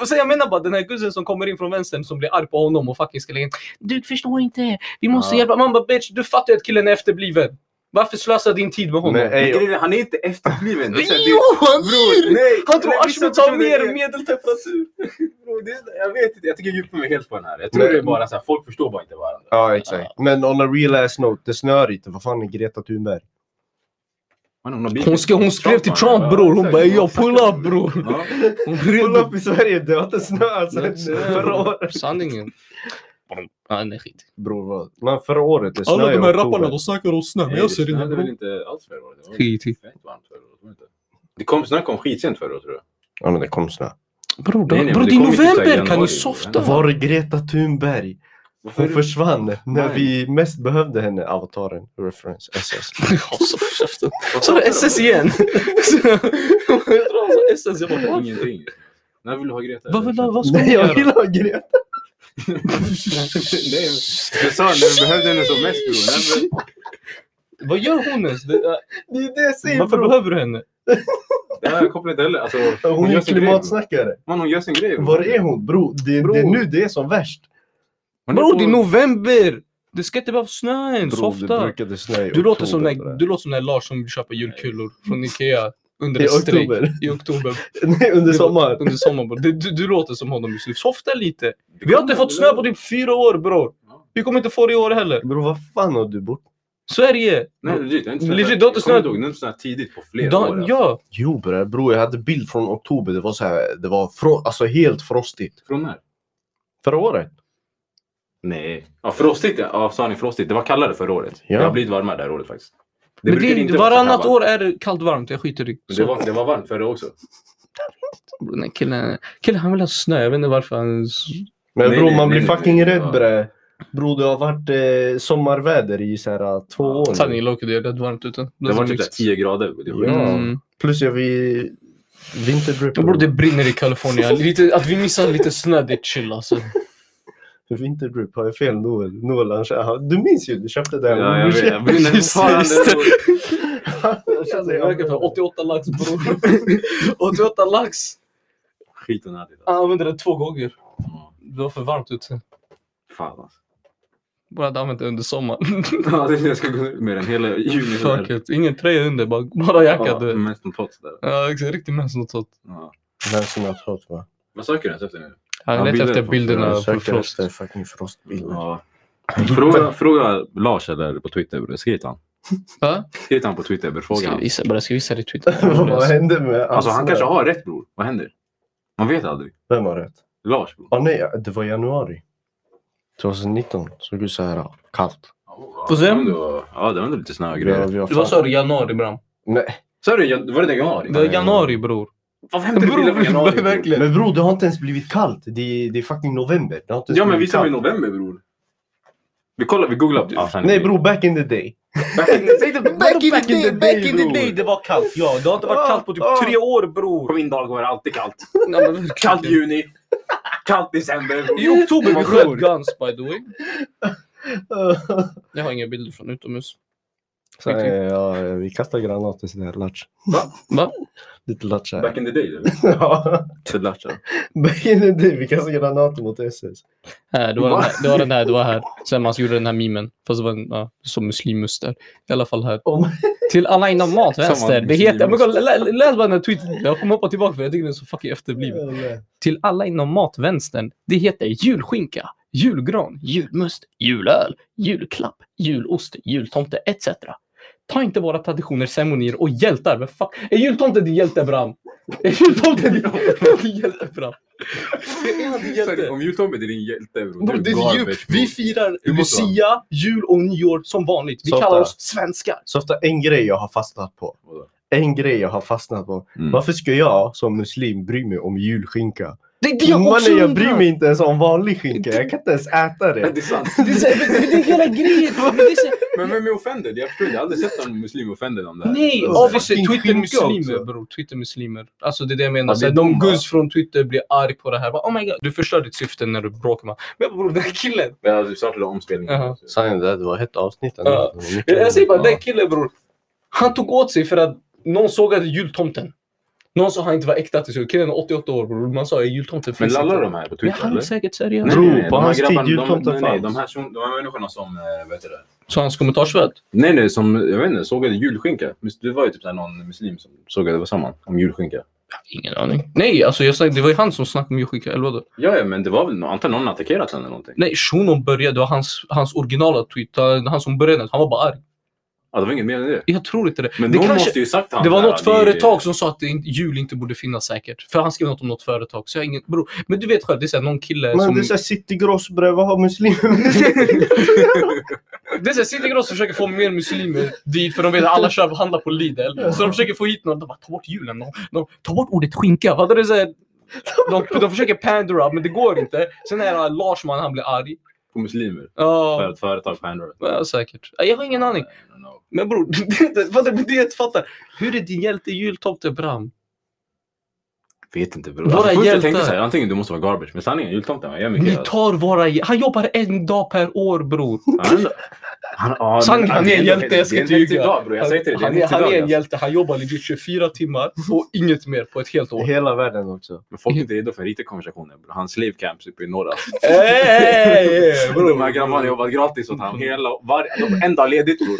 Speaker 1: och sen jag menar bara den här guzzen som kommer in från vänstern som blir arg på honom och fucking ska lägga in Du förstår inte, vi måste
Speaker 3: Ja.
Speaker 1: hjälpa. Man bara bitch, du fattar ju att killen är efterbliven. Varför slösa din tid med honom?
Speaker 2: Men ey,
Speaker 3: Grejen är, Han är inte efterbliven. Det är så här, det-
Speaker 1: Jo, han
Speaker 3: Bror,
Speaker 1: är liksom
Speaker 3: nej!
Speaker 1: Han tror
Speaker 3: Nej, vissa
Speaker 1: Ashmed har
Speaker 3: personer är-
Speaker 1: mer medeltemperatur.
Speaker 3: Bror, det är- Jag vet inte, jag tycker jag djupar mig helt på den här. Jag tror
Speaker 2: Men-
Speaker 3: det är bara så här, folk förstår bara inte varandra.
Speaker 2: Ja, exakt. Men on a real ass note, det snöar inte. Vad fan är Greta Thunberg?
Speaker 3: Man, hon, har bil-
Speaker 1: Hon, ska, hon skrev till
Speaker 3: man,
Speaker 1: Trump
Speaker 3: ja,
Speaker 1: bror, hon
Speaker 3: exakt.
Speaker 1: bara jag pull up bror.
Speaker 3: Ja.
Speaker 1: Hon
Speaker 2: Pull
Speaker 1: ringde
Speaker 2: upp i Sverige, det har inte snöat sen förra året.
Speaker 1: Sanningen. Ja, nej, skit.
Speaker 2: Bror, vad? Men förra året, det snöade
Speaker 1: Alla de här
Speaker 2: i oktober.
Speaker 1: rapparna de snackar om snö, men
Speaker 3: Nej,
Speaker 1: jag ser
Speaker 3: det hade väl
Speaker 1: inte.
Speaker 3: inte alls förra året. Det var
Speaker 1: Skit i.
Speaker 3: fett varmt förra året. var det inte? Det kom, snön kom skitsent förra året tror jag.
Speaker 2: Ja, men det kom snö.
Speaker 1: Bror,
Speaker 3: Nej, nej, men
Speaker 1: bro,
Speaker 3: det
Speaker 1: det är
Speaker 3: kommer ju typ så här
Speaker 1: november! Kan
Speaker 3: januari.
Speaker 1: ni softa?
Speaker 2: Var är Greta Thunberg? Hon försvann när
Speaker 3: Nej.
Speaker 2: vi mest behövde henne. Avataren, reference, SS.
Speaker 1: Ja, så för käften. Så är det SS igen! Jag drar alltså SS, jag bara "What?"
Speaker 3: Ingenting. När vill du ha Greta?
Speaker 1: Vad vill han, vad ska
Speaker 2: Nej,
Speaker 1: vi
Speaker 2: jag vill
Speaker 1: göra?
Speaker 2: ha Greta.
Speaker 3: Nej, jag sa när du behövde henne som mest bror. När vi-
Speaker 1: Vad gör hon ens? Det- äh,
Speaker 2: Det är det jag säger
Speaker 1: Varför
Speaker 2: bror.
Speaker 1: behöver du henne?
Speaker 3: Det här kopplar inte heller. Alltså,
Speaker 2: Hon är
Speaker 3: gör sin grej, bror.
Speaker 2: klimatsnackare.
Speaker 3: Man, hon gör sin grej. bror.
Speaker 2: Var är hon? Bror, det, det är
Speaker 3: Bror.
Speaker 2: nu det är som värst.
Speaker 3: Hon
Speaker 1: Bror,
Speaker 3: på-
Speaker 1: det är november! Det ska inte behöva snöa än, softa!
Speaker 2: brukade snöa i
Speaker 1: Du låter, som
Speaker 2: oktober,
Speaker 1: när, du låter som när Lars som vill köpa julkulor från Ikea under
Speaker 2: I
Speaker 1: en strejk
Speaker 2: oktober?
Speaker 1: i oktober.
Speaker 2: Nej, under sommaren.
Speaker 1: Under sommaren. Du, du, du låter som honom just nu. Softa lite. Vi har inte fått snö på typ fyra år bror. Vi kommer inte få det i år heller.
Speaker 2: Bror, vad fan har du bort?
Speaker 1: Sverige!
Speaker 3: Nej, legit. det har inte
Speaker 1: Legit,
Speaker 3: snöat.
Speaker 1: det har inte snöat.
Speaker 3: Jag kommer inte ihåg, Det har inte snöat tidigt på flera
Speaker 1: Da-
Speaker 3: år. alltså.
Speaker 1: ja,
Speaker 2: Jo bror, bror, jag hade bild från oktober. Det var så här, det var fro- alltså helt frostigt.
Speaker 3: Från när?
Speaker 2: Förra året?
Speaker 3: Nej. Ja, frostigt. ja. Ja, sa ni frostigt? Det var kallare förra året.
Speaker 2: Ja.
Speaker 3: Det har blivit varmare det här året faktiskt. Det
Speaker 1: men
Speaker 3: brukar
Speaker 1: det,
Speaker 3: inte vara så här
Speaker 1: varannat
Speaker 3: varmt.
Speaker 1: år är det kallt varmt. Jag skiter i
Speaker 3: Men
Speaker 1: Så-
Speaker 3: Det var, det var varmt förra också.
Speaker 1: Bror, Den killen, killen han vill ha snö, jag vet inte varför han...
Speaker 2: Men
Speaker 3: Nej,
Speaker 2: bror,
Speaker 3: nej,
Speaker 2: man
Speaker 3: nej,
Speaker 2: blir
Speaker 3: nej,
Speaker 2: fucking
Speaker 3: nej.
Speaker 2: rädd
Speaker 3: Ja.
Speaker 2: bre. Bror, det har varit eh, sommarväder i så här eh, två
Speaker 3: Ja.
Speaker 2: år. nu.
Speaker 1: Sanningen Loki, det är rätt varmt ute.
Speaker 3: Det var
Speaker 1: så
Speaker 3: typ så här
Speaker 1: mixed.
Speaker 3: 10 grader. Det var-
Speaker 2: Ja.
Speaker 1: Mm.
Speaker 2: Plus jag vi vinterdrip.
Speaker 1: Ja, Bror det brinner i Kalifornien. Lite, att vi missar lite snö det är chill alltså.
Speaker 2: Vinterdrip, har jag fel Noel? Noel han, kö- du minns ju, du köpte det här.
Speaker 3: Ja, jag vet. Jag brinner
Speaker 2: Precis.
Speaker 3: fortfarande.
Speaker 1: Alltså, det verkar för 88 lax bror. 88 lax!
Speaker 3: Skit och nödigt.
Speaker 1: Han
Speaker 3: alltså.
Speaker 1: använde det två gånger.
Speaker 3: Ja.
Speaker 1: Det var för varmt ute.
Speaker 3: Fan alltså.
Speaker 1: Bara hade använt det under sommaren.
Speaker 3: Ja, det- Jag ska gå ut med den hela juni.
Speaker 1: Fuck it. Ingen tröja under, bara, bara jacka du
Speaker 3: Ja,
Speaker 1: vet.
Speaker 3: mest en pott där.
Speaker 1: Ja, exakt. Riktig mens något sånt.
Speaker 3: Ja.
Speaker 2: Den som jag har tagit va?
Speaker 3: Vad söker du ens efter nu?
Speaker 1: Han
Speaker 3: Ja,
Speaker 1: letade
Speaker 3: bilder
Speaker 1: efter
Speaker 3: på-
Speaker 1: bilderna
Speaker 2: Jag
Speaker 1: på
Speaker 2: söker
Speaker 1: Frost.
Speaker 2: efter fucking frostbilder.
Speaker 3: Ja. Fråga, fråga Lars eller på Twitter. bror. Skriv till han.
Speaker 1: Va?
Speaker 3: Skriv till han på Twitter. bror. Fråga
Speaker 1: Ska
Speaker 3: han.
Speaker 1: visa, bara, ska visa det i Twitter.
Speaker 2: Vad hände med
Speaker 3: Alltså han
Speaker 2: Asna?
Speaker 3: kanske har rätt bror. Vad händer? Man vet aldrig.
Speaker 2: Vem har rätt?
Speaker 3: Lars bror.
Speaker 2: Åh nej, det var januari. 2019 såg ut så här äh, kallt.
Speaker 1: Får se.
Speaker 3: Ja, det var ändå lite snö och
Speaker 2: Vi har-
Speaker 3: grejer.
Speaker 2: vi har
Speaker 1: Det var
Speaker 2: fan-
Speaker 1: så i januari bram.
Speaker 2: Nej.
Speaker 3: Sa du jan- var det den januari?
Speaker 1: Det var januari bror.
Speaker 3: Vad händer med bilden från januari? bror?
Speaker 2: Men bror, det har inte ens blivit kallt. Det är, det är fucking november. Det har inte ens
Speaker 3: Ja men
Speaker 2: blivit
Speaker 3: visa mig
Speaker 2: kallt.
Speaker 3: november bror. Vi kollar, vi googlar. Ja, sen-
Speaker 2: Nej bror, back in the day.
Speaker 3: Back in the- säg det-
Speaker 1: Back in the day, back in the
Speaker 3: bror.
Speaker 1: day. Det var kallt. Ja, det har inte varit kallt på
Speaker 2: Ah, ah.
Speaker 1: typ tre år bror.
Speaker 3: På min dag var det alltid kallt.
Speaker 1: Nej, men verkligen.
Speaker 3: Kallt juni. Kallt december. bror.
Speaker 1: I oktober vi
Speaker 3: Bror.
Speaker 1: sköt Guns by the way.
Speaker 2: Ah,
Speaker 1: Jag har inga bilder från utomhus. typ-
Speaker 2: Så, eh, ja, vi kastar granater sådär, latch.
Speaker 3: Va?
Speaker 1: Va?
Speaker 2: Lite latch här.
Speaker 3: Back in the day. eller?
Speaker 2: Ja.
Speaker 3: Sedlacha.
Speaker 2: back in the day, vi kastar granater mot SS.
Speaker 1: Här, det, var den här, det var den här, det var här. Sen man gjorde den här mimen. Fast det var en, ja, som muslimmus där. I alla fall här.
Speaker 2: Om-
Speaker 1: Till alla inom mat
Speaker 3: Som
Speaker 1: vänster.
Speaker 3: var
Speaker 1: Det heter, men
Speaker 3: muslimmus.
Speaker 1: kolla, lä, lä- läs bara den här tweeten. Jag kommer hoppa tillbaka för jag tycker den är så fucking efterbliven. till alla inom matvänstern. Det heter julskinka, julgran, julmust, julöl, julklapp, julost, jultomte etc. Ta inte våra traditioner, ceremonier och hjältar. Vem fuck? Är jultomte din hjälte, Bram? Är jultomte din, din hjälte, Bram? Är han din
Speaker 3: Sorry,
Speaker 1: hjälte?
Speaker 3: Om jultomten är din hjälte bror.
Speaker 1: Bro,
Speaker 3: du
Speaker 1: det är jul.
Speaker 3: garbage, bror.
Speaker 1: Vi firar
Speaker 3: Du måste vara-
Speaker 1: lucia, jul och nyår som vanligt. Vi
Speaker 2: Softa.
Speaker 1: kallar oss svenskar.
Speaker 2: Så ofta en grej jag har fastnat på.
Speaker 3: Vadå?
Speaker 2: En grej jag har fastnat på.
Speaker 3: Mm.
Speaker 2: Varför ska jag som muslim bry mig om julskinka?
Speaker 1: Det är det jag också
Speaker 2: Mannen, jag bryr
Speaker 1: undrar.
Speaker 2: mig inte ens om vanlig skinka. Jag kan inte ens äta
Speaker 3: Men
Speaker 2: det.
Speaker 3: det är sant.
Speaker 1: Det är, så här, men det är hela grejen. Men det är så här,
Speaker 3: Men vem är offended? Jag förstår inte. Jag har aldrig sett någon muslim offended om det här.
Speaker 1: Nej,
Speaker 2: Och
Speaker 1: obviously
Speaker 2: fucking skinka
Speaker 1: Twitter-muslimer
Speaker 2: också.
Speaker 1: bror. Twitter-muslimer. Alltså det är det jag menar.
Speaker 2: Ja, det är
Speaker 1: Såhär, de
Speaker 2: de, va?
Speaker 1: guds från Twitter blir arg på det här. Bara, oh my god. Du förstör ditt syfte när du bråkar med Men bror den här killen.
Speaker 3: Ja, du startade omspelningen.
Speaker 1: Jaha.
Speaker 2: Sanningen det var hett avsnitt.
Speaker 1: ändå. Ja. Jag, jag säger bara den killen bror. Han tog åt sig för att någon sågade jultomten. Någon sa han inte var äkta till sig. Killen är 88 år bror. Man sa jultomten
Speaker 3: Men
Speaker 1: finns
Speaker 3: lallar
Speaker 1: inte.
Speaker 3: de här på
Speaker 1: Men
Speaker 3: Twitter
Speaker 1: han är
Speaker 3: eller?
Speaker 1: säkert seriös.
Speaker 2: Nej. Bro, på hans tid, jultomten
Speaker 3: de, nej, nej, de,
Speaker 2: fanns.
Speaker 3: här, som- de här människorna som, eh, vet du det?
Speaker 1: Så hans kommentarsvärd.
Speaker 3: Nej, nej, som, jag vet inte, sågade julskinka. Mus- Det var ju typ så här någon muslim som sågade, vad sa man, om julskinka?
Speaker 1: Ingen aning. Nej, alltså jag snackade, det var ju han som snackade om julskinka. Eller vadå?
Speaker 3: Ja, ja, men det var väl, nå- antagligen någon attackerat henne eller någonting.
Speaker 1: Nej, shunon började. Det var hans, hans originala tweet. Han han som började. Han var bara arg.
Speaker 3: Ja, det var inget mer än det.
Speaker 1: Jag tror inte det.
Speaker 3: Men
Speaker 1: det
Speaker 3: någon
Speaker 1: kanske-
Speaker 3: måste ju sagt han
Speaker 1: Det var
Speaker 3: där,
Speaker 1: något företag som sa att det inte- jul inte borde finnas säkert. För han skrev något om något företag. Så jag har ingen, bro, men du vet själv, det är så här, någon kille
Speaker 2: Men
Speaker 1: som...
Speaker 2: det är såhär citygross bre, vad har muslimer?
Speaker 1: Det är såhär, City Gross försöker få mer muslimer dit för de vet att alla köper handlar på Lidl. Så de försöker få hit någon. De bara, ta bort julen. De, de, ta bort ordet skinka. Vad är det så här, De, de försöker pandera, men det går inte. Sen är det Larsman, han blir arg.
Speaker 3: På muslimer. För
Speaker 1: Ja,
Speaker 3: att företag pandrar.
Speaker 1: ja, säkert. Jag har ingen aning.
Speaker 3: I don't know.
Speaker 1: Men bror, det, det, vad det, det jag inte fattar. Hur är din hjälte jultomte Bram?
Speaker 3: Vet inte bror.
Speaker 1: Våra
Speaker 3: Alltså, först jag
Speaker 1: hjältar.
Speaker 3: tänkte såhär, antingen du måste vara garbage. Men sanningen, jultomten han gör
Speaker 1: Ni
Speaker 3: mycket. alltså.
Speaker 1: tar våra... hj- Han jobbar en dag per år bror.
Speaker 3: Han, han, ja,
Speaker 1: Sann-
Speaker 3: men-
Speaker 1: han är en hjälte, jag ska
Speaker 3: det är
Speaker 1: inte
Speaker 3: en hektisk
Speaker 1: ljuga.
Speaker 3: dag, bror. Jag säger till dig, det är
Speaker 1: han,
Speaker 3: en
Speaker 1: är,
Speaker 3: hektisk
Speaker 1: han
Speaker 3: dag,
Speaker 1: är en
Speaker 3: alltså.
Speaker 1: hjälte, han jobbar legit 24 timmar och inget mer på ett helt år.
Speaker 2: Hela världen också.
Speaker 3: Men folk är inte redo för riktiga konversationer. bror. Hans slave camps uppe i norra.
Speaker 1: Ey, Eh, bror.
Speaker 3: De här grabbarna har jobbat gratis åt honom. Hela, var, de, en dag ledigt bror.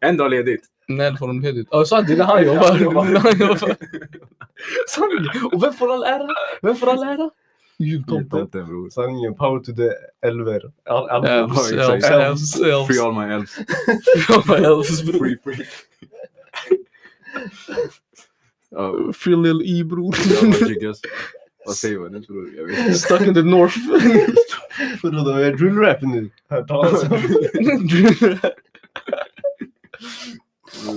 Speaker 3: En dag ledigt.
Speaker 1: När får de ledigt? Ja, sant, det är när han jobbar. När han jobbar. Sant! Och vem får all ära? Vem får all ära? Jultomten.
Speaker 3: Tomten bror.
Speaker 2: Sanningen, power to the elver. All, all,
Speaker 1: Elfs,
Speaker 2: all-
Speaker 1: elfs, elfs, elfs.
Speaker 3: Free all my elves.
Speaker 1: Elfs, bror.
Speaker 3: Free, free. Ja,
Speaker 1: Free Lil E bror.
Speaker 3: jag bara chickas. Vad säger man nu bror? Jag vet inte.
Speaker 1: Stuck in the North.
Speaker 2: Vadå, de är drill rap nu. Hört talas om.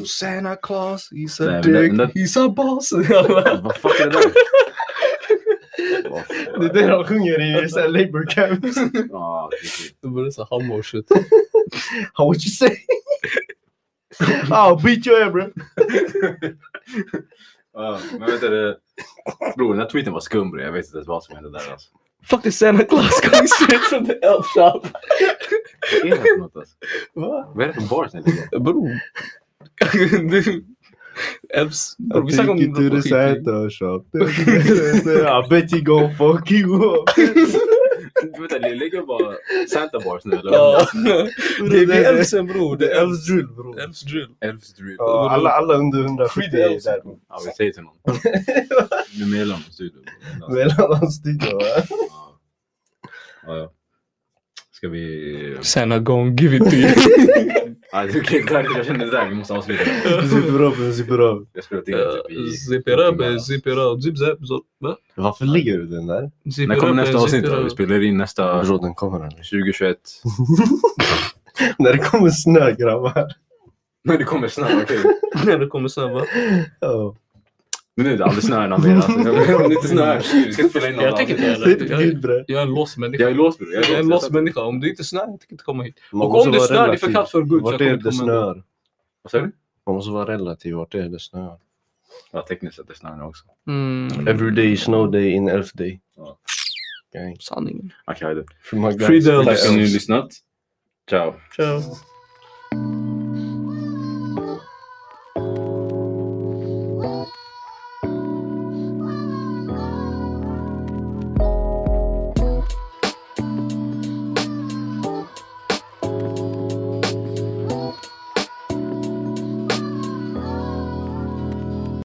Speaker 2: Santa Claus, he's a
Speaker 3: Nej, men
Speaker 2: dick,
Speaker 3: den- den-
Speaker 2: he's a boss.
Speaker 3: Vad fuck är det där? Vad fan?
Speaker 2: det är det de sjunger i så här labour camps.
Speaker 3: Ja, det är kul.
Speaker 1: Det börjar så hamma och shit.
Speaker 2: How would you say? I'll beat your ass bro.
Speaker 3: Ja, Men vet du, bror den här tweeten var skum bror. Jag vet inte ens vad som hände där alltså.
Speaker 1: Fuck the Santa Claus coming straight from the elf shop.
Speaker 3: Vad är det här för något alltså?
Speaker 2: Va?
Speaker 3: Vad är det för bars ni ligger?
Speaker 1: Bror. Elfs. Bror vi snackar
Speaker 2: Take
Speaker 1: om
Speaker 2: it to the
Speaker 1: skit.
Speaker 2: Santa shop. I bet you go fuck you up.
Speaker 3: Vänta, ni ligger bara Santa bars nu eller?
Speaker 1: Ja. Det är
Speaker 2: Det-
Speaker 1: Elfsen bror. Det är elfs.
Speaker 2: Elfs drill bro.
Speaker 1: Elfs drill.
Speaker 3: Elfs drill.
Speaker 2: Ja, alla, alla under 170 är där. bro.
Speaker 3: Ja, vi säger till någon. Du är medlem i studion. Alltså,
Speaker 2: Mellan oss studio. va?
Speaker 3: ja. Ja, ja. Ska vi...
Speaker 1: Santa gone, give it to you.
Speaker 3: Ja, det är okej, klart, jag kände det där. Vi måste avsluta.
Speaker 2: Super upp, super upp.
Speaker 3: Jag spelat in typ i...
Speaker 1: Zip it up, zip it up, eh, zip zap, zop. Va? eh,
Speaker 2: Varför ligger du den där?
Speaker 1: Zip
Speaker 3: När
Speaker 1: it
Speaker 3: kommer
Speaker 1: up,
Speaker 3: nästa
Speaker 1: zip
Speaker 3: avsnitt
Speaker 1: it
Speaker 3: då?
Speaker 1: up.
Speaker 3: Vi spelar in nästa
Speaker 2: Bror, den kommer den.
Speaker 3: 2021.
Speaker 2: När det kommer snö grabbar.
Speaker 3: Nej, det kommer snö. Okej.
Speaker 1: När det kommer sen va?
Speaker 2: Ja.
Speaker 3: Men nu är det aldrig snö än mer. Alltså. Om det inte snöar, vi ska spela in något
Speaker 1: Jag tänker inte
Speaker 3: avsnitt.
Speaker 1: heller.
Speaker 2: Sitt gud bre.
Speaker 1: Jag är en lost människa.
Speaker 3: Jag är låst bror.
Speaker 1: Jag är en lost
Speaker 3: men...
Speaker 1: människa. Om det inte snöar, jag tänker inte komma hit.
Speaker 2: Man
Speaker 1: och
Speaker 2: måste
Speaker 1: om det
Speaker 2: vara
Speaker 1: snöar, det är
Speaker 2: relativ.
Speaker 1: för kallt för gud. så
Speaker 2: Vart
Speaker 1: jag
Speaker 2: är
Speaker 1: kommer
Speaker 2: det
Speaker 1: inte
Speaker 2: det
Speaker 1: komma ändå.
Speaker 2: snör?
Speaker 3: Vad sa du?
Speaker 2: Man måste vara relativ. Vart är det snör?
Speaker 3: Ja, tekniskt sett det snöar nu också.
Speaker 1: Mm,
Speaker 2: Every day is snow day in elf day.
Speaker 3: Ja.
Speaker 2: Okay.
Speaker 1: sanningen.
Speaker 3: Okej, okay,
Speaker 2: From my
Speaker 1: Free
Speaker 2: guys.
Speaker 1: the elves.
Speaker 3: Tack för att ni har lyssnat. Ciao.
Speaker 1: Ciao.